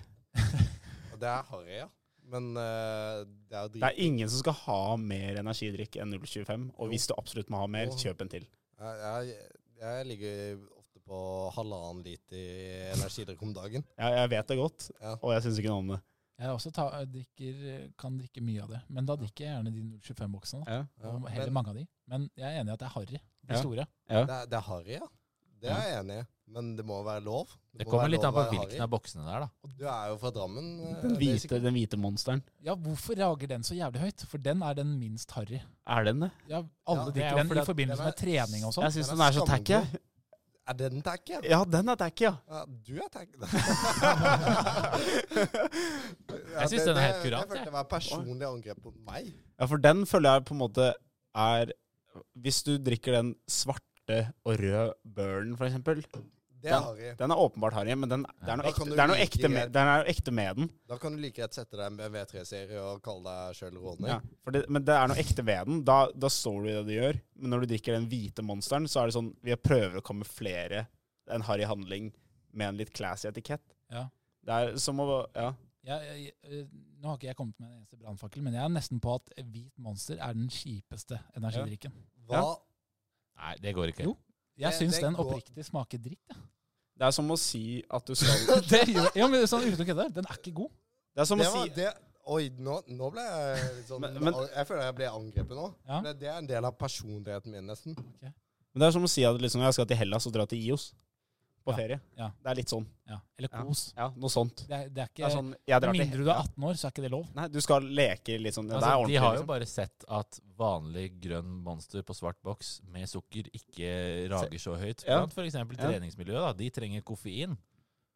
Speaker 4: Det er harry, ja. Men eh, det er jo
Speaker 3: Det
Speaker 4: drit...
Speaker 3: er ingen som skal ha mer energidrikk enn 0,25, og hvis du absolutt må ha mer, kjøp en til.
Speaker 4: Jeg, jeg, jeg ligger ofte på halvannen liter energidrikk om dagen.
Speaker 3: Ja, jeg vet det godt,
Speaker 4: Ja.
Speaker 3: og jeg syns ikke noe om det.
Speaker 5: Jeg også ta, eh, drikker, kan drikke mye av det, men da drikker jeg gjerne de 025-boksene.
Speaker 3: Ja.
Speaker 4: Ja,
Speaker 5: og Heller
Speaker 4: men-
Speaker 5: mange av de. Men jeg er enig i at det er harry. De
Speaker 3: Ja.
Speaker 5: store.
Speaker 4: Det er, det er harry, ja. Det er jeg enig i. Men det må være lov.
Speaker 6: Det
Speaker 4: må
Speaker 6: kommer
Speaker 4: være
Speaker 6: litt
Speaker 4: lov
Speaker 6: an på
Speaker 4: å være
Speaker 6: hvilken
Speaker 4: harry.
Speaker 6: av boksene det er, da.
Speaker 4: Og Du er jo fra Drammen.
Speaker 3: Den
Speaker 4: eh, det er
Speaker 3: hvite,
Speaker 4: sikkert-
Speaker 3: den hvite monsteren.
Speaker 5: Ja, hvorfor rager den så jævlig høyt? For den er den minst harry.
Speaker 3: Er den det?
Speaker 5: Ja, alle
Speaker 4: Ja, det er
Speaker 5: drikker
Speaker 4: jo
Speaker 5: den
Speaker 4: fordi
Speaker 5: i
Speaker 4: at
Speaker 5: forbindelse
Speaker 4: den
Speaker 5: med
Speaker 4: er-
Speaker 5: trening og sånn.
Speaker 3: Jeg syns
Speaker 4: Den
Speaker 3: den
Speaker 4: er
Speaker 3: er så tacky. jeg.
Speaker 4: Er det den tacky?
Speaker 3: Ja, den er tacky, ja.
Speaker 4: Ja, du er tacky.
Speaker 6: Jeg synes den er helt kurant,
Speaker 4: Jeg følte
Speaker 6: jeg.
Speaker 4: det var personlig angrep mot meg.
Speaker 3: Ja, for den føler jeg på en måte er Hvis du drikker den svarte og røde burnen, for eksempel,
Speaker 4: Det er harry.
Speaker 3: Den er åpenbart harry, men den, det, er noe
Speaker 4: Da kan
Speaker 3: ekte,
Speaker 4: du
Speaker 3: det er noe
Speaker 4: like
Speaker 3: ekte med,
Speaker 4: gjerne-
Speaker 3: det er noe ekte med den.
Speaker 4: Da kan du like rett sette deg en V3-serie og kalle deg sjøl Ronny.
Speaker 3: Ja, for det, men det er noe ekte ved den. Da, da står du i det du gjør. Men når du drikker den hvite monsteren, så er det sånn Vi prøver å kamuflere en harry handling med en litt classy etikett.
Speaker 5: Ja.
Speaker 3: Det er som å Ja.
Speaker 5: Jeg, jeg, eh, nå har ikke jeg kommet med en eneste brannfakkel, men jeg er nesten på at Hvit Monster er den kjipeste energidrikken.
Speaker 4: Hva?
Speaker 6: Nei, det går ikke.
Speaker 5: Jo. Jeg
Speaker 4: Det-
Speaker 5: syns
Speaker 4: det
Speaker 5: den
Speaker 4: går-
Speaker 5: oppriktig smaker dritt. jeg.
Speaker 3: Det er som å si at du skal
Speaker 5: Det gjør, ja, men sånn uten å kødde, den er ikke god.
Speaker 3: Det er som
Speaker 4: Det
Speaker 3: å
Speaker 4: var
Speaker 3: si
Speaker 4: det Oi, nå, nå ble jeg litt sånn
Speaker 3: Men- men-
Speaker 4: Jeg føler jeg ble angrepet nå.
Speaker 5: Ja.
Speaker 4: Det- Det er en del av personligheten min, nesten.
Speaker 3: Men det er som å si at liksom, jeg skal til Hellas og dra til Ios på
Speaker 5: Ja,
Speaker 3: ferie.
Speaker 5: ja.
Speaker 3: Det er litt sånn.
Speaker 5: Ja, eller kos.
Speaker 3: Ja, noe sånt.
Speaker 5: Det, er, det er
Speaker 3: Det
Speaker 5: ikke
Speaker 3: er sånn jeg
Speaker 5: Med
Speaker 3: drar til
Speaker 5: mindre du er 18 år, så er ikke det lov.
Speaker 3: Nei, du skal leke litt sånn. Ja, det er
Speaker 6: Altså,
Speaker 3: ordentlig.
Speaker 6: de har jo
Speaker 3: liksom.
Speaker 6: bare sett at vanlig grønn monster på svart boks med sukker ikke rager så høyt.
Speaker 3: Ja.
Speaker 6: Blant for eksempel
Speaker 3: Ja.
Speaker 6: treningsmiljøet, da. De trenger koffein.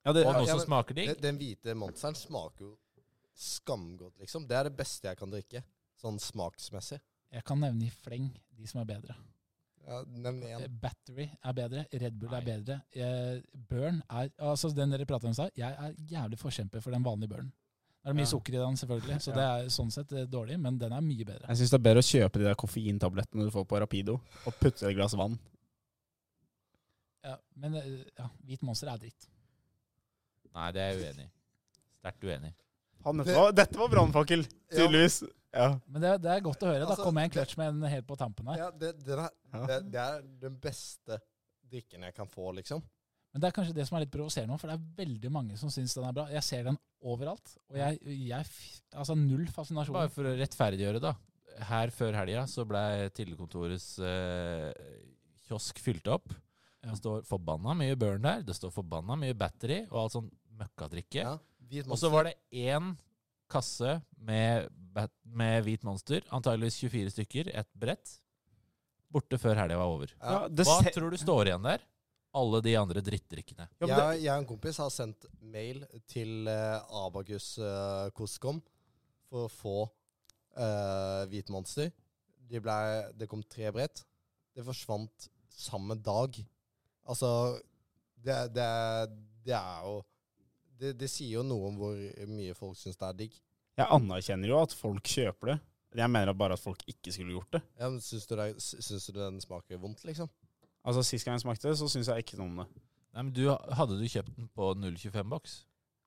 Speaker 3: ja, det,
Speaker 6: Og noe
Speaker 4: ja, men-
Speaker 6: som smaker digg.
Speaker 4: Den- Den hvite monsteren smaker jo skamgodt, liksom. Det er det beste jeg kan drikke. Sånn smaksmessig.
Speaker 5: Jeg kan nevne i fleng de som er bedre.
Speaker 4: Ja, Nevn
Speaker 5: Eh,
Speaker 4: én.
Speaker 5: Battery er bedre, Red Bull er
Speaker 6: Nei.
Speaker 5: bedre. eh, Burn er Altså, den dere prater om i stad, jeg er jævlig forkjemper for den vanlige burn. Det er mye
Speaker 3: Ja.
Speaker 5: sukker i den, selvfølgelig, så det er sånn sett eh, dårlig, men den er mye bedre.
Speaker 3: Jeg syns det er bedre å kjøpe de der koffeintablettene du får på Rapido, og putte i et glass vann.
Speaker 5: Ja, men eh, ja, Hvit Monster er dritt.
Speaker 6: Nei, det er jeg uenig i. Sterkt uenig.
Speaker 3: Faen,
Speaker 4: Det-
Speaker 3: dette var, dette var brannfakkel, tydeligvis. Ja.
Speaker 5: Men det, det er godt å høre. Da
Speaker 4: Altså,
Speaker 5: kom jeg en clutch med en helt på tampen her.
Speaker 4: Ja, det, den er,
Speaker 3: Ja.
Speaker 4: det, det er den beste drikken jeg kan få, liksom.
Speaker 5: Men det er kanskje det som er litt provoserende nå, for det er veldig mange som syns den er bra. Jeg ser den overalt, og jeg, jeg f- Altså, null fascinasjon.
Speaker 6: Bare for å rettferdiggjøre, da. Her før helga så ble Tidligkontorets eh, kiosk fylt opp.
Speaker 5: Ja.
Speaker 6: Det står forbanna mye burn der. Det står forbanna mye battery og alt sånn møkkadrikke.
Speaker 4: Ja. Hvit
Speaker 6: Og så
Speaker 4: monster.
Speaker 6: var det én kasse med, bat med hvit monster, antageligvis 24 stykker, ett brett, borte før helga var over.
Speaker 4: Ja.
Speaker 3: det
Speaker 6: Hva
Speaker 3: se-
Speaker 6: tror du står igjen der? Alle de andre drittdrikkene.
Speaker 3: Ja, men det-
Speaker 4: Jeg, jeg og en kompis har sendt mail til eh, Abakus eh, Koskom for å få eh, Hvit Monster. De ble, det kom tre brett. Det forsvant samme dag. Altså Det, det, det er jo det, det sier jo noe om hvor mye folk syns det er digg.
Speaker 3: jeg anerkjenner jo at folk kjøper det. Jeg mener bare at folk ikke skulle gjort det.
Speaker 4: Ja, men syns, du det, er- syns du den smaker vondt, liksom?
Speaker 3: Altså Sist gang jeg smakte det, så syns jeg ikke noe om det.
Speaker 6: Nei, men du, hadde du kjøpt den på 0,25-boks?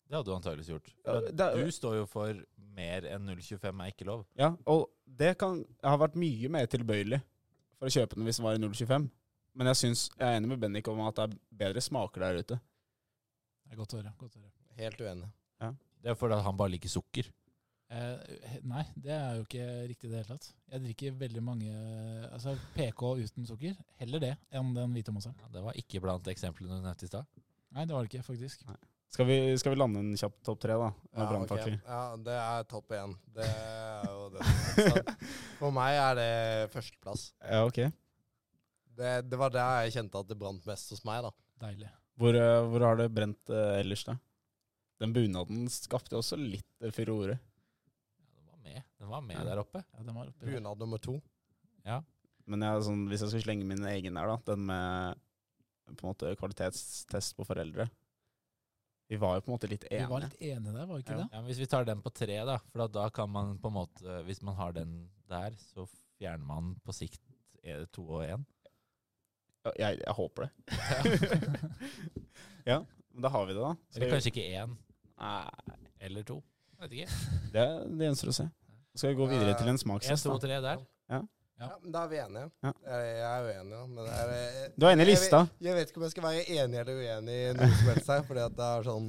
Speaker 6: Det hadde du antageligvis gjort.
Speaker 3: Ja,
Speaker 6: Men
Speaker 3: det er-
Speaker 6: du står jo for mer enn 0,25 er ikke lov.
Speaker 3: Ja, Og det kan Jeg har vært mye mer tilbøyelig for å kjøpe den hvis den var i 0,25. Men jeg synes, jeg er enig med Bendik om at det er bedre smaker der ute.
Speaker 5: Det er godt å høre. Godt å høre.
Speaker 4: Helt uenig.
Speaker 6: Det er fordi at han bare liker sukker.
Speaker 5: Eh, nei, det er jo ikke riktig i det hele tatt. Jeg drikker veldig mange altså PK uten sukker. Heller det enn den hvite monseren.
Speaker 6: Ja, det var ikke blant eksemplene du nevnte i stad.
Speaker 5: Nei, det var det ikke, faktisk.
Speaker 3: Nei. Skal vi, skal vi lande en kjapp topp tre, da? Av
Speaker 4: Ja, ok.
Speaker 3: brannfakler.
Speaker 4: ja, det er topp én. Det er jo det. Så For meg er det førsteplass.
Speaker 3: Ja, ok.
Speaker 4: Det, det var der jeg kjente at det brant mest hos meg, da.
Speaker 5: Deilig.
Speaker 3: Hvor, eh, hvor har det brent eh, ellers, da? Den bunaden skapte også litt eh, furore.
Speaker 6: Den var med, den var med
Speaker 3: Ja.
Speaker 6: der oppe.
Speaker 5: Ja, den var oppi der.
Speaker 4: Bunad nummer to.
Speaker 3: Men jeg, er sånn, hvis jeg skal slenge min egen der, da, den med på en måte kvalitetstest på foreldre Vi var jo på en måte litt
Speaker 5: Vi
Speaker 3: enige.
Speaker 5: var litt enige der, var vi ikke
Speaker 3: Ja.
Speaker 5: det?
Speaker 6: Ja, men hvis vi tar den på tre, da, for da, da kan man på en måte Hvis man har den der, så fjerner man på sikt er det to og én.
Speaker 3: Ja, Jeg, jeg håper det. ja, men da har vi det, da. Skal
Speaker 6: Eller
Speaker 3: vi-
Speaker 6: kanskje ikke én
Speaker 3: Nei,
Speaker 6: eller to. Jeg vet ikke.
Speaker 3: det, det gjenstår å se. Skal vi gå videre til en
Speaker 6: En,
Speaker 3: smakstest,
Speaker 6: to,
Speaker 3: da?
Speaker 6: tre der.
Speaker 5: Ja.
Speaker 4: Ja, men Da er vi enige.
Speaker 3: Ja.
Speaker 4: Eller, Jeg er uenig, da. Men er det-
Speaker 3: Du er enig i
Speaker 4: Jeg-
Speaker 3: lista?
Speaker 4: Jeg, jeg vet ikke om jeg skal være enig eller uenig i noe som helst her. fordi at det er sånn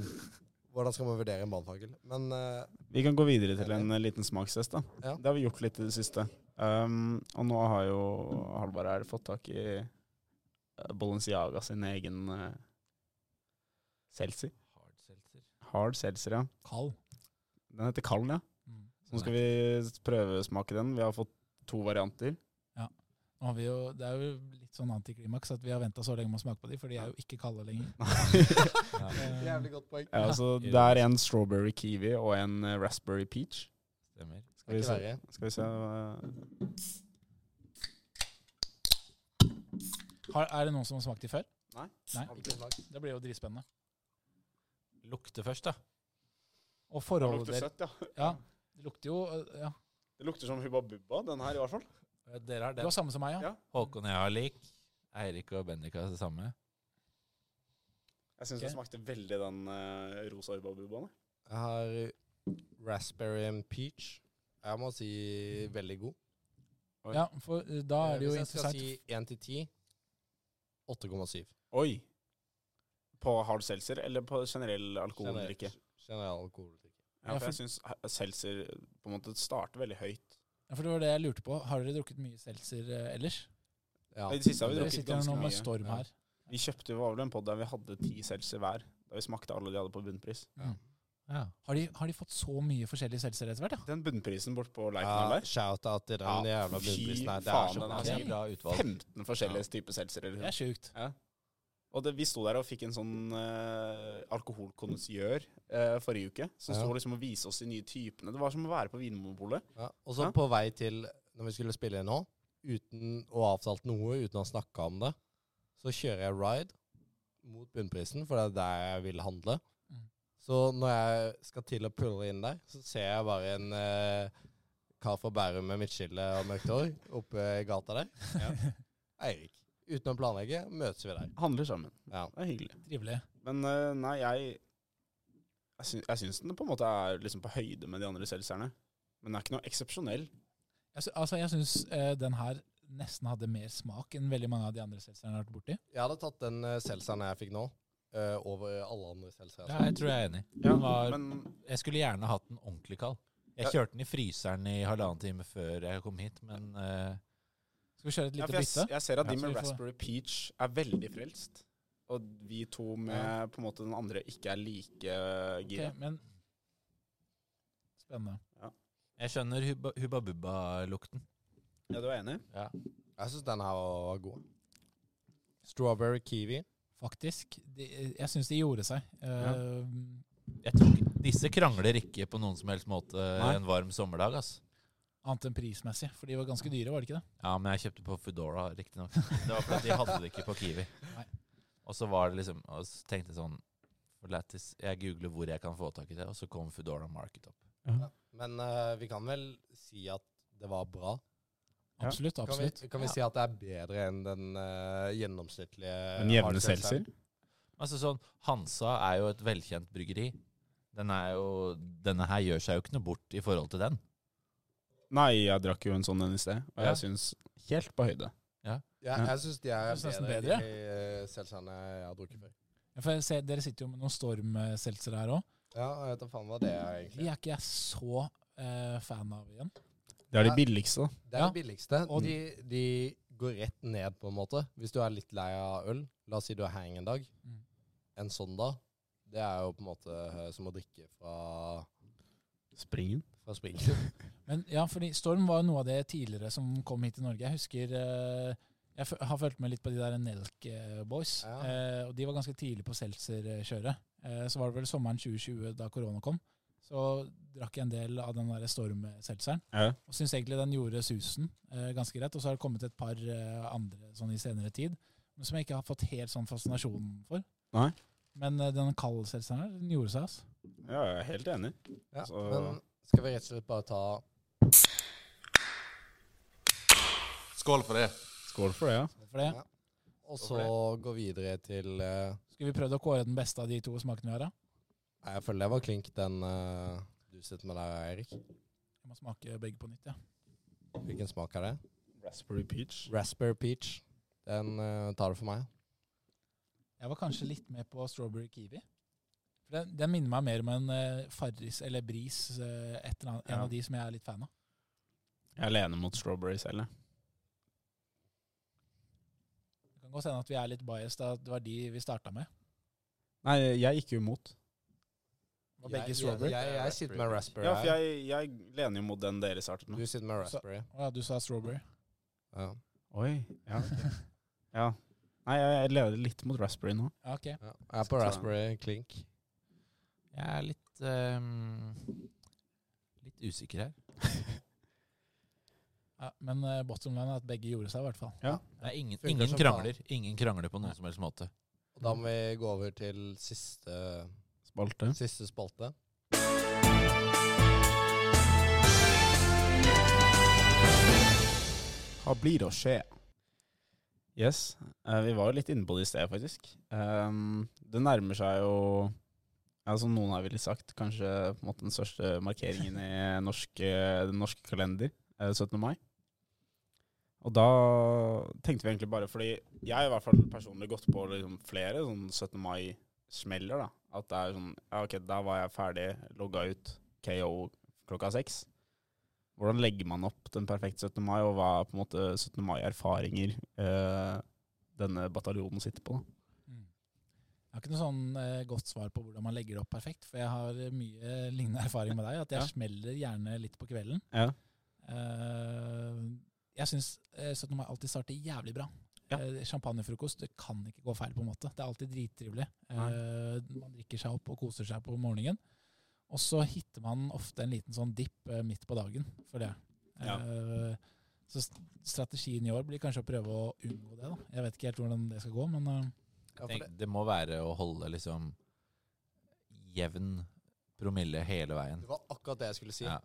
Speaker 4: Hvordan skal man vurdere en brannfakkel? Men eh,
Speaker 3: Vi kan gå videre til en eh, liten smakstest, da.
Speaker 4: Ja.
Speaker 3: Det har vi gjort litt i det siste. Um, og nå har jo Halvard her fått tak i eh, Balenciaga sin egen eh, seltzer.
Speaker 6: Hard seltzer.
Speaker 3: Hard seltzer, ja.
Speaker 5: Kald.
Speaker 3: Den heter Kallen, ja.
Speaker 5: Mm.
Speaker 3: Så nå skal vi prøvesmake den. Vi har fått to varianter.
Speaker 5: Nå har vi jo, det er jo litt sånn antiklimaks at vi har venta så lenge med å smake på de, for de er jo ikke kalde lenger.
Speaker 6: Ja,
Speaker 5: Eh,
Speaker 4: jævlig godt poeng.
Speaker 3: Ja, så det er en strawberry kiwi og en eh, raspberry peach.
Speaker 6: stemmer.
Speaker 3: Skal vi
Speaker 4: Ikke
Speaker 3: se,
Speaker 4: verre.
Speaker 3: skal vi se eh, hva-
Speaker 5: har, er det noen som har smakt de før?
Speaker 3: Nei.
Speaker 5: Nei?
Speaker 4: Aldri smakt.
Speaker 5: Det blir jo dritspennende.
Speaker 6: Lukte først, da.
Speaker 5: Og
Speaker 3: Det
Speaker 5: forholdet
Speaker 3: lukter
Speaker 5: deres
Speaker 3: søtt, ja.
Speaker 5: Ja, det lukter jo eh, ja.
Speaker 3: Det lukter som Hubba Bubba, den her i hvert fall.
Speaker 6: Eh, Dere har
Speaker 5: Det
Speaker 6: den.
Speaker 5: var samme som meg, ja.
Speaker 3: Ja.
Speaker 6: Håkon og jeg har lik. Eirik og Bendik har det samme.
Speaker 3: Jeg syns
Speaker 5: Ok.
Speaker 3: det smakte veldig den eh, rosa Hubba Bubbaen. jeg.
Speaker 4: Jeg har raspberry and peach. Jeg må si veldig god.
Speaker 3: Oi.
Speaker 5: ja for eh, da er det jo
Speaker 4: Hvis jeg skal
Speaker 5: interessant.
Speaker 4: si 1 til 10 8,7.
Speaker 3: Oi. På hard seltzer eller på generell alkoholdrikke?
Speaker 4: Generelt- Generell alkoholdrikke.
Speaker 3: Ja, for jeg syns seltzer på en måte starter veldig høyt.
Speaker 5: Ja, for det var det jeg lurte på. Har dere drukket mye seltzer eh, ellers?
Speaker 4: Ja.
Speaker 3: I det siste har vi
Speaker 5: Dere
Speaker 3: drukket
Speaker 5: sitter jo
Speaker 3: ganske
Speaker 5: nå med
Speaker 3: mye.
Speaker 5: storm
Speaker 4: Ja.
Speaker 5: her.
Speaker 3: Vi kjøpte jo var vel en podd der vi hadde ti seltzer hver. Da vi smakte alle de hadde på bunnpris.
Speaker 6: Ja.
Speaker 5: Har de, har de fått så mye forskjellige seltzer etter hvert, ja?
Speaker 3: Den bunnprisen bort på Leiten
Speaker 4: Ja,
Speaker 3: der.
Speaker 4: Shout-out til den
Speaker 3: Ja,
Speaker 4: jævla
Speaker 3: fy
Speaker 4: bunnprisen her. Det er
Speaker 3: faen,
Speaker 4: så
Speaker 3: den er
Speaker 4: bra.
Speaker 6: Det
Speaker 5: altså-
Speaker 6: er bra utvalg.
Speaker 3: 15 forskjellige typer seltzer. eller
Speaker 5: Det
Speaker 3: noe.
Speaker 5: er sjukt.
Speaker 3: Og det, vi sto der og fikk en sånn uh, alkoholkonnoisseur eh, forrige uke, som
Speaker 4: Ja.
Speaker 3: sto liksom og viste oss de nye typene. Det var som å være på Vinmonopolet.
Speaker 4: Ja. Og så
Speaker 3: Ja.
Speaker 4: på vei til når vi skulle spille inn nå, uten å ha avtalt noe, uten å ha snakka om det, så kjører jeg ride mot bunnprisen, for det er der jeg vil handle.
Speaker 5: Mm.
Speaker 4: Så når jeg skal til å pulle inn der, så ser jeg bare en eh, kar fra Bærum med midtskille og mørkt hår oppe i gata der. Eirik. Uten å planlegge møtes vi der.
Speaker 3: Handler sammen.
Speaker 4: Ja.
Speaker 3: Det er hyggelig.
Speaker 5: Trivelig.
Speaker 3: Men eh, nei, jeg jeg, sy jeg syns den på en måte er liksom på høyde med de andre seltzerne. Men den er ikke noe eksepsjonell.
Speaker 5: Jeg, sy- altså, jeg syns den her nesten hadde mer smak enn veldig mange av de andre seltzerne har vært borti.
Speaker 4: Jeg hadde tatt den eh, seltzeren jeg fikk nå, eh, over alle andre seltzere.
Speaker 6: Ja, jeg tror jeg er enig.
Speaker 3: Ja,
Speaker 6: Den var,
Speaker 3: men
Speaker 6: jeg skulle gjerne hatt den ordentlig kald. Jeg kjørte den i fryseren i halvannen time før jeg kom hit, men eh,
Speaker 5: Skal vi kjøre et
Speaker 3: ja,
Speaker 5: lite
Speaker 3: for jeg, s-
Speaker 5: bytte?
Speaker 3: jeg ser at
Speaker 5: Ja,
Speaker 3: de
Speaker 5: så
Speaker 3: med
Speaker 5: vi får-
Speaker 3: Raspberry Peach er veldig frelst. Og vi to med
Speaker 4: Ja.
Speaker 3: på en måte den andre ikke er like eh,
Speaker 5: Ok,
Speaker 3: gira.
Speaker 5: men Spennende.
Speaker 6: jeg skjønner hubba, hubba bubba-lukten.
Speaker 3: Ja, du er enig?
Speaker 6: Ja.
Speaker 4: Jeg syns den her var god. Strawberry kiwi.
Speaker 5: Faktisk. De, øh, jeg syns de gjorde seg. Eh,
Speaker 6: Jeg tror ikke, disse krangler ikke på noen som helst måte
Speaker 3: Nei.
Speaker 6: en varm sommerdag, ass.
Speaker 5: Annet enn prismessig, for de var ganske dyre, var de ikke det?
Speaker 6: Ja, men jeg kjøpte på Foodora, riktignok. Det var fordi de hadde det ikke på Kiwi.
Speaker 5: Nei.
Speaker 6: Og så var det liksom Og så tenkte jeg sånn for lættis, Jeg googler hvor jeg kan få tak i det, og så kom Foodora Market opp.
Speaker 4: Men eh, vi kan vel si at det var bra?
Speaker 3: Ja.
Speaker 5: Absolutt.
Speaker 4: Kan vi,
Speaker 5: absolutt.
Speaker 4: kan vi
Speaker 6: Ja.
Speaker 4: si at det er bedre enn den eh, gjennomsnittlige
Speaker 3: Eh,
Speaker 4: hard seltzeren?
Speaker 6: Altså sånn, Hansa er jo et velkjent bryggeri. Den er jo, denne her gjør seg jo ikke noe bort i forhold til den.
Speaker 3: Nei, jeg drakk jo en sånn en i sted, og
Speaker 6: Ja.
Speaker 3: jeg syns helt på høyde.
Speaker 4: Ja,
Speaker 3: Ja.
Speaker 4: jeg syns de er
Speaker 5: Jeg synes nesten
Speaker 4: bedre,
Speaker 5: bedre.
Speaker 4: enn de eh, seltzerne jeg har drukket før.
Speaker 5: Ja, for jeg ser, dere sitter jo med noen stormseltzer her òg.
Speaker 4: Ja, jeg vet da faen hva det er,
Speaker 5: De
Speaker 4: egentlig.
Speaker 5: er ikke jeg så eh, fan av igjen.
Speaker 3: Det er
Speaker 4: Ja.
Speaker 3: de billigste, da.
Speaker 4: Det er
Speaker 5: Ja.
Speaker 4: det billigste.
Speaker 5: Og-
Speaker 4: De, de går rett ned, på en måte. Hvis du er litt lei av øl, la oss si du er hang en dag,
Speaker 5: Mm.
Speaker 4: en søndag, Det er jo på en måte eh, som å drikke fra,
Speaker 3: Springen?
Speaker 4: fra springen.
Speaker 5: Men ja, fordi Storm var jo noe av det tidligere som kom hit til Norge. Jeg husker eh, Jeg fø- har fulgt med litt på de der Nelk eh, Boys.
Speaker 4: Ja.
Speaker 5: eh, og de var ganske tidlig på Seltzer-kjøret. Eh, så var det vel sommeren 2020, da korona kom. Så drakk jeg en del av den der Storm-seltzeren.
Speaker 3: Ja.
Speaker 5: Og syns egentlig den gjorde susen eh, ganske greit. Og så har det kommet et par eh, andre sånn i senere tid men som jeg ikke har fått helt sånn fascinasjon for.
Speaker 3: Nei.
Speaker 5: Men eh, den kalde seltzeren her, den gjorde seg, altså.
Speaker 3: Ja, jeg er helt enig.
Speaker 4: Ja,
Speaker 3: Så-
Speaker 4: men skal vi rett og slett bare ta
Speaker 6: Skål for det!
Speaker 3: Skål for det, ja.
Speaker 5: For det.
Speaker 4: Ja. Og så gå videre til eh,
Speaker 5: Skulle vi prøvd å kåre den beste av de to smakene vi har, da?
Speaker 4: Nei, Jeg føler det var klink, den eh, du sitter med der, Eirik.
Speaker 5: Jeg må smake begge på nytt, ja.
Speaker 4: Hvilken smak er det?
Speaker 3: Raspberry peach.
Speaker 4: Raspberry peach. Den eh, tar du for meg.
Speaker 5: Jeg var kanskje litt med på strawberry kiwi. For Den, den minner meg mer om en eh, Farris eller Bris, eh, et eller annet, en
Speaker 3: Ja.
Speaker 5: av de som jeg er litt fan av.
Speaker 3: Jeg er alene mot strawberry selv, jeg.
Speaker 5: Det kan godt hende at vi er litt biased, da det var de vi starta med.
Speaker 3: Nei, jeg gikk jo imot.
Speaker 5: Det Var begge
Speaker 4: Jeg-
Speaker 5: strawberry.
Speaker 4: Jeg, jeg, jeg sitter med raspberry.
Speaker 3: Ja, for
Speaker 4: her.
Speaker 3: jeg, jeg lener jo mot den dere startet med.
Speaker 4: Du sitter med raspberry.
Speaker 5: Å ja, du sa strawberry.
Speaker 4: Ja.
Speaker 3: Oi, ja. ok. ja. Nei, jeg, jeg leder litt mot raspberry nå.
Speaker 5: Ja, ok.
Speaker 4: Ja. Jeg er på raspberry klink.
Speaker 6: Jeg er litt ehm, Litt usikker her.
Speaker 5: Ja, men eh, bottom line er at begge gjorde seg, i hvert fall.
Speaker 6: Det er ingen,
Speaker 4: Funker
Speaker 6: ingen
Speaker 4: som
Speaker 6: krangler. Ingen krangler på noen som helst måte.
Speaker 4: Og da må vi gå over til siste,
Speaker 3: Spalte.
Speaker 5: Mm.
Speaker 4: siste spalte.
Speaker 3: Hva blir å skje? Yes, eh, vi var jo litt inne på det i sted, faktisk. Ehm, det nærmer seg jo ja, Som noen her ville sagt, kanskje på en måte den største markeringen i norsk, eh, den norske kalender, eh, 17. mai. Og da tenkte vi egentlig bare Fordi jeg har i hvert fall personlig gått på liksom flere sånn 17. mai-smeller. da At det er sånn Ja, OK, da var jeg ferdig, logga ut, KO klokka seks. Hvordan legger man opp den perfekte 17. mai, og hva er på en måte 17. mai-erfaringer eh, denne bataljonen sitter på? da?
Speaker 5: Mm. Jeg har ikke noe sånn eh, godt svar på hvordan man legger det opp perfekt, for jeg har eh, mye lignende erfaring med deg. At jeg
Speaker 3: Ja.
Speaker 5: smeller gjerne litt på kvelden.
Speaker 3: Ja.
Speaker 5: Eh, jeg syns 17. mai alltid starter jævlig bra.
Speaker 3: Ja.
Speaker 5: Eh, Champagnefrokost det kan ikke gå feil. på en måte Det er alltid drittrivelig. Eh, man drikker seg opp og koser seg på morgenen. Og så hitter man ofte en liten sånn dipp eh, midt på dagen for det.
Speaker 3: Ja.
Speaker 5: Eh, så s- strategien i år blir kanskje å prøve å unngå det. da Jeg vet ikke helt hvordan det skal gå, men eh,
Speaker 4: Ja, for
Speaker 6: Tenk,
Speaker 4: det,
Speaker 6: det må være å holde liksom jevn promille hele veien.
Speaker 4: det var akkurat det jeg skulle si.
Speaker 6: Ja.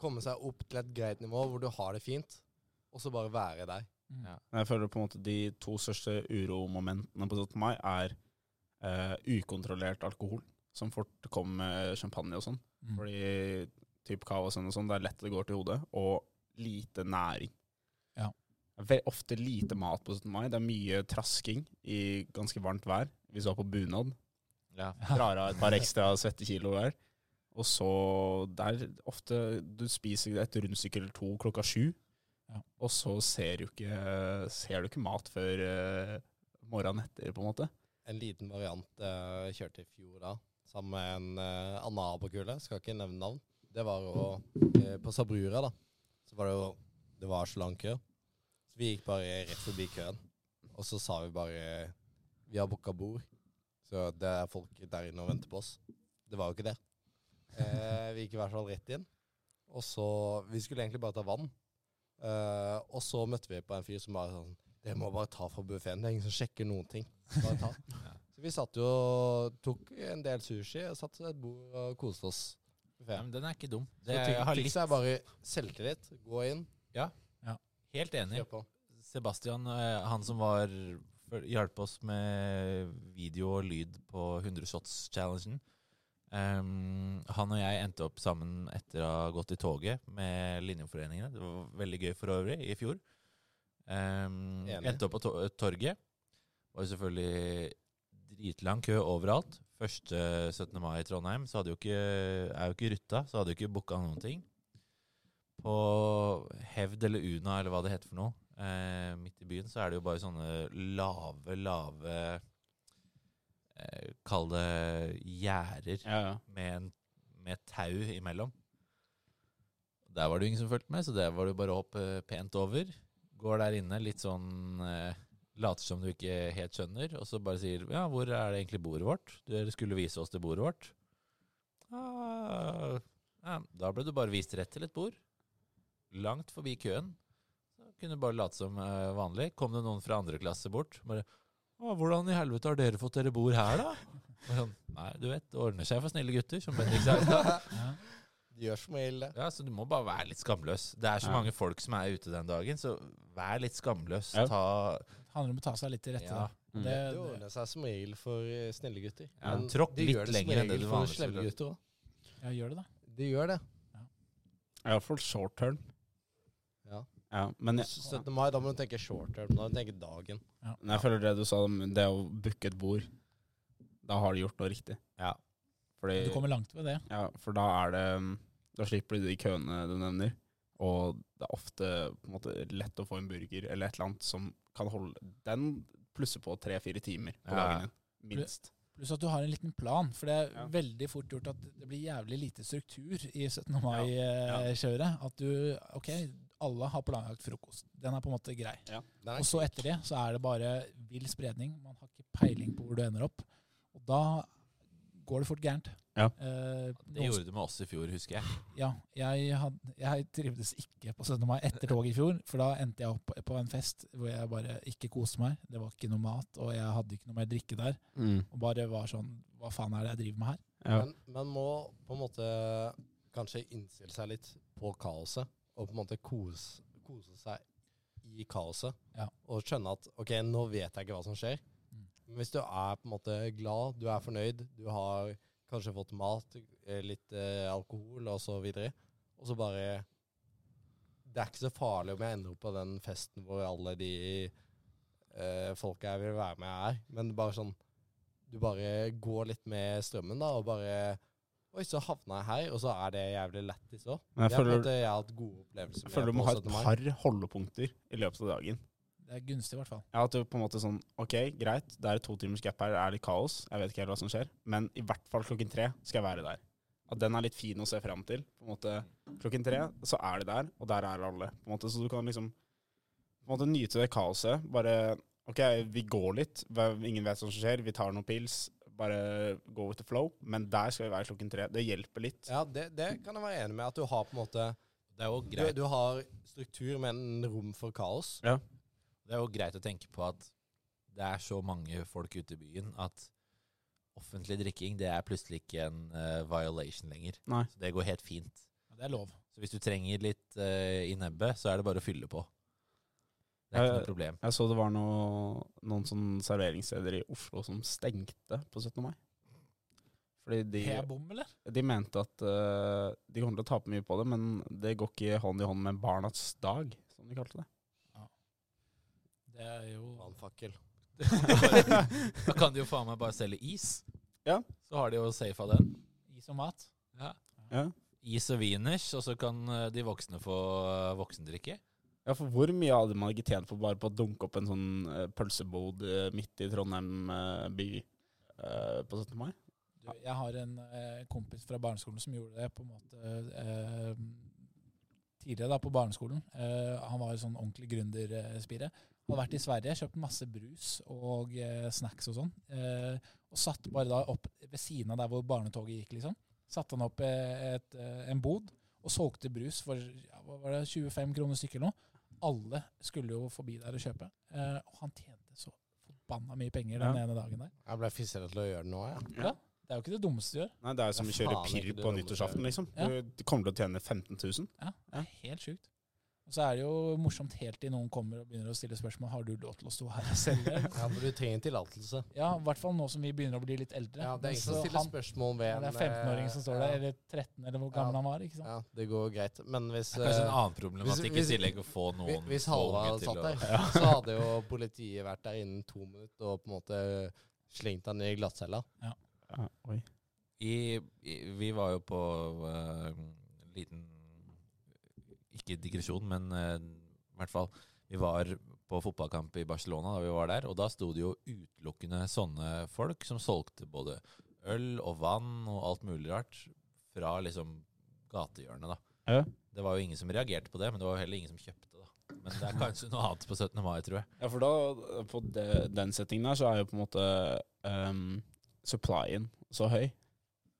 Speaker 4: Komme seg opp til et greit nivå hvor du har det fint, og så bare være deg.
Speaker 6: Ja.
Speaker 3: Jeg føler på en måte de to største uromomentene på 17. mai er eh, ukontrollert alkohol, som fort kommer med champagne og sånn.
Speaker 5: Mm.
Speaker 3: Fordi typ kava og sånn og sånn, det er lett det går til hodet, og lite næring.
Speaker 5: Ja.
Speaker 3: Det er Vel, ofte lite mat på 17. mai. Det er mye trasking i ganske varmt vær. Vi så på bunad.
Speaker 6: Ja.
Speaker 3: drar av et par ekstra svette kilo der. Og så der ofte Du spiser et rundstykke eller to klokka sju,
Speaker 5: Ja.
Speaker 3: og så ser du ikke, ser du ikke mat før eh, morgenen etter, på en måte.
Speaker 4: En liten variant eh, jeg kjørte i fjor da, sammen med en eh, annen abokule, skal ikke nevne navn. Det var jo eh, på Sabrura, da. Så var det jo Det var så lang kø. Så vi gikk bare rett forbi køen. Og så sa vi bare Vi har booka bord, så det er folk der inne og venter på oss. Det var jo ikke det. Eh, vi gikk i hvert fall rett inn. Og så Vi skulle egentlig bare ta vann. Eh, og så møtte vi på en fyr som bare sånn Dere må bare ta fra buffeen. Det er ingen som sjekker noen ting. Bare ta. Så vi satt jo og tok en del sushi og satt ved et bord og koste oss.
Speaker 6: Ja, men den er ikke dum.
Speaker 4: Så
Speaker 6: Det, jeg har
Speaker 4: fikk
Speaker 6: litt,
Speaker 4: seg bare selvtillit. Gå inn,
Speaker 6: helt enig.
Speaker 4: kjør på.
Speaker 6: Sebastian, eh, han som var for- hjalp oss med video og lyd på 100 shots-challengen. Ehm, han og jeg endte opp sammen etter å ha gått i toget med linjeforeningene. Det var veldig gøy for øvrig i fjor. Ehm,
Speaker 4: Enig.
Speaker 6: endte opp på to torget. Var jo selvfølgelig dritlang kø overalt. Første 17. mai i Trondheim så hadde jo ikke, er jo ikke rutta, så hadde jo ikke booka noen ting på Hevd eller Una, eller hva det heter for noe, eh, midt i byen, så er det jo bare sånne lave, lave eh, Kall det gjerder
Speaker 3: Ja, ja.
Speaker 6: med, en- med tau imellom. Der var det jo ingen som fulgte med, så det var det jo bare å hoppe pent over. Går der inne litt sånn eh, Later som du ikke helt skjønner, og så bare sier 'Ja, hvor er det egentlig bordet vårt?' Dere skulle vise oss til bordet vårt. Ah, ja, da ble du bare vist rett til et bord. Langt forbi køen. Så kunne du bare late som eh, vanlig. Kom det noen fra andre klasse bort, bare 'Å, hvordan i helvete har dere fått dere bord her, da?' Og sånn, Nei, du vet, det ordner seg for snille gutter, som Bendik sa i stad.
Speaker 4: De gjør som regel det.
Speaker 6: Ja, så du må bare være litt skamløs. Det er så
Speaker 3: Ja.
Speaker 6: mange folk som er ute den dagen, så vær litt skamløs.
Speaker 3: Ja.
Speaker 6: Ta
Speaker 5: Det handler om å ta seg litt til rette.
Speaker 6: Ja.
Speaker 5: da.
Speaker 3: Mm.
Speaker 5: Det,
Speaker 4: Det
Speaker 5: det,
Speaker 4: ordner seg som regel for eh, snille gutter.
Speaker 6: Ja,
Speaker 4: Men
Speaker 6: tråkk
Speaker 4: de
Speaker 6: litt
Speaker 4: gjør det som
Speaker 6: lenger enn det
Speaker 4: regel
Speaker 6: du
Speaker 4: for
Speaker 6: vanligvis
Speaker 4: slemme
Speaker 6: gjør.
Speaker 4: gutter òg.
Speaker 5: ja, gjør det, da.
Speaker 4: De gjør det.
Speaker 3: Iallfall short term.
Speaker 4: Ja.
Speaker 3: Ja, men jeg,
Speaker 4: Så 17. mai, da må du tenke short term. Da må du tenke dagen.
Speaker 3: men jeg føler det du sa om det å booke et bord Da har de gjort noe riktig.
Speaker 6: Ja. Eh.
Speaker 3: Fordi,
Speaker 5: Du kommer langt ved det.
Speaker 3: ja, for da er det mm, Da slipper du de køene du nevner. Og det er ofte på en måte lett å få en burger eller et eller annet som kan holde Den plusser på tre-fire timer på
Speaker 6: Ja.
Speaker 3: dagen din. Minst.
Speaker 5: Pluss at du har en liten plan, for det er
Speaker 3: Ja.
Speaker 5: veldig fort gjort at det blir jævlig lite struktur i 17. mai-kjøret. At du Ok, alle har planlagt frokost. Den er på en måte grei.
Speaker 4: Den er
Speaker 5: Og så etter det så er det bare vill spredning. Man har ikke peiling på hvor du ender opp. Og da går det fort gærent.
Speaker 3: Ja.
Speaker 5: Eh,
Speaker 6: Det
Speaker 5: noen-
Speaker 6: gjorde du med oss i fjor, husker jeg.
Speaker 5: ja jeg, had, jeg trivdes ikke på 17. mai etter toget i fjor, for da endte jeg opp på en fest hvor jeg bare ikke koste meg. Det var ikke noe mat, og jeg hadde ikke noe mer drikke der.
Speaker 3: Mm.
Speaker 5: Og bare var sånn Hva faen er det jeg driver med her?
Speaker 3: Ja.
Speaker 4: Men man må på en måte kanskje innstille seg litt på kaoset, og på en måte kose, kose seg i kaoset.
Speaker 5: Ja.
Speaker 4: Og skjønne at ok, nå vet jeg ikke hva som skjer.
Speaker 5: Mm.
Speaker 4: Men hvis du er på en måte glad, du er fornøyd, du har kanskje fått mat, eh, litt eh, alkohol og så videre, og så bare Det er ikke så farlig om jeg ender opp på den festen hvor alle de eh, folka jeg vil være med, er, men bare sånn du bare går litt med strømmen da, og bare Oi, så havna jeg her, og så er det jævlig lættis òg.
Speaker 3: Men jeg
Speaker 4: Det er på en
Speaker 3: føler,
Speaker 4: måte jeg har hatt gode opplevelser
Speaker 3: jeg føler du må ha et
Speaker 4: på 17. mai.
Speaker 3: par holdepunkter i løpet av dagen.
Speaker 5: Det er gunstig, i hvert fall.
Speaker 3: Ja, at du på en måte sånn Ok, greit, det er et to timers gap her, det er litt kaos, jeg vet ikke helt hva som skjer, men i hvert fall klokken tre skal jeg være der. At den er litt fin å se fram til. På en måte, klokken tre, så er de der, og der er alle. På en måte, så du kan liksom på en måte nyte det kaoset. Bare OK, vi går litt, hva- ingen vet hva som skjer, vi tar noen pils. Bare go with the flow. Men der skal vi være klokken tre. Det hjelper litt.
Speaker 4: Ja, det, det kan jeg være enig med. At du har på en måte
Speaker 6: Det er jo
Speaker 4: Du,
Speaker 6: greit,
Speaker 4: du har struktur, men rom for kaos.
Speaker 6: det er jo greit å tenke på at det er så mange folk ute i byen at offentlig drikking det er plutselig ikke en eh, violation lenger.
Speaker 3: Nei.
Speaker 6: Så det går helt fint.
Speaker 5: Ja, Det er lov.
Speaker 6: Så hvis du trenger litt eh, i nebbet, så er det bare å fylle på. Det er ikke
Speaker 3: Eh,
Speaker 6: noe problem.
Speaker 3: Jeg så det var noe, noen sånne serveringssteder i Oslo som stengte på 17. mai. Fordi de
Speaker 5: Er jeg bom, eller?
Speaker 3: De mente at eh, de kommer til å tape mye på det, men det går ikke hånd i hånd med barnas dag, som de kalte det.
Speaker 5: Det er jo
Speaker 4: Brannfakkel.
Speaker 6: da kan de jo faen meg bare selge is.
Speaker 3: Ja.
Speaker 6: Så har de jo safa den.
Speaker 5: is og mat.
Speaker 3: Ja.
Speaker 6: Is og wieners, og så kan eh, de voksne få eh, voksendrikke.
Speaker 3: ja, for hvor mye hadde man ikke tjent på bare på å dunke opp en sånn eh, pølsebod eh, midt i Trondheim eh, by eh, på 17. mai?
Speaker 5: Du, jeg har en eh, kompis fra barneskolen som gjorde det på en måte eh, tidligere da, på barneskolen. Eh, han var sånn ordentlig gründerspire. Hadde vært i Sverige, kjøpt masse brus og eh, snacks og sånn. Eh, og satt bare da opp ved siden av der hvor barnetoget gikk, liksom. Satte han opp eh, et, eh, en bod og solgte brus for ja, hva var det, 25 kroner stykket eller noe. Alle skulle jo forbi der og kjøpe. Eh, og han tjente så forbanna mye penger den
Speaker 3: Ja.
Speaker 5: ene dagen der.
Speaker 4: Jeg ble fissere til å gjøre det nå, jeg.
Speaker 3: Ja.
Speaker 5: Det er jo ikke det dummeste du gjør.
Speaker 3: Nei, det er jo som å
Speaker 4: Det er
Speaker 3: kjøre
Speaker 4: faen
Speaker 3: pirr
Speaker 4: ikke det
Speaker 3: på
Speaker 4: dummeste.
Speaker 3: nyttårsaften, liksom.
Speaker 5: Ja.
Speaker 3: Du, du kommer til å tjene 15 000.
Speaker 5: Ja, det er helt sjukt. Og så er det jo morsomt helt til noen kommer og begynner å stille spørsmål har du lov til å stå her og selge.
Speaker 4: Ja, for du trenger tillatelse.
Speaker 5: Ja, i hvert fall nå som vi begynner å bli litt eldre.
Speaker 4: Ja, det er
Speaker 5: Men
Speaker 4: ingen som
Speaker 5: så
Speaker 4: stiller
Speaker 5: han-
Speaker 4: spørsmål ved
Speaker 5: ja, det er 15-åringen som står der, eller 13, eller hvor gammel
Speaker 4: Ja.
Speaker 5: han var. ikke sant?
Speaker 4: Ja, det går greit. Men hvis
Speaker 6: Det er kanskje en
Speaker 4: eh,
Speaker 6: annen problematikk
Speaker 4: hvis-
Speaker 6: i tillegg å få
Speaker 4: Hvi-
Speaker 6: noen
Speaker 4: Hvis
Speaker 6: få
Speaker 4: Halva
Speaker 6: unge
Speaker 4: hadde
Speaker 6: til
Speaker 4: satt
Speaker 6: å-
Speaker 4: der, så hadde jo politiet vært der innen to minutter og på en måte slengt han i glattcella.
Speaker 3: Ja, oi.
Speaker 6: I, i, vi var jo på eh, en liten Ikke digresjon, men eh, i hvert fall Vi var på fotballkamp i Barcelona da vi var der, og da sto det jo utelukkende sånne folk som solgte både øl og vann og alt mulig rart fra liksom gatehjørnet, da.
Speaker 3: Ja.
Speaker 6: Det var jo ingen som reagerte på det, men det var jo heller ingen som kjøpte, da. Men det er kanskje noe annet på 17. mai, tror jeg.
Speaker 3: Ja, for da, på de, den settingen der, så er jo på en måte ehm, supplyen så høy.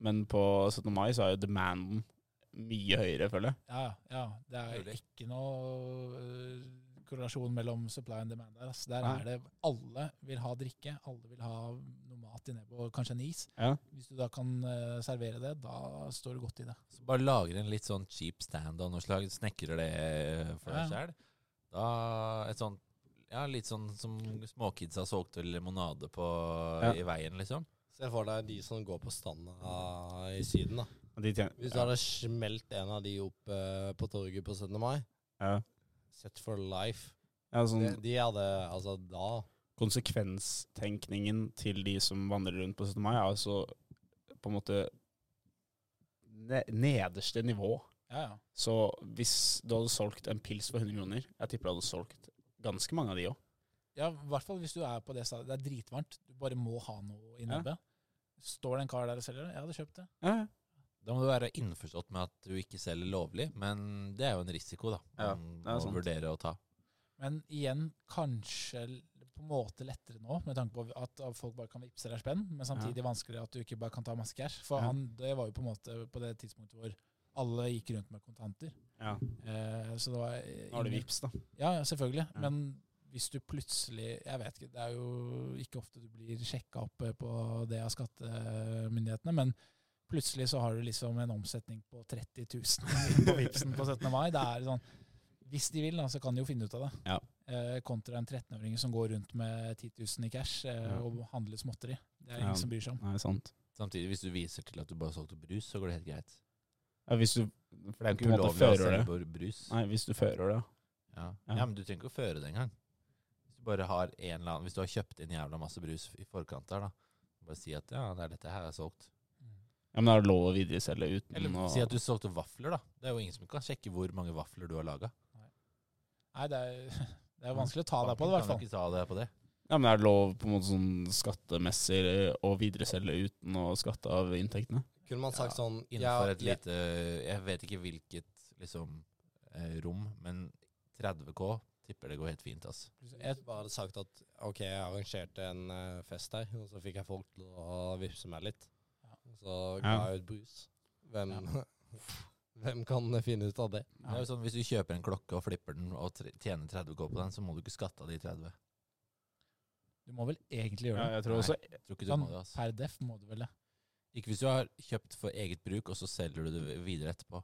Speaker 3: Men på 17. mai så er jo demanden mye høyere, føler jeg.
Speaker 5: Ja, ja. Det er
Speaker 6: Mulig.
Speaker 5: ikke noe øh, korrelasjon mellom supply and demand der. ass. Der
Speaker 3: Nei.
Speaker 5: er det Alle vil ha drikke, alle vil ha noe mat i nebbet, og kanskje en is.
Speaker 3: Ja.
Speaker 5: Hvis du da kan øh, servere det, da står du godt i det.
Speaker 6: Så bare lager en litt sånn cheap stand av noe slag, snekrer det eh, for deg
Speaker 5: Ja.
Speaker 6: sjæl. Da et sånt ja, litt sånn som småkidsa solgte limonade på
Speaker 3: Ja.
Speaker 6: i veien, liksom.
Speaker 4: Se for deg de som går på stranda i Syden, da.
Speaker 3: Og De tjener,
Speaker 4: Hvis du hadde smelt en av de opp eh, på torget på 17. mai,
Speaker 3: ja.
Speaker 4: set for life.
Speaker 3: ja,
Speaker 4: De,
Speaker 3: sånn
Speaker 4: de hadde Altså, da
Speaker 3: konsekvenstenkningen til de som vandrer rundt på 17. mai, er altså på en måte ne nederste nivå.
Speaker 5: Ja, ja.
Speaker 3: Så hvis du hadde solgt en pils for 100 kroner, jeg tipper du hadde solgt ganske mange av de òg.
Speaker 5: Ja, i hvert fall hvis du er på det stadiet. Det er dritvarmt. Du bare må ha noe i
Speaker 3: Ja.
Speaker 5: nebbet. Står det en kar der og selger det? Jeg hadde kjøpt det.
Speaker 6: Da må du være innforstått med at du ikke selger lovlig, men det er jo en risiko, da.
Speaker 3: Ja,
Speaker 6: Man
Speaker 3: det er
Speaker 6: må
Speaker 3: sant.
Speaker 6: vurdere å ta.
Speaker 5: Men igjen, kanskje l- på en måte lettere nå, med tanke på at at folk bare kan vippse deg spenn, men samtidig vanskeligere at du ikke bare kan ta masse cash. For
Speaker 3: Ja.
Speaker 5: han, det var jo på en måte på det tidspunktet hvor alle gikk rundt med kontanter.
Speaker 3: Ja.
Speaker 5: Eh, så det var
Speaker 3: Nå har du vips, da.
Speaker 5: Ja, ja, selvfølgelig.
Speaker 3: Ja.
Speaker 5: Men hvis du plutselig Jeg vet ikke, det er jo ikke ofte du blir sjekka opp eh, på det av skattemyndighetene, men plutselig så har du liksom en omsetning på 30 000 på Vipsen på 17. mai. Det er sånn Hvis de vil, da, så kan de jo finne ut av det.
Speaker 3: Ja.
Speaker 5: Eh, kontra en 13-åring som går rundt med 10 000 i cash eh,
Speaker 3: Ja.
Speaker 5: og handler småtteri. Det er
Speaker 3: Ja.
Speaker 5: ingen som bryr seg om.
Speaker 3: Nei, sant.
Speaker 6: Samtidig, hvis du viser til at du bare solgte brus, så går det helt greit.
Speaker 3: Ja, hvis du
Speaker 6: For det er jo
Speaker 3: på en
Speaker 6: ikke
Speaker 3: måte
Speaker 6: ulovlig å
Speaker 3: fører
Speaker 6: selge
Speaker 3: det.
Speaker 6: bare brus.
Speaker 3: Nei, hvis du fører det.
Speaker 6: Ja.
Speaker 3: Ja.
Speaker 6: ja, men du trenger ikke å føre det engang. Hvis du bare har en eller annen Hvis du har kjøpt en jævla masse brus i forkant der, da. Bare si at ja, det er dette her jeg har solgt.
Speaker 3: Ja, men da er det lov å videreselge uten
Speaker 6: Eller
Speaker 3: å
Speaker 6: si at du solgte vafler, da. Det er jo ingen som kan sjekke hvor mange vafler du har laga.
Speaker 5: Nei, det er, det er jo vanskelig å ta deg på det, i hvert fall.
Speaker 6: Ikke ta deg på det.
Speaker 3: Ja, men er det lov på en måte sånn skattemessig å videreselge uten å skatte av inntektene?
Speaker 4: kunne man sagt
Speaker 6: Ja,
Speaker 4: sånn
Speaker 6: Innenfor
Speaker 4: ja,
Speaker 6: et lite Jeg vet ikke hvilket liksom eh, rom, men 30K tipper det går helt fint, ass.
Speaker 4: Jeg bare hadde sagt at OK, jeg arrangerte en eh, fest her, og så fikk jeg folk til å vippse meg litt. Så ga
Speaker 3: Ja.
Speaker 4: jeg ut brus. Hvem, hvem kan finne ut av det?
Speaker 6: Det er jo sånn, Hvis du kjøper en klokke og flipper den og tre- tjener 30K på den, så må du ikke skatte av de 30.
Speaker 5: Du må vel egentlig gjøre det.
Speaker 3: jeg tror
Speaker 6: Nei.
Speaker 3: også
Speaker 6: Jeg tror ikke du
Speaker 5: Sånn,
Speaker 6: må det, altså. ass.
Speaker 5: per def må du vel det.
Speaker 6: Ikke hvis du har kjøpt for eget bruk, og så selger du det videre etterpå.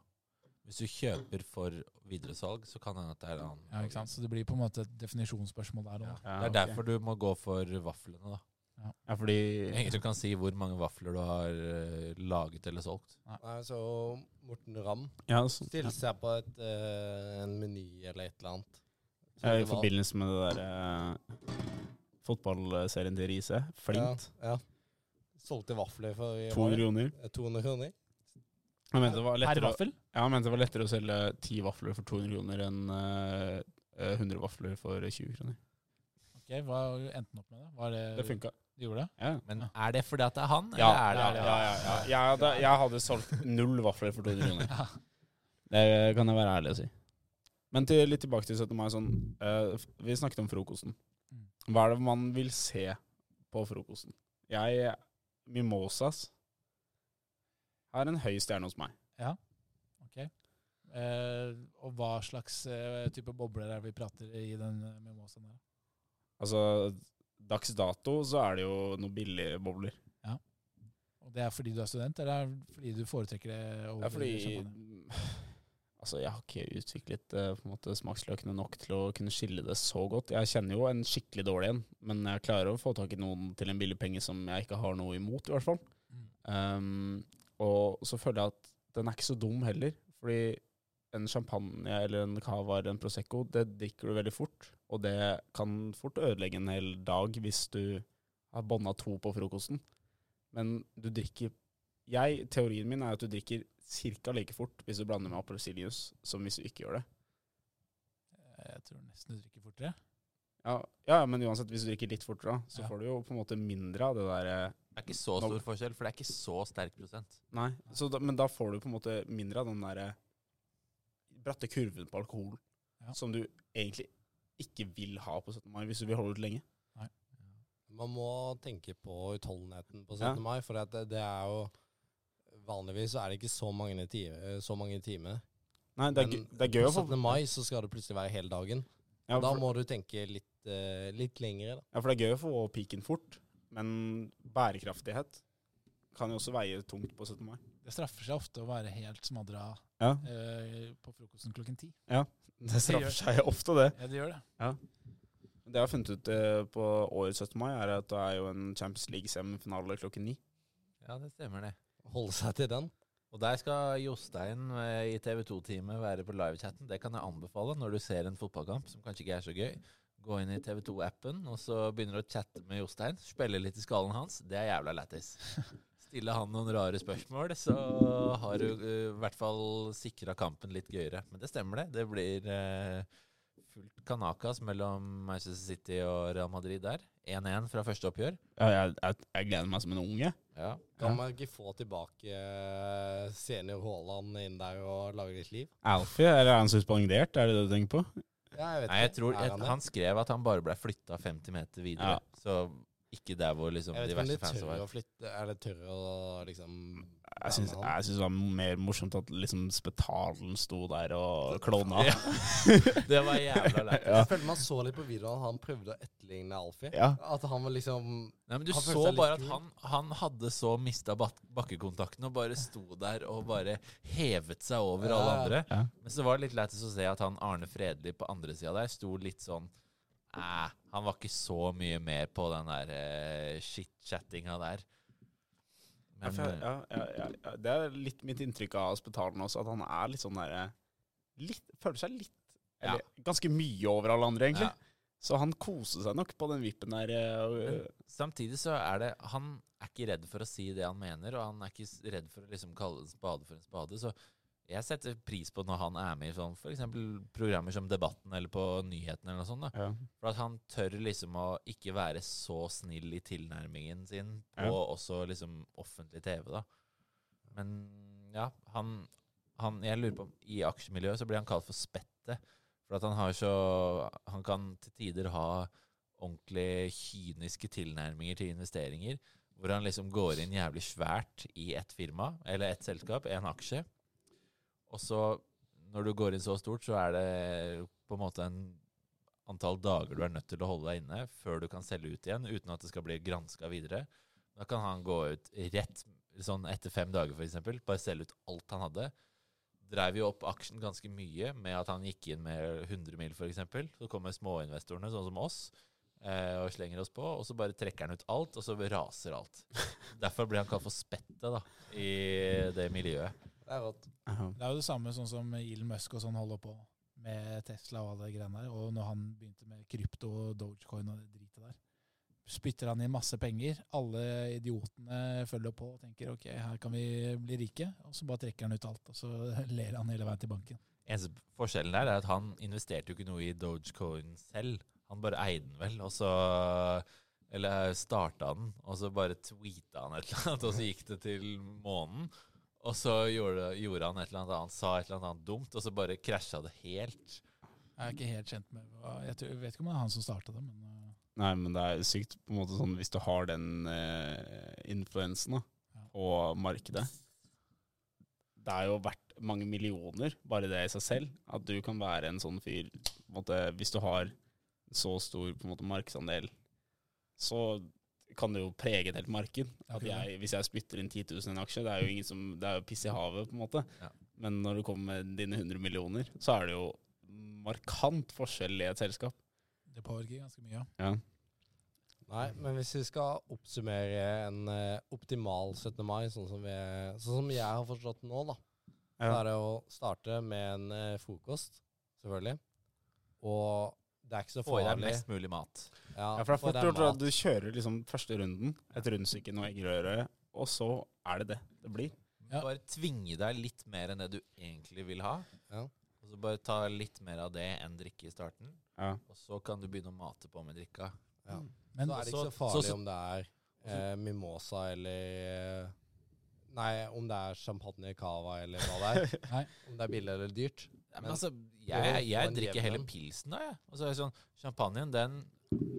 Speaker 6: Hvis du kjøper for videresalg, så kan det hende at det er en annen.
Speaker 5: Ja, ikke sant? Så det blir på en måte et definisjonsspørsmål der
Speaker 6: Ja.
Speaker 5: òg.
Speaker 6: Det er derfor du må gå for vaflene, da.
Speaker 3: Ja, fordi
Speaker 6: Det er Ingen som kan si hvor mange vafler du har eh, laget eller solgt.
Speaker 4: Nei, så Morten Ramm
Speaker 3: ja, så,
Speaker 4: stilte seg på et, eh, en meny eller et eller annet.
Speaker 3: ja, I
Speaker 4: Det var-
Speaker 3: forbindelse med det der eh, fotballserien til Riise, Flint,
Speaker 4: Ja, ja. Solgte vafler for i
Speaker 3: 200
Speaker 4: mai.
Speaker 3: kroner.
Speaker 4: 200 kroner.
Speaker 3: Jeg mente, det var
Speaker 5: Per
Speaker 3: lettere, å-
Speaker 5: vaffel?
Speaker 3: ja, jeg mente det var lettere å selge 10 vafler for 200 kroner enn eh, eh, 100 vafler for 20 kroner.
Speaker 5: Ok, hva endte den opp med? da? Var det,
Speaker 3: Det funka.
Speaker 5: Du gjorde det?
Speaker 3: Ja.
Speaker 6: Men er det fordi at det er han,
Speaker 3: Ja,
Speaker 6: eller er det
Speaker 3: ja, ja, ja, ja. Jeg, hadde, jeg hadde solgt null vafler for 200 kroner. Det eh, kan jeg være ærlig og si. Men til, litt tilbake til 17. mai. Sånn, eh, f- vi snakket om frokosten.
Speaker 6: Mm.
Speaker 3: Hva er det man vil se på frokosten? Jeg Mimosas har en høy stjerne hos meg.
Speaker 5: Eh, og hva slags eh, type bobler er det vi prater i den eh, mimosaen der?
Speaker 3: Altså, dags dato så er det jo noen billige bobler.
Speaker 5: Og det er fordi du er student, eller er det fordi du foretrekker det?
Speaker 3: Det
Speaker 5: over
Speaker 3: er fordi
Speaker 5: champagne?
Speaker 3: Altså, jeg har ikke utviklet eh, på en måte smaksløkene nok til å kunne skille det så godt. Jeg kjenner jo en skikkelig dårlig en, men jeg klarer å få tak i noen til en billig penge som jeg ikke har noe imot, i hvert fall.
Speaker 5: Mm.
Speaker 3: Um, og så føler jeg at den er ikke så dum heller, fordi en champagne eller en cava eller en prosecco, det drikker du veldig fort, og det kan fort ødelegge en hel dag hvis du har bånda to på frokosten. Men du drikker jeg, Teorien min er at du drikker ca. like fort hvis du blander med appelsinjuice, som hvis du ikke gjør det.
Speaker 5: Eh, Jeg tror nesten du drikker fortere.
Speaker 3: Ja, ja, men uansett, hvis du drikker litt fortere, så
Speaker 5: Ja.
Speaker 3: får du jo på en måte mindre av det der eh,
Speaker 6: Det er ikke så stor forskjell, for det er ikke så sterk prosent.
Speaker 3: Nei, så da, men da får du på en måte mindre av den der eh, bratte kurven på alkoholen
Speaker 5: Ja.
Speaker 3: som du egentlig ikke vil ha på 17. mai hvis du vil holde ut lenge.
Speaker 4: Man må tenke på utholdenheten på 17.
Speaker 3: Ja.
Speaker 4: mai, for at det, det er jo Vanligvis så er det ikke så mange i time- så mange i timene.
Speaker 3: Nei, det er,
Speaker 4: Men
Speaker 3: gøy- det er gøy å
Speaker 4: på
Speaker 3: få
Speaker 4: 17. mai så skal det plutselig være hele dagen.
Speaker 3: ja,
Speaker 4: da
Speaker 3: for,
Speaker 4: må du tenke litt, eh, litt lengre, da.
Speaker 3: ja, for det er gøy å få piken fort, men bærekraftighet kan jo også veie tungt på 17. mai.
Speaker 5: Det straffer seg ofte å være helt smadra
Speaker 3: Ja,
Speaker 5: eh, på frokosten klokken ti.
Speaker 3: det straffer seg ofte, det.
Speaker 5: Ja, det gjør det.
Speaker 3: Det jeg har funnet ut eh, på årets 17. mai, er at det er jo en Champions League-semifinale klokken ni.
Speaker 6: Ja, det stemmer det.
Speaker 4: Holde seg til den.
Speaker 6: Og der skal Jostein eh, i TV2-teamet være på livechatten. Det kan jeg anbefale når du ser en fotballkamp som kanskje ikke er så gøy. Gå inn i TV2-appen, og så begynner du å chatte med Jostein. Spille litt i skallen hans. Det er jævla lættis. Stille han noen rare spørsmål, så har du eh, i hvert fall sikra kampen litt gøyere. Men det stemmer, det. Det blir eh, fullt kanakas mellom Manchester City og Real Madrid der. 1-1 fra første oppgjør.
Speaker 3: Ja, jeg, jeg, jeg gleder meg som en unge.
Speaker 6: Ja.
Speaker 4: Kan man ikke få tilbake eh, senior Haaland inn der og lage litt liv?
Speaker 3: Alfie, eller er han suspendert? Er det det du tenker på?
Speaker 4: Ja, jeg vet
Speaker 6: Nei, jeg
Speaker 4: ikke.
Speaker 6: tror
Speaker 4: Er
Speaker 6: jeg,
Speaker 4: han det?
Speaker 6: Han skrev at han bare ble flytta 50 meter videre.
Speaker 3: Ja.
Speaker 6: Så ikke der hvor liksom
Speaker 4: Jeg vet
Speaker 6: de
Speaker 4: ikke om de
Speaker 6: verste fansa
Speaker 4: tør
Speaker 6: var.
Speaker 4: å flytte Er det tørre å liksom
Speaker 3: Jeg syns,
Speaker 4: blande han?
Speaker 3: jeg syns det var mer morsomt at liksom spetalen sto der og klona.
Speaker 6: Ja. Det var jævla lættis.
Speaker 3: Ja.
Speaker 4: Jeg følte man så litt på videoen han prøvde å etterligne Alfie.
Speaker 3: Ja.
Speaker 4: At han var liksom
Speaker 6: Nei, men Du
Speaker 4: Han følte
Speaker 6: så
Speaker 4: seg litt
Speaker 6: bare at
Speaker 4: kul.
Speaker 6: han, han hadde så mista bakkekontakten og bare sto der og bare hevet seg over alle
Speaker 4: Ja.
Speaker 6: andre.
Speaker 3: Ja.
Speaker 6: Men så var det litt lættis å se at han Arne Fredli på andre sida der sto litt sånn Æh, han var ikke så mye med på den der eh, shit-chattinga der. eh,
Speaker 3: Ja, for jeg- ja, ja, ja, ja. Det er litt mitt inntrykk av spetalen også, at han er litt sånn derre litt- Føler seg litt Eller ganske mye over alle andre, egentlig.
Speaker 6: Ja.
Speaker 3: Så han koser seg nok på den vippen der. eh, og, eh,
Speaker 6: Samtidig så er det Han er ikke redd for å si det han mener, og han er ikke s- redd for å liksom kalle en spade for en spade. Så jeg setter pris på når han er med i sånn f.eks. programmer som Debatten eller på nyhetene eller noe sånt. da.
Speaker 3: ja.
Speaker 6: For at han tør liksom å ikke være så snill i tilnærmingen sin på
Speaker 3: Ja.
Speaker 6: også liksom offentlig TV, da. Men ja, han, han Jeg lurer på om i aksjemiljøet så blir han kalt for Spettet. For at han har så Han kan til tider ha ordentlig kyniske tilnærminger til investeringer. Hvor han liksom går inn jævlig svært i ett firma, eller ett selskap, en aksje. Og så, når du går inn så stort, så er det på en måte en antall dager du er nødt til å holde deg inne før du kan selge ut igjen, uten at det skal bli granska videre. Da kan han gå ut rett sånn etter fem dager, f.eks., bare selge ut alt han hadde. Dreiv jo opp aksjen ganske mye med at han gikk inn med 100 mil, f.eks. Så kommer småinvestorene, sånn som oss, eh, og slenger oss på, og så bare trekker han ut alt, og så raser alt. Derfor blir han kalt for spettet, da, i det miljøet.
Speaker 4: Det er rått.
Speaker 3: Ja.
Speaker 5: Det er jo det samme sånn som Elon Musk og sånn holder på med Tesla og alle de greiene der. Og når han begynte med krypto og Dogecoin og det dritet der, spytter han inn masse penger. Alle idiotene følger på og tenker ok, her kan vi bli rike. Og så bare trekker han ut alt, og så ler han hele veien til banken.
Speaker 6: Eneste forskjellen der er at han investerte jo ikke noe i Dogecoin selv. Han bare eide den vel, og så Eller starta den, og så bare tweeta han et eller annet, og så gikk det til månen. Og så gjorde, gjorde han et eller annet, han sa et eller annet dumt, og så bare krasja det helt.
Speaker 5: Jeg er ikke helt kjent med hva- Jeg, tror, jeg vet ikke om det er han som starta det, men øh,
Speaker 3: Nei, men det er sykt på en måte sånn hvis du har den eh, influensen da, på markedet. Det er jo verdt mange millioner, bare det i seg selv. At du kan være en sånn fyr på en måte, Hvis du har så stor på en måte, markedsandel, så kan det jo prege et helt marked. At
Speaker 5: akkurat det.
Speaker 3: jeg, hvis jeg spytter inn 10 000 i en aksje, det er jo, ingen som, det er jo piss i havet, på en måte.
Speaker 6: Ja.
Speaker 3: Men når du kommer med dine 100 millioner, så er det jo markant forskjell i et selskap.
Speaker 5: det påvirker ganske mye. ja.
Speaker 3: Ja.
Speaker 4: Nei, men hvis vi skal oppsummere en eh, optimal 17. mai, sånn som, vi, sånn som jeg har forstått nå, da, så
Speaker 3: Ja.
Speaker 4: er det å starte med en eh, frokost, selvfølgelig. Og det er ikke så
Speaker 6: Få i deg
Speaker 4: farlig.
Speaker 6: mest mulig mat.
Speaker 3: Ja, for det er
Speaker 4: få i
Speaker 3: fort
Speaker 4: deg
Speaker 3: gjort at
Speaker 4: mat.
Speaker 3: du kjører liksom første runden, et rundstykke, noe eggerøre, og så er det det det blir.
Speaker 5: Ja.
Speaker 6: Bare tvinge deg litt mer enn det du egentlig vil ha.
Speaker 4: Ja.
Speaker 6: Og Og så bare ta litt mer av det enn drikke i starten,
Speaker 3: Ja.
Speaker 6: og så kan du begynne å mate på med drikka.
Speaker 4: Ja.
Speaker 5: Men
Speaker 4: så er det
Speaker 6: så-
Speaker 4: ikke så farlig
Speaker 6: så-
Speaker 4: om det er eh, mimosa eller eh, Nei, om det er champagne, cava eller hva det er.
Speaker 5: Nei.
Speaker 4: Om det er billig eller dyrt.
Speaker 6: Ja, men
Speaker 4: Men-
Speaker 6: altså,
Speaker 4: Prøv å
Speaker 6: jeg,
Speaker 4: få
Speaker 6: jeg
Speaker 4: en
Speaker 6: drikker
Speaker 4: jevn
Speaker 6: hele
Speaker 4: en.
Speaker 6: pilsen da, jeg. Og så er det sånn, champagnen, den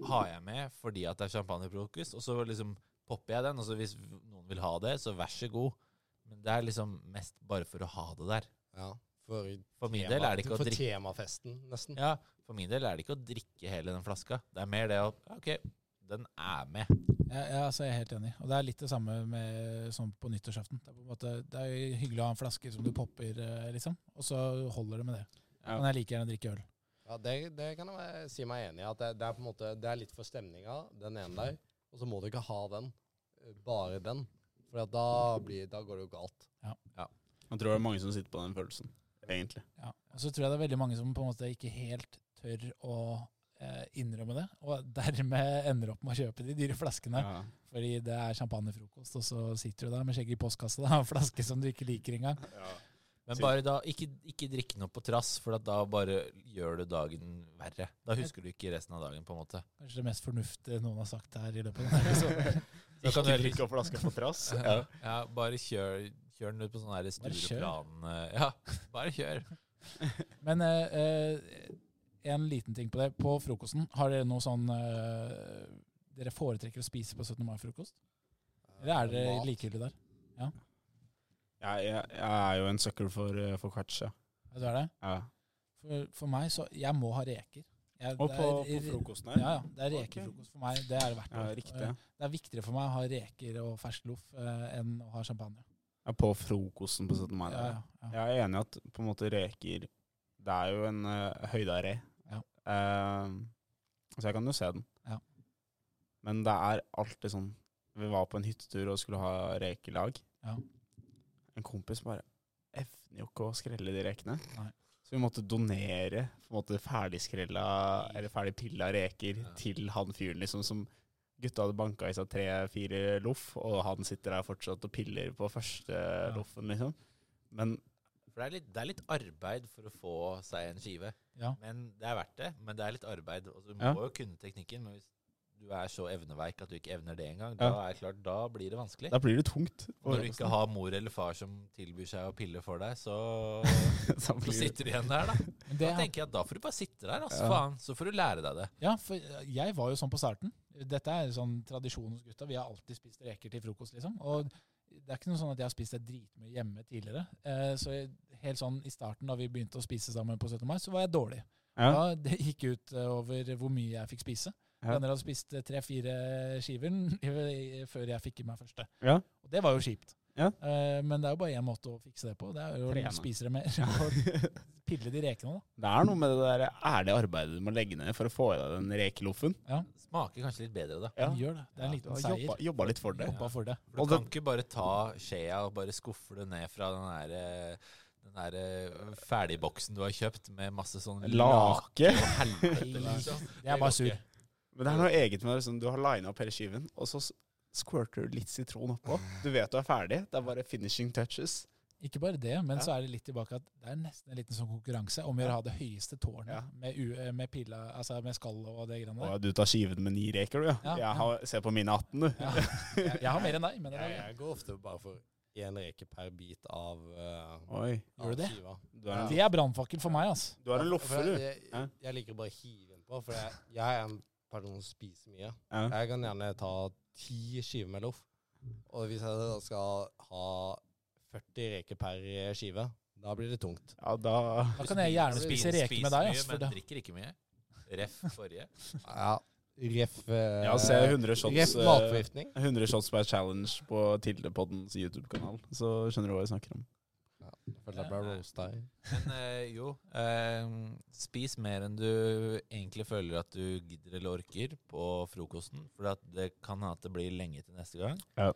Speaker 6: har jeg med fordi at det er champagnefrokost, og så liksom popper jeg den, og så hvis noen vil ha det, så vær så god. Men det er liksom mest bare for å ha det der.
Speaker 4: Ja, for,
Speaker 6: For min del er det ikke å
Speaker 4: for
Speaker 6: drikke
Speaker 4: temafesten, nesten.
Speaker 6: Ja, for min del er det ikke å drikke hele den flaska. Det er mer det å OK, den er med.
Speaker 5: Ja, ja, altså jeg er helt enig. Og det er litt det samme med, sånn på nyttårsaften. Det er, på en måte, det er jo hyggelig å ha en flaske som du popper, eh, liksom. Og så holder det med det.
Speaker 3: Ja.
Speaker 5: Men jeg liker gjerne å drikke øl.
Speaker 4: Ja, det, det kan jeg være- si meg enig i. At det, det er på en måte Det er litt for stemninga, den ene der. Og så må du ikke ha den. eh, Bare den. For at da, blir, da går det jo galt.
Speaker 3: Jeg tror det er mange som sitter på den følelsen, egentlig.
Speaker 5: Ja. Og så tror jeg det er veldig mange som på en måte ikke helt tør å eh, innrømme det, og dermed ender opp med å kjøpe de dyre flaskene.
Speaker 3: Ja.
Speaker 5: Fordi det er champagnefrokost, og så sitter du der med skjegget i postkassa og en flaske som du ikke liker engang.
Speaker 6: Men bare da, ikke, ikke drikk noe på trass, for at da bare gjør du dagen verre. Da husker du ikke resten av dagen, på en måte.
Speaker 5: Kanskje det mest fornuftige noen har sagt her i løpet av denne episoden.
Speaker 6: Da kan du heller-
Speaker 3: drikke opp flaska på trass.
Speaker 6: Ja, bare kjør, kjør den ut på sånn her
Speaker 5: Bare kjør.
Speaker 6: Stureplan eh, Ja, bare kjør.
Speaker 5: Men eh, eh, en liten ting på det. På frokosten, har dere noe sånn eh, Dere foretrekker å spise på 17. mai-frokost? Eller er dere
Speaker 4: Mat.
Speaker 5: likegyldige der?
Speaker 3: Jeg, jeg, jeg er jo en sucker for, eh, for quacha.
Speaker 5: Vet du hva det er?
Speaker 3: Ja.
Speaker 5: For, for meg, så Jeg må ha reker. Jeg,
Speaker 3: Og
Speaker 5: det
Speaker 3: på, på
Speaker 5: er-
Speaker 3: frokosten her.
Speaker 5: Ja, ja. Det er
Speaker 3: Ok.
Speaker 5: rekefrokost for meg. Det er det verdt.
Speaker 3: Ja,
Speaker 5: det.
Speaker 3: riktig. Ja.
Speaker 5: Det er viktigere for meg å ha reker og fersk loff eh, enn å ha champagne.
Speaker 3: På frokosten på 17. mai.
Speaker 5: Ja,
Speaker 3: da.
Speaker 5: ja, ja.
Speaker 3: Jeg er enig i at på en måte reker Det er jo en uh, høydare.
Speaker 5: Ja.
Speaker 3: Eh, så jeg kan jo se den.
Speaker 5: Ja.
Speaker 3: Men det er alltid sånn Vi var på en hyttetur og skulle ha rekelag.
Speaker 5: Ja.
Speaker 3: En kompis bare evner jo ikke å skrelle de rekene.
Speaker 5: Nei.
Speaker 3: Så vi måtte donere på en måte ferdigskrella eller ferdigpilla reker
Speaker 6: Ja.
Speaker 3: til han fyren liksom som Gutta hadde banka i seg tre-fire loff, og han sitter der fortsatt og piller på første loffen, liksom. Men
Speaker 6: For det er, litt, det er litt arbeid for å få seg en skive.
Speaker 5: Ja.
Speaker 6: Men det er verdt det. Men det er litt arbeid. Og du må
Speaker 3: Ja.
Speaker 6: jo kunne teknikken. Men hvis du er så evneveik at du ikke evner det engang,
Speaker 3: Ja.
Speaker 6: da er det klart, da blir det vanskelig.
Speaker 3: Da liksom blir det tungt.
Speaker 6: Når du ikke har mor eller far som tilbyr seg å pille for deg, så,
Speaker 3: Da Sånn- blir
Speaker 6: så
Speaker 3: det-
Speaker 6: sitter du igjen der, da.
Speaker 5: Men
Speaker 6: Da
Speaker 5: det,
Speaker 6: tenker jeg at da får du bare sitte der, altså.
Speaker 3: Ja.
Speaker 6: Faen. Så får du lære deg det.
Speaker 5: ja, for jeg var jo sånn på starten. Dette er sånn tradisjon hos gutta. Vi har alltid spist reker til frokost, liksom. Og det er ikke noe sånn at jeg har spist det dritmye hjemme tidligere. Eh, så jeg, helt sånn i starten, da vi begynte å spise sammen på 17. mai, så var jeg dårlig.
Speaker 3: ja.
Speaker 5: Da det gikk ut eh, over hvor mye jeg fikk spise.
Speaker 3: Ja.
Speaker 5: Venner hadde spist eh, tre-fire skiver eh, før jeg fikk i meg første.
Speaker 3: Ja.
Speaker 5: Og det var jo kjipt.
Speaker 3: Ja.
Speaker 5: Eh, men det er jo bare én måte å fikse det på. Det er jo
Speaker 3: Trene.
Speaker 5: å spise det mer og pille de rekene. da.
Speaker 3: Det er noe med det der ærlige arbeidet du må legge ned for å få i deg den rekeloffen.
Speaker 6: Smaker kanskje litt bedre, da.
Speaker 3: Ja.
Speaker 5: Men gjør det. Det er en
Speaker 3: Du
Speaker 5: liten
Speaker 3: har
Speaker 5: seier.
Speaker 3: jobba, jobba litt for det.
Speaker 5: Jobba for det.
Speaker 6: For
Speaker 3: Og
Speaker 6: du kan ikke bare ta skjea og bare skuffe det ned fra den der, eh, den der eh, ferdigboksen du har kjøpt med masse sånn
Speaker 3: Lake.
Speaker 6: og helvete, liksom.
Speaker 5: Jeg er bare sur.
Speaker 3: Men det er noe eget med det. Sånn, du har lina opp hele skiven, og så s- squirter du litt sitron oppå. Du vet du er ferdig. Det er bare finishing touches.
Speaker 5: Ikke bare det, men
Speaker 3: Ja.
Speaker 5: så er det litt tilbake at det er nesten en liten sånn konkurranse om å gjøre å ha det høyeste tårnet
Speaker 3: Ja.
Speaker 5: med, u, eh, med pila, altså med skall og det greiene der.
Speaker 3: Å, du tar skiven med ni reker, du.
Speaker 5: Ja,
Speaker 3: Ja. Jeg har, ser på mine 18, du.
Speaker 5: Ja. Jeg, jeg har mer enn deg, men det er
Speaker 4: Jeg,
Speaker 5: greit.
Speaker 4: jeg går ofte bare for én reke per bit av, uh,
Speaker 3: Oi.
Speaker 5: Gjør du det?
Speaker 4: skiva.
Speaker 3: Du er en,
Speaker 5: Det er brannfakkel for meg, altså.
Speaker 3: du er en
Speaker 4: Ja, for
Speaker 3: loffe,
Speaker 4: jeg-
Speaker 3: du. Ja.
Speaker 4: Jeg, jeg liker å bare hive innpå, for jeg, jeg er en person som spiser mye.
Speaker 3: Ja.
Speaker 4: Jeg kan gjerne ta ti skiver med loff. Og hvis jeg da skal ha 40 reker per skive, da blir det tungt.
Speaker 3: Ja, da
Speaker 5: Da kan jeg gjerne
Speaker 6: Spis-
Speaker 5: spise reker
Speaker 6: spis
Speaker 5: med deg.
Speaker 6: mye,
Speaker 5: Altså, for
Speaker 6: men
Speaker 5: det.
Speaker 6: drikker ikke mye. Ref forrige.
Speaker 4: Ja, ref eh,
Speaker 3: Ja, se 100 shots,
Speaker 4: Ref
Speaker 3: eh,
Speaker 4: matforgiftning.
Speaker 3: 100 shots per challenge på Tildepoddens YouTube-kanal, så skjønner du hva vi snakker om.
Speaker 4: Jeg følte jeg ble
Speaker 6: Ja.
Speaker 4: roasta her.
Speaker 6: Men eh, jo, eh, spis mer enn du egentlig føler at du gidder eller orker på frokosten. For at det kan hende at det blir lenge til neste gang.
Speaker 3: Ja.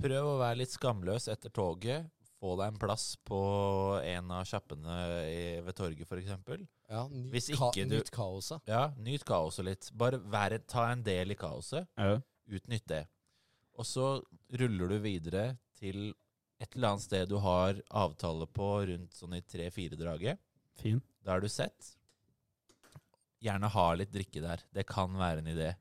Speaker 6: Prøv å være litt skamløs etter toget. Få deg en plass på en av sjappene i- ved torget, f.eks.
Speaker 4: Ja, nyt,
Speaker 6: Hvis
Speaker 4: ka
Speaker 6: ikke du-
Speaker 4: nytt kaoset.
Speaker 6: Ja, nyt kaoset litt. Bare vær, ta en del i kaoset.
Speaker 3: Ja.
Speaker 6: Utnytt det. Og så ruller du videre til et eller annet sted du har avtale på rundt sånn i tre-fire draget.
Speaker 3: Fin.
Speaker 6: Da har du sett. Gjerne ha litt drikke der. Det kan være en idé.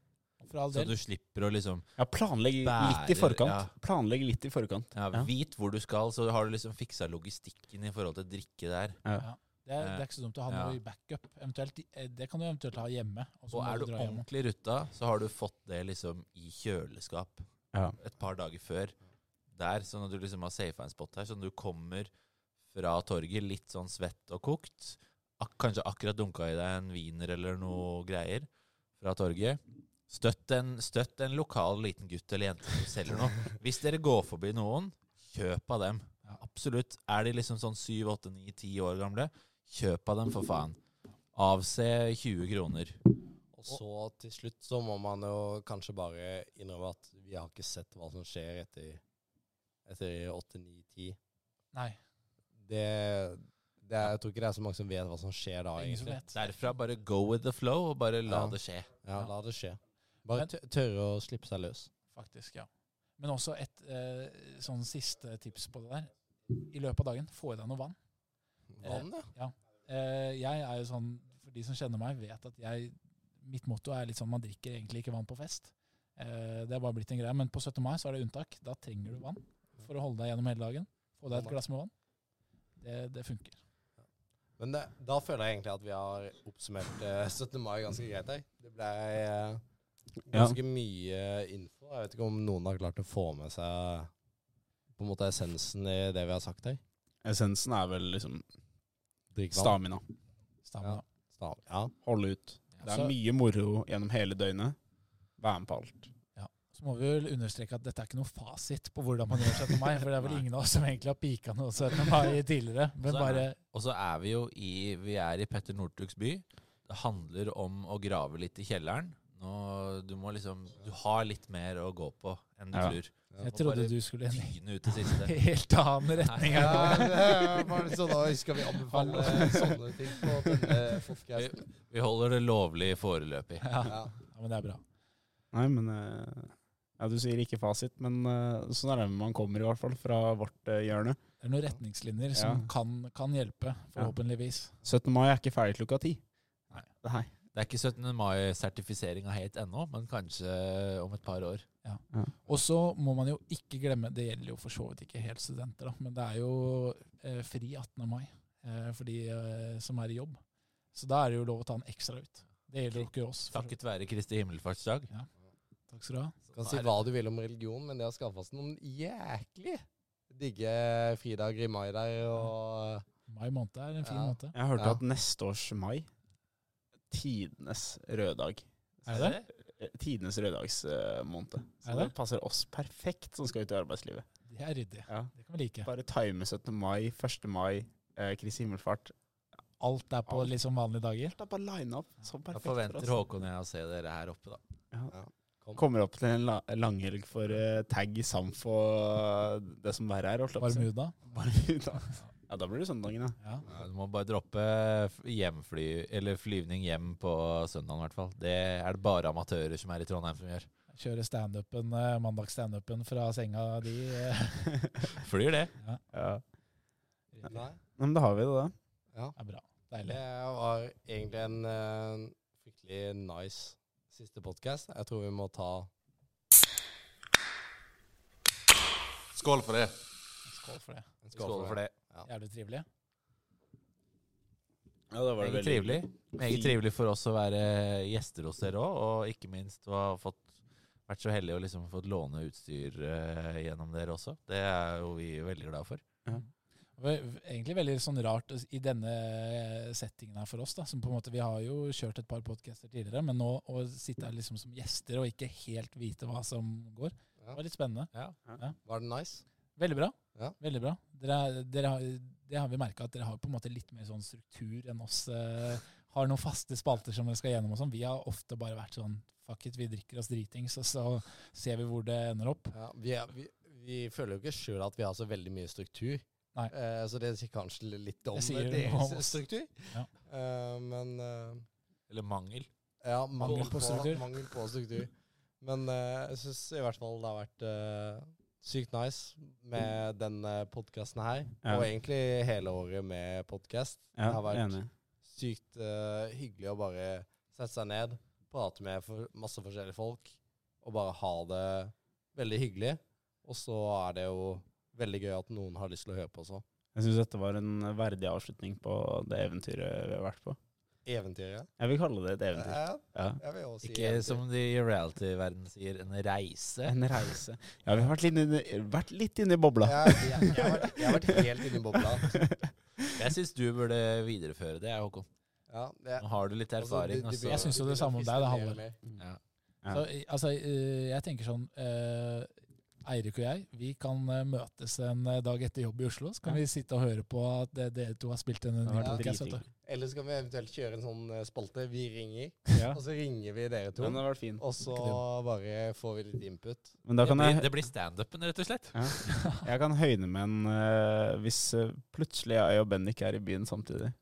Speaker 5: For all
Speaker 6: Så
Speaker 5: del.
Speaker 6: du slipper å liksom
Speaker 3: Ja, planlegg litt i
Speaker 6: Bærer, ja.
Speaker 3: forkant. Planlegg litt i forkant.
Speaker 6: ja, vite hvor du skal, så har du liksom fiksa logistikken i forhold til drikke der.
Speaker 5: Det er, det er ikke så dumt å ha noe
Speaker 6: Ja.
Speaker 5: i backup. Eventuelt, eh, det kan du eventuelt ha hjemme. Og så
Speaker 6: Og
Speaker 5: må
Speaker 6: er du
Speaker 5: dra hjem.
Speaker 6: ordentlig rutta, så har du fått det liksom i kjøleskap
Speaker 3: Ja.
Speaker 6: et par dager før der, sånn at du liksom har safa en spot her. Sånn at du kommer fra torget litt sånn svett og kokt, ak kanskje akkurat dunka i deg en wiener eller noe greier fra torget. Støtt en, støtt en lokal liten gutt eller jente som selger noe. Hvis dere går forbi noen, kjøp av dem. Absolutt. Er de liksom sånn 7, 8, 9, 10 år gamle, kjøp av dem for faen. Avse 20 kroner.
Speaker 4: Og så til slutt så må man jo kanskje bare innrømme at vi har ikke sett hva som skjer etter, etter 8-9-10.
Speaker 5: Nei,
Speaker 4: Det, det er, jeg tror ikke det er så mange som vet hva som skjer da,
Speaker 5: det er ingen som
Speaker 4: egentlig.
Speaker 5: vet.
Speaker 6: Derfra bare go with the flow, og bare la
Speaker 4: Ja.
Speaker 6: det skje.
Speaker 4: Ja, la det skje. Bare
Speaker 5: Men-
Speaker 4: tø- tørre å slippe seg løs.
Speaker 5: Faktisk, ja. Men også et eh, sånn siste tips på det der. I løpet av dagen, få i deg noe vann.
Speaker 4: Vann, ja.
Speaker 5: Eh, jeg er jo sånn, for de som kjenner meg, vet at jeg, mitt motto er litt sånn man drikker egentlig ikke vann på fest. Eh, det er bare blitt en greie. Men på 17. mai så er det unntak. Da trenger du vann for å holde deg gjennom hele dagen. Få deg et glass med vann. Det, det funker.
Speaker 4: Men det, da føler jeg egentlig at vi har oppsummert eh, 17. mai ganske greit her. Det ble eh, ganske mye info. Jeg vet ikke om noen har klart å få med seg på en måte essensen i det vi har sagt her.
Speaker 3: Essensen er vel liksom
Speaker 4: Drikk vann.
Speaker 3: stamina.
Speaker 5: Stamina.
Speaker 4: Stav. Ja.
Speaker 3: Holde ut. Det er
Speaker 5: Så-
Speaker 3: mye moro gjennom hele døgnet. Vær med på alt.
Speaker 5: Så må vi vel understreke at dette er ikke noe fasit på hvordan man gjør 17. mai, for det er vel
Speaker 3: Nei.
Speaker 5: ingen av oss som egentlig har pika noe 17. mai tidligere. Men
Speaker 6: Så er
Speaker 5: bare
Speaker 6: Og så er vi jo i, vi er i Petter Northugs by. Det handler om å grave litt i kjelleren. Nå, du må liksom, du har litt mer å gå på enn du
Speaker 3: Ja.
Speaker 6: tror.
Speaker 5: Jeg trodde du skulle i en
Speaker 6: Tyne ut det siste.
Speaker 5: helt annen retning her nå.
Speaker 4: bare sånn, da skal vi anbefale sånne ting på
Speaker 6: podcasten. Vi holder det lovlig foreløpig.
Speaker 5: Ja. ja, men det er bra.
Speaker 3: Nei, men eh, Ja, du sier ikke fasit, men eh, sånn er det man kommer, i hvert fall, fra vårt eh, hjørne.
Speaker 5: Det er noen retningslinjer som
Speaker 3: Ja.
Speaker 5: kan, kan hjelpe, forhåpentligvis.
Speaker 3: 17. mai er ikke ferdig klokka ti.
Speaker 5: Nei.
Speaker 3: Nei.
Speaker 6: Det er ikke 17. mai-sertifiseringa helt ennå, men kanskje om et par år.
Speaker 5: Og så må man jo ikke glemme, det gjelder jo for så vidt ikke helt studenter, da, men det er jo eh, fri 18. mai eh, for de eh, som er i jobb. Så da er det jo lov å ta en ekstra ut. Det gjelder jo ikke oss. for så vidt.
Speaker 6: Takket være Kristi himmelfartsdag.
Speaker 5: Takk skal du ha.
Speaker 4: Kan si hva du vil om religion, men det å skaffe oss noen jæklig digge fridager i mai der, og
Speaker 5: Mai måned er en fin
Speaker 4: Ja.
Speaker 5: måned.
Speaker 3: Jeg hørte
Speaker 4: Ja.
Speaker 3: at neste års mai Tidenes røddag.
Speaker 5: Er det det?
Speaker 3: Eh, Tidenes røddagsmåned.
Speaker 5: Er
Speaker 3: Så
Speaker 5: det?
Speaker 3: det passer oss perfekt som skal ut i arbeidslivet.
Speaker 5: Det er ryddig.
Speaker 3: Ja.
Speaker 5: Det kan vi like.
Speaker 3: Bare time 17. mai, 1. mai, eh, Kristi himmelfart.
Speaker 5: Alt er på
Speaker 3: Alt.
Speaker 5: liksom vanlige dager.
Speaker 3: Det er bare line opp så
Speaker 6: Da
Speaker 3: perfekt for
Speaker 6: forventer
Speaker 3: oss.
Speaker 6: Håkon og jeg å se dere her oppe, da.
Speaker 3: Kommer opp til en la langhelg for eh, tag i Samfo og det som verre er. holdt jeg på å si.
Speaker 5: Barmuda.
Speaker 3: Barmuda. Ja, da blir det søndagen, ja.
Speaker 5: Ja.
Speaker 6: Ja, Du må bare droppe f- hjemfly, eller flyvning hjem på søndagen i hvert fall. Det er det bare amatører som er i Trondheim som gjør.
Speaker 5: Kjøre standupen, eh, mandagsstandupen fra senga di. eh.
Speaker 6: Flyr det.
Speaker 3: ja.
Speaker 4: Nei.
Speaker 3: Nei, Men da har vi det, da.
Speaker 4: Ja.
Speaker 5: Det er bra.
Speaker 4: Det
Speaker 5: Deilig.
Speaker 4: var egentlig en eh, fryktelig nice siste podkast. Jeg tror vi må ta
Speaker 7: Skål for det.
Speaker 5: Skål for det.
Speaker 4: en skål,
Speaker 6: Skål for det.
Speaker 5: Jævlig trivelig.
Speaker 3: Ja, da
Speaker 6: Meget trivelig. Meget trivelig for oss å være gjester hos dere òg, og ikke minst å ha fått, vært så heldige og liksom fått låne utstyr eh, gjennom dere også. Det er jo vi veldig glad for.
Speaker 5: Ve- v- Egentlig veldig sånn rart eh, i denne eh, settingen her for oss. da, som på en måte Vi har jo kjørt et par podcaster tidligere, men nå å sitte her liksom som gjester og ikke helt vite hva som går,
Speaker 4: Ja.
Speaker 5: var litt spennende.
Speaker 4: Var det nice?
Speaker 5: Veldig bra.
Speaker 4: Ja.
Speaker 5: Veldig bra. Dere, er- dere har, det har vi merka, at dere har på en måte litt mer sånn struktur enn oss. eh, har noen faste spalter som dere skal gjennom og sånn. Vi har ofte bare vært sånn fuck it, vi drikker oss dritings, og så ser vi hvor det ender opp.
Speaker 4: Ja, vi, er, vi, vi føler jo ikke sjøl at vi har så veldig mye struktur.
Speaker 5: Nei.
Speaker 4: Eh, så det sier kanskje litt om
Speaker 5: Det sier noe
Speaker 4: deres
Speaker 5: om oss.
Speaker 4: struktur.
Speaker 5: Ja.
Speaker 4: Eh, men eh,
Speaker 6: Eller mangel.
Speaker 4: ja, mangel,
Speaker 5: på
Speaker 4: på,
Speaker 5: struktur.
Speaker 4: mangel på struktur. Men eh, jeg syns i hvert fall det har vært eh, Sykt nice med denne podkasten her,
Speaker 2: Ja.
Speaker 4: og egentlig hele året med podkast.
Speaker 2: Ja,
Speaker 4: det har vært
Speaker 2: enig.
Speaker 4: sykt eh, hyggelig å bare sette seg ned, prate med for, masse forskjellige folk, og bare ha det veldig hyggelig. Og så er det jo veldig gøy at noen har lyst til å høre på også.
Speaker 3: Jeg syns dette var en verdig avslutning på det eventyret vi har vært på.
Speaker 4: Eventyret.
Speaker 3: Jeg vil kalle det et eventyr.
Speaker 4: Ja,
Speaker 3: Ja.
Speaker 4: jeg vil også si
Speaker 6: Ikke
Speaker 4: eventyr.
Speaker 6: som de i reality-verden sier, en reise.
Speaker 3: En reise. Ja, vi har vært litt inne, vært litt inne i bobla.
Speaker 4: Ja, jeg, jeg, har vært, jeg har vært helt inni bobla.
Speaker 6: Jeg syns du burde videreføre det, Håkon.
Speaker 4: Ja, det,
Speaker 6: Nå har du litt
Speaker 4: altså,
Speaker 6: erfaring.
Speaker 4: du- du
Speaker 6: altså.
Speaker 4: blir-
Speaker 5: Jeg synes jo
Speaker 4: du
Speaker 5: det
Speaker 4: blir
Speaker 5: samme om deg, da,
Speaker 4: fiskelig
Speaker 5: Halle.
Speaker 4: mer.
Speaker 3: Ja.
Speaker 5: Så, i- altså, eh, jeg tenker sånn eh, Eirik og jeg, vi kan eh, møtes en eh, dag etter jobb i Oslo. Så kan vi sitte og høre på at det, dere to har spilt en ny
Speaker 3: Det har
Speaker 4: Ja.
Speaker 3: vært
Speaker 5: podcast, vet
Speaker 3: dritdigg.
Speaker 5: du.
Speaker 4: Eller så kan vi eventuelt kjøre en sånn eh, spalte. Vi ringer,
Speaker 3: Ja.
Speaker 4: og så ringer vi dere to.
Speaker 3: Den har vært fin.
Speaker 4: Og så bare får vi litt input.
Speaker 3: Men da
Speaker 6: Det
Speaker 3: kan
Speaker 6: blir,
Speaker 3: jeg,
Speaker 6: det blir standupen, rett og slett.
Speaker 3: jeg kan høyne med en eh, Hvis eh, plutselig jeg og Ben ikke er i byen samtidig,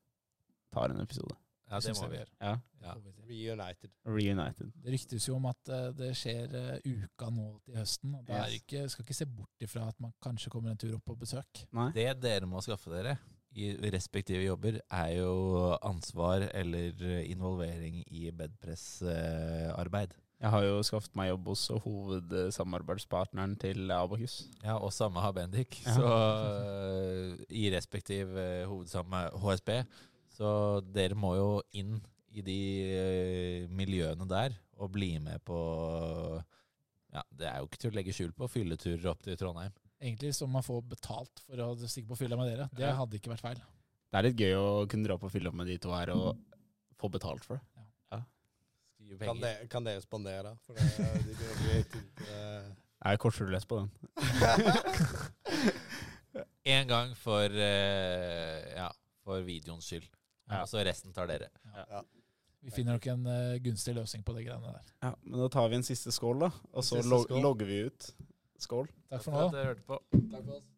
Speaker 3: tar en episode.
Speaker 6: Ja, det
Speaker 5: synes
Speaker 6: må
Speaker 5: jeg
Speaker 6: vi
Speaker 5: vi
Speaker 6: gjøre.
Speaker 3: Ja.
Speaker 6: Ja.
Speaker 5: Får vi til.
Speaker 4: Reunited.
Speaker 3: Reunited.
Speaker 5: Det ryktes jo om at eh, det skjer eh, uka nå til høsten. Og da er det
Speaker 3: Yes.
Speaker 5: ikke, skal ikke se bort ifra at man kanskje kommer en tur opp på besøk.
Speaker 3: Nei?
Speaker 6: Det dere må skaffe dere i respektive jobber, er jo ansvar eller involvering i bedpressarbeid.
Speaker 3: Jeg har jo skaffet meg jobb hos hovedsamarbeidspartneren til Abakus.
Speaker 6: Ja, og samme har Bendik.
Speaker 3: Ja.
Speaker 6: Så eh, i respektiv eh, hovedsamme HSB, så dere må jo inn i de eh, miljøene der og bli med på ja, Det er jo ikke til å legge skjul på, fylleturer opp til Trondheim.
Speaker 5: Egentlig som man får betalt for å stikke på fylla med dere. Det
Speaker 3: Ja.
Speaker 5: hadde ikke vært feil.
Speaker 3: Det er litt gøy å kunne dra på fylla med de to her og få betalt for det.
Speaker 6: Skrive
Speaker 4: Kan,
Speaker 6: penger.
Speaker 4: dere- kan dere spandere, da? For det, de begynner å bli tynt, eh.
Speaker 3: Jeg er kortrulett på den.
Speaker 6: En gang for, eh, ja, for videoens skyld.
Speaker 3: Ja.
Speaker 6: Og så resten tar dere.
Speaker 5: Vi finner nok en eh, gunstig løsning på de greiene der.
Speaker 3: Ja, men da tar vi en siste skål, da. Og så
Speaker 4: Siste
Speaker 3: log
Speaker 4: skål.
Speaker 3: logger vi ut. Skål.
Speaker 5: Takk for nå.
Speaker 6: dere hørte på.
Speaker 4: Takk for oss.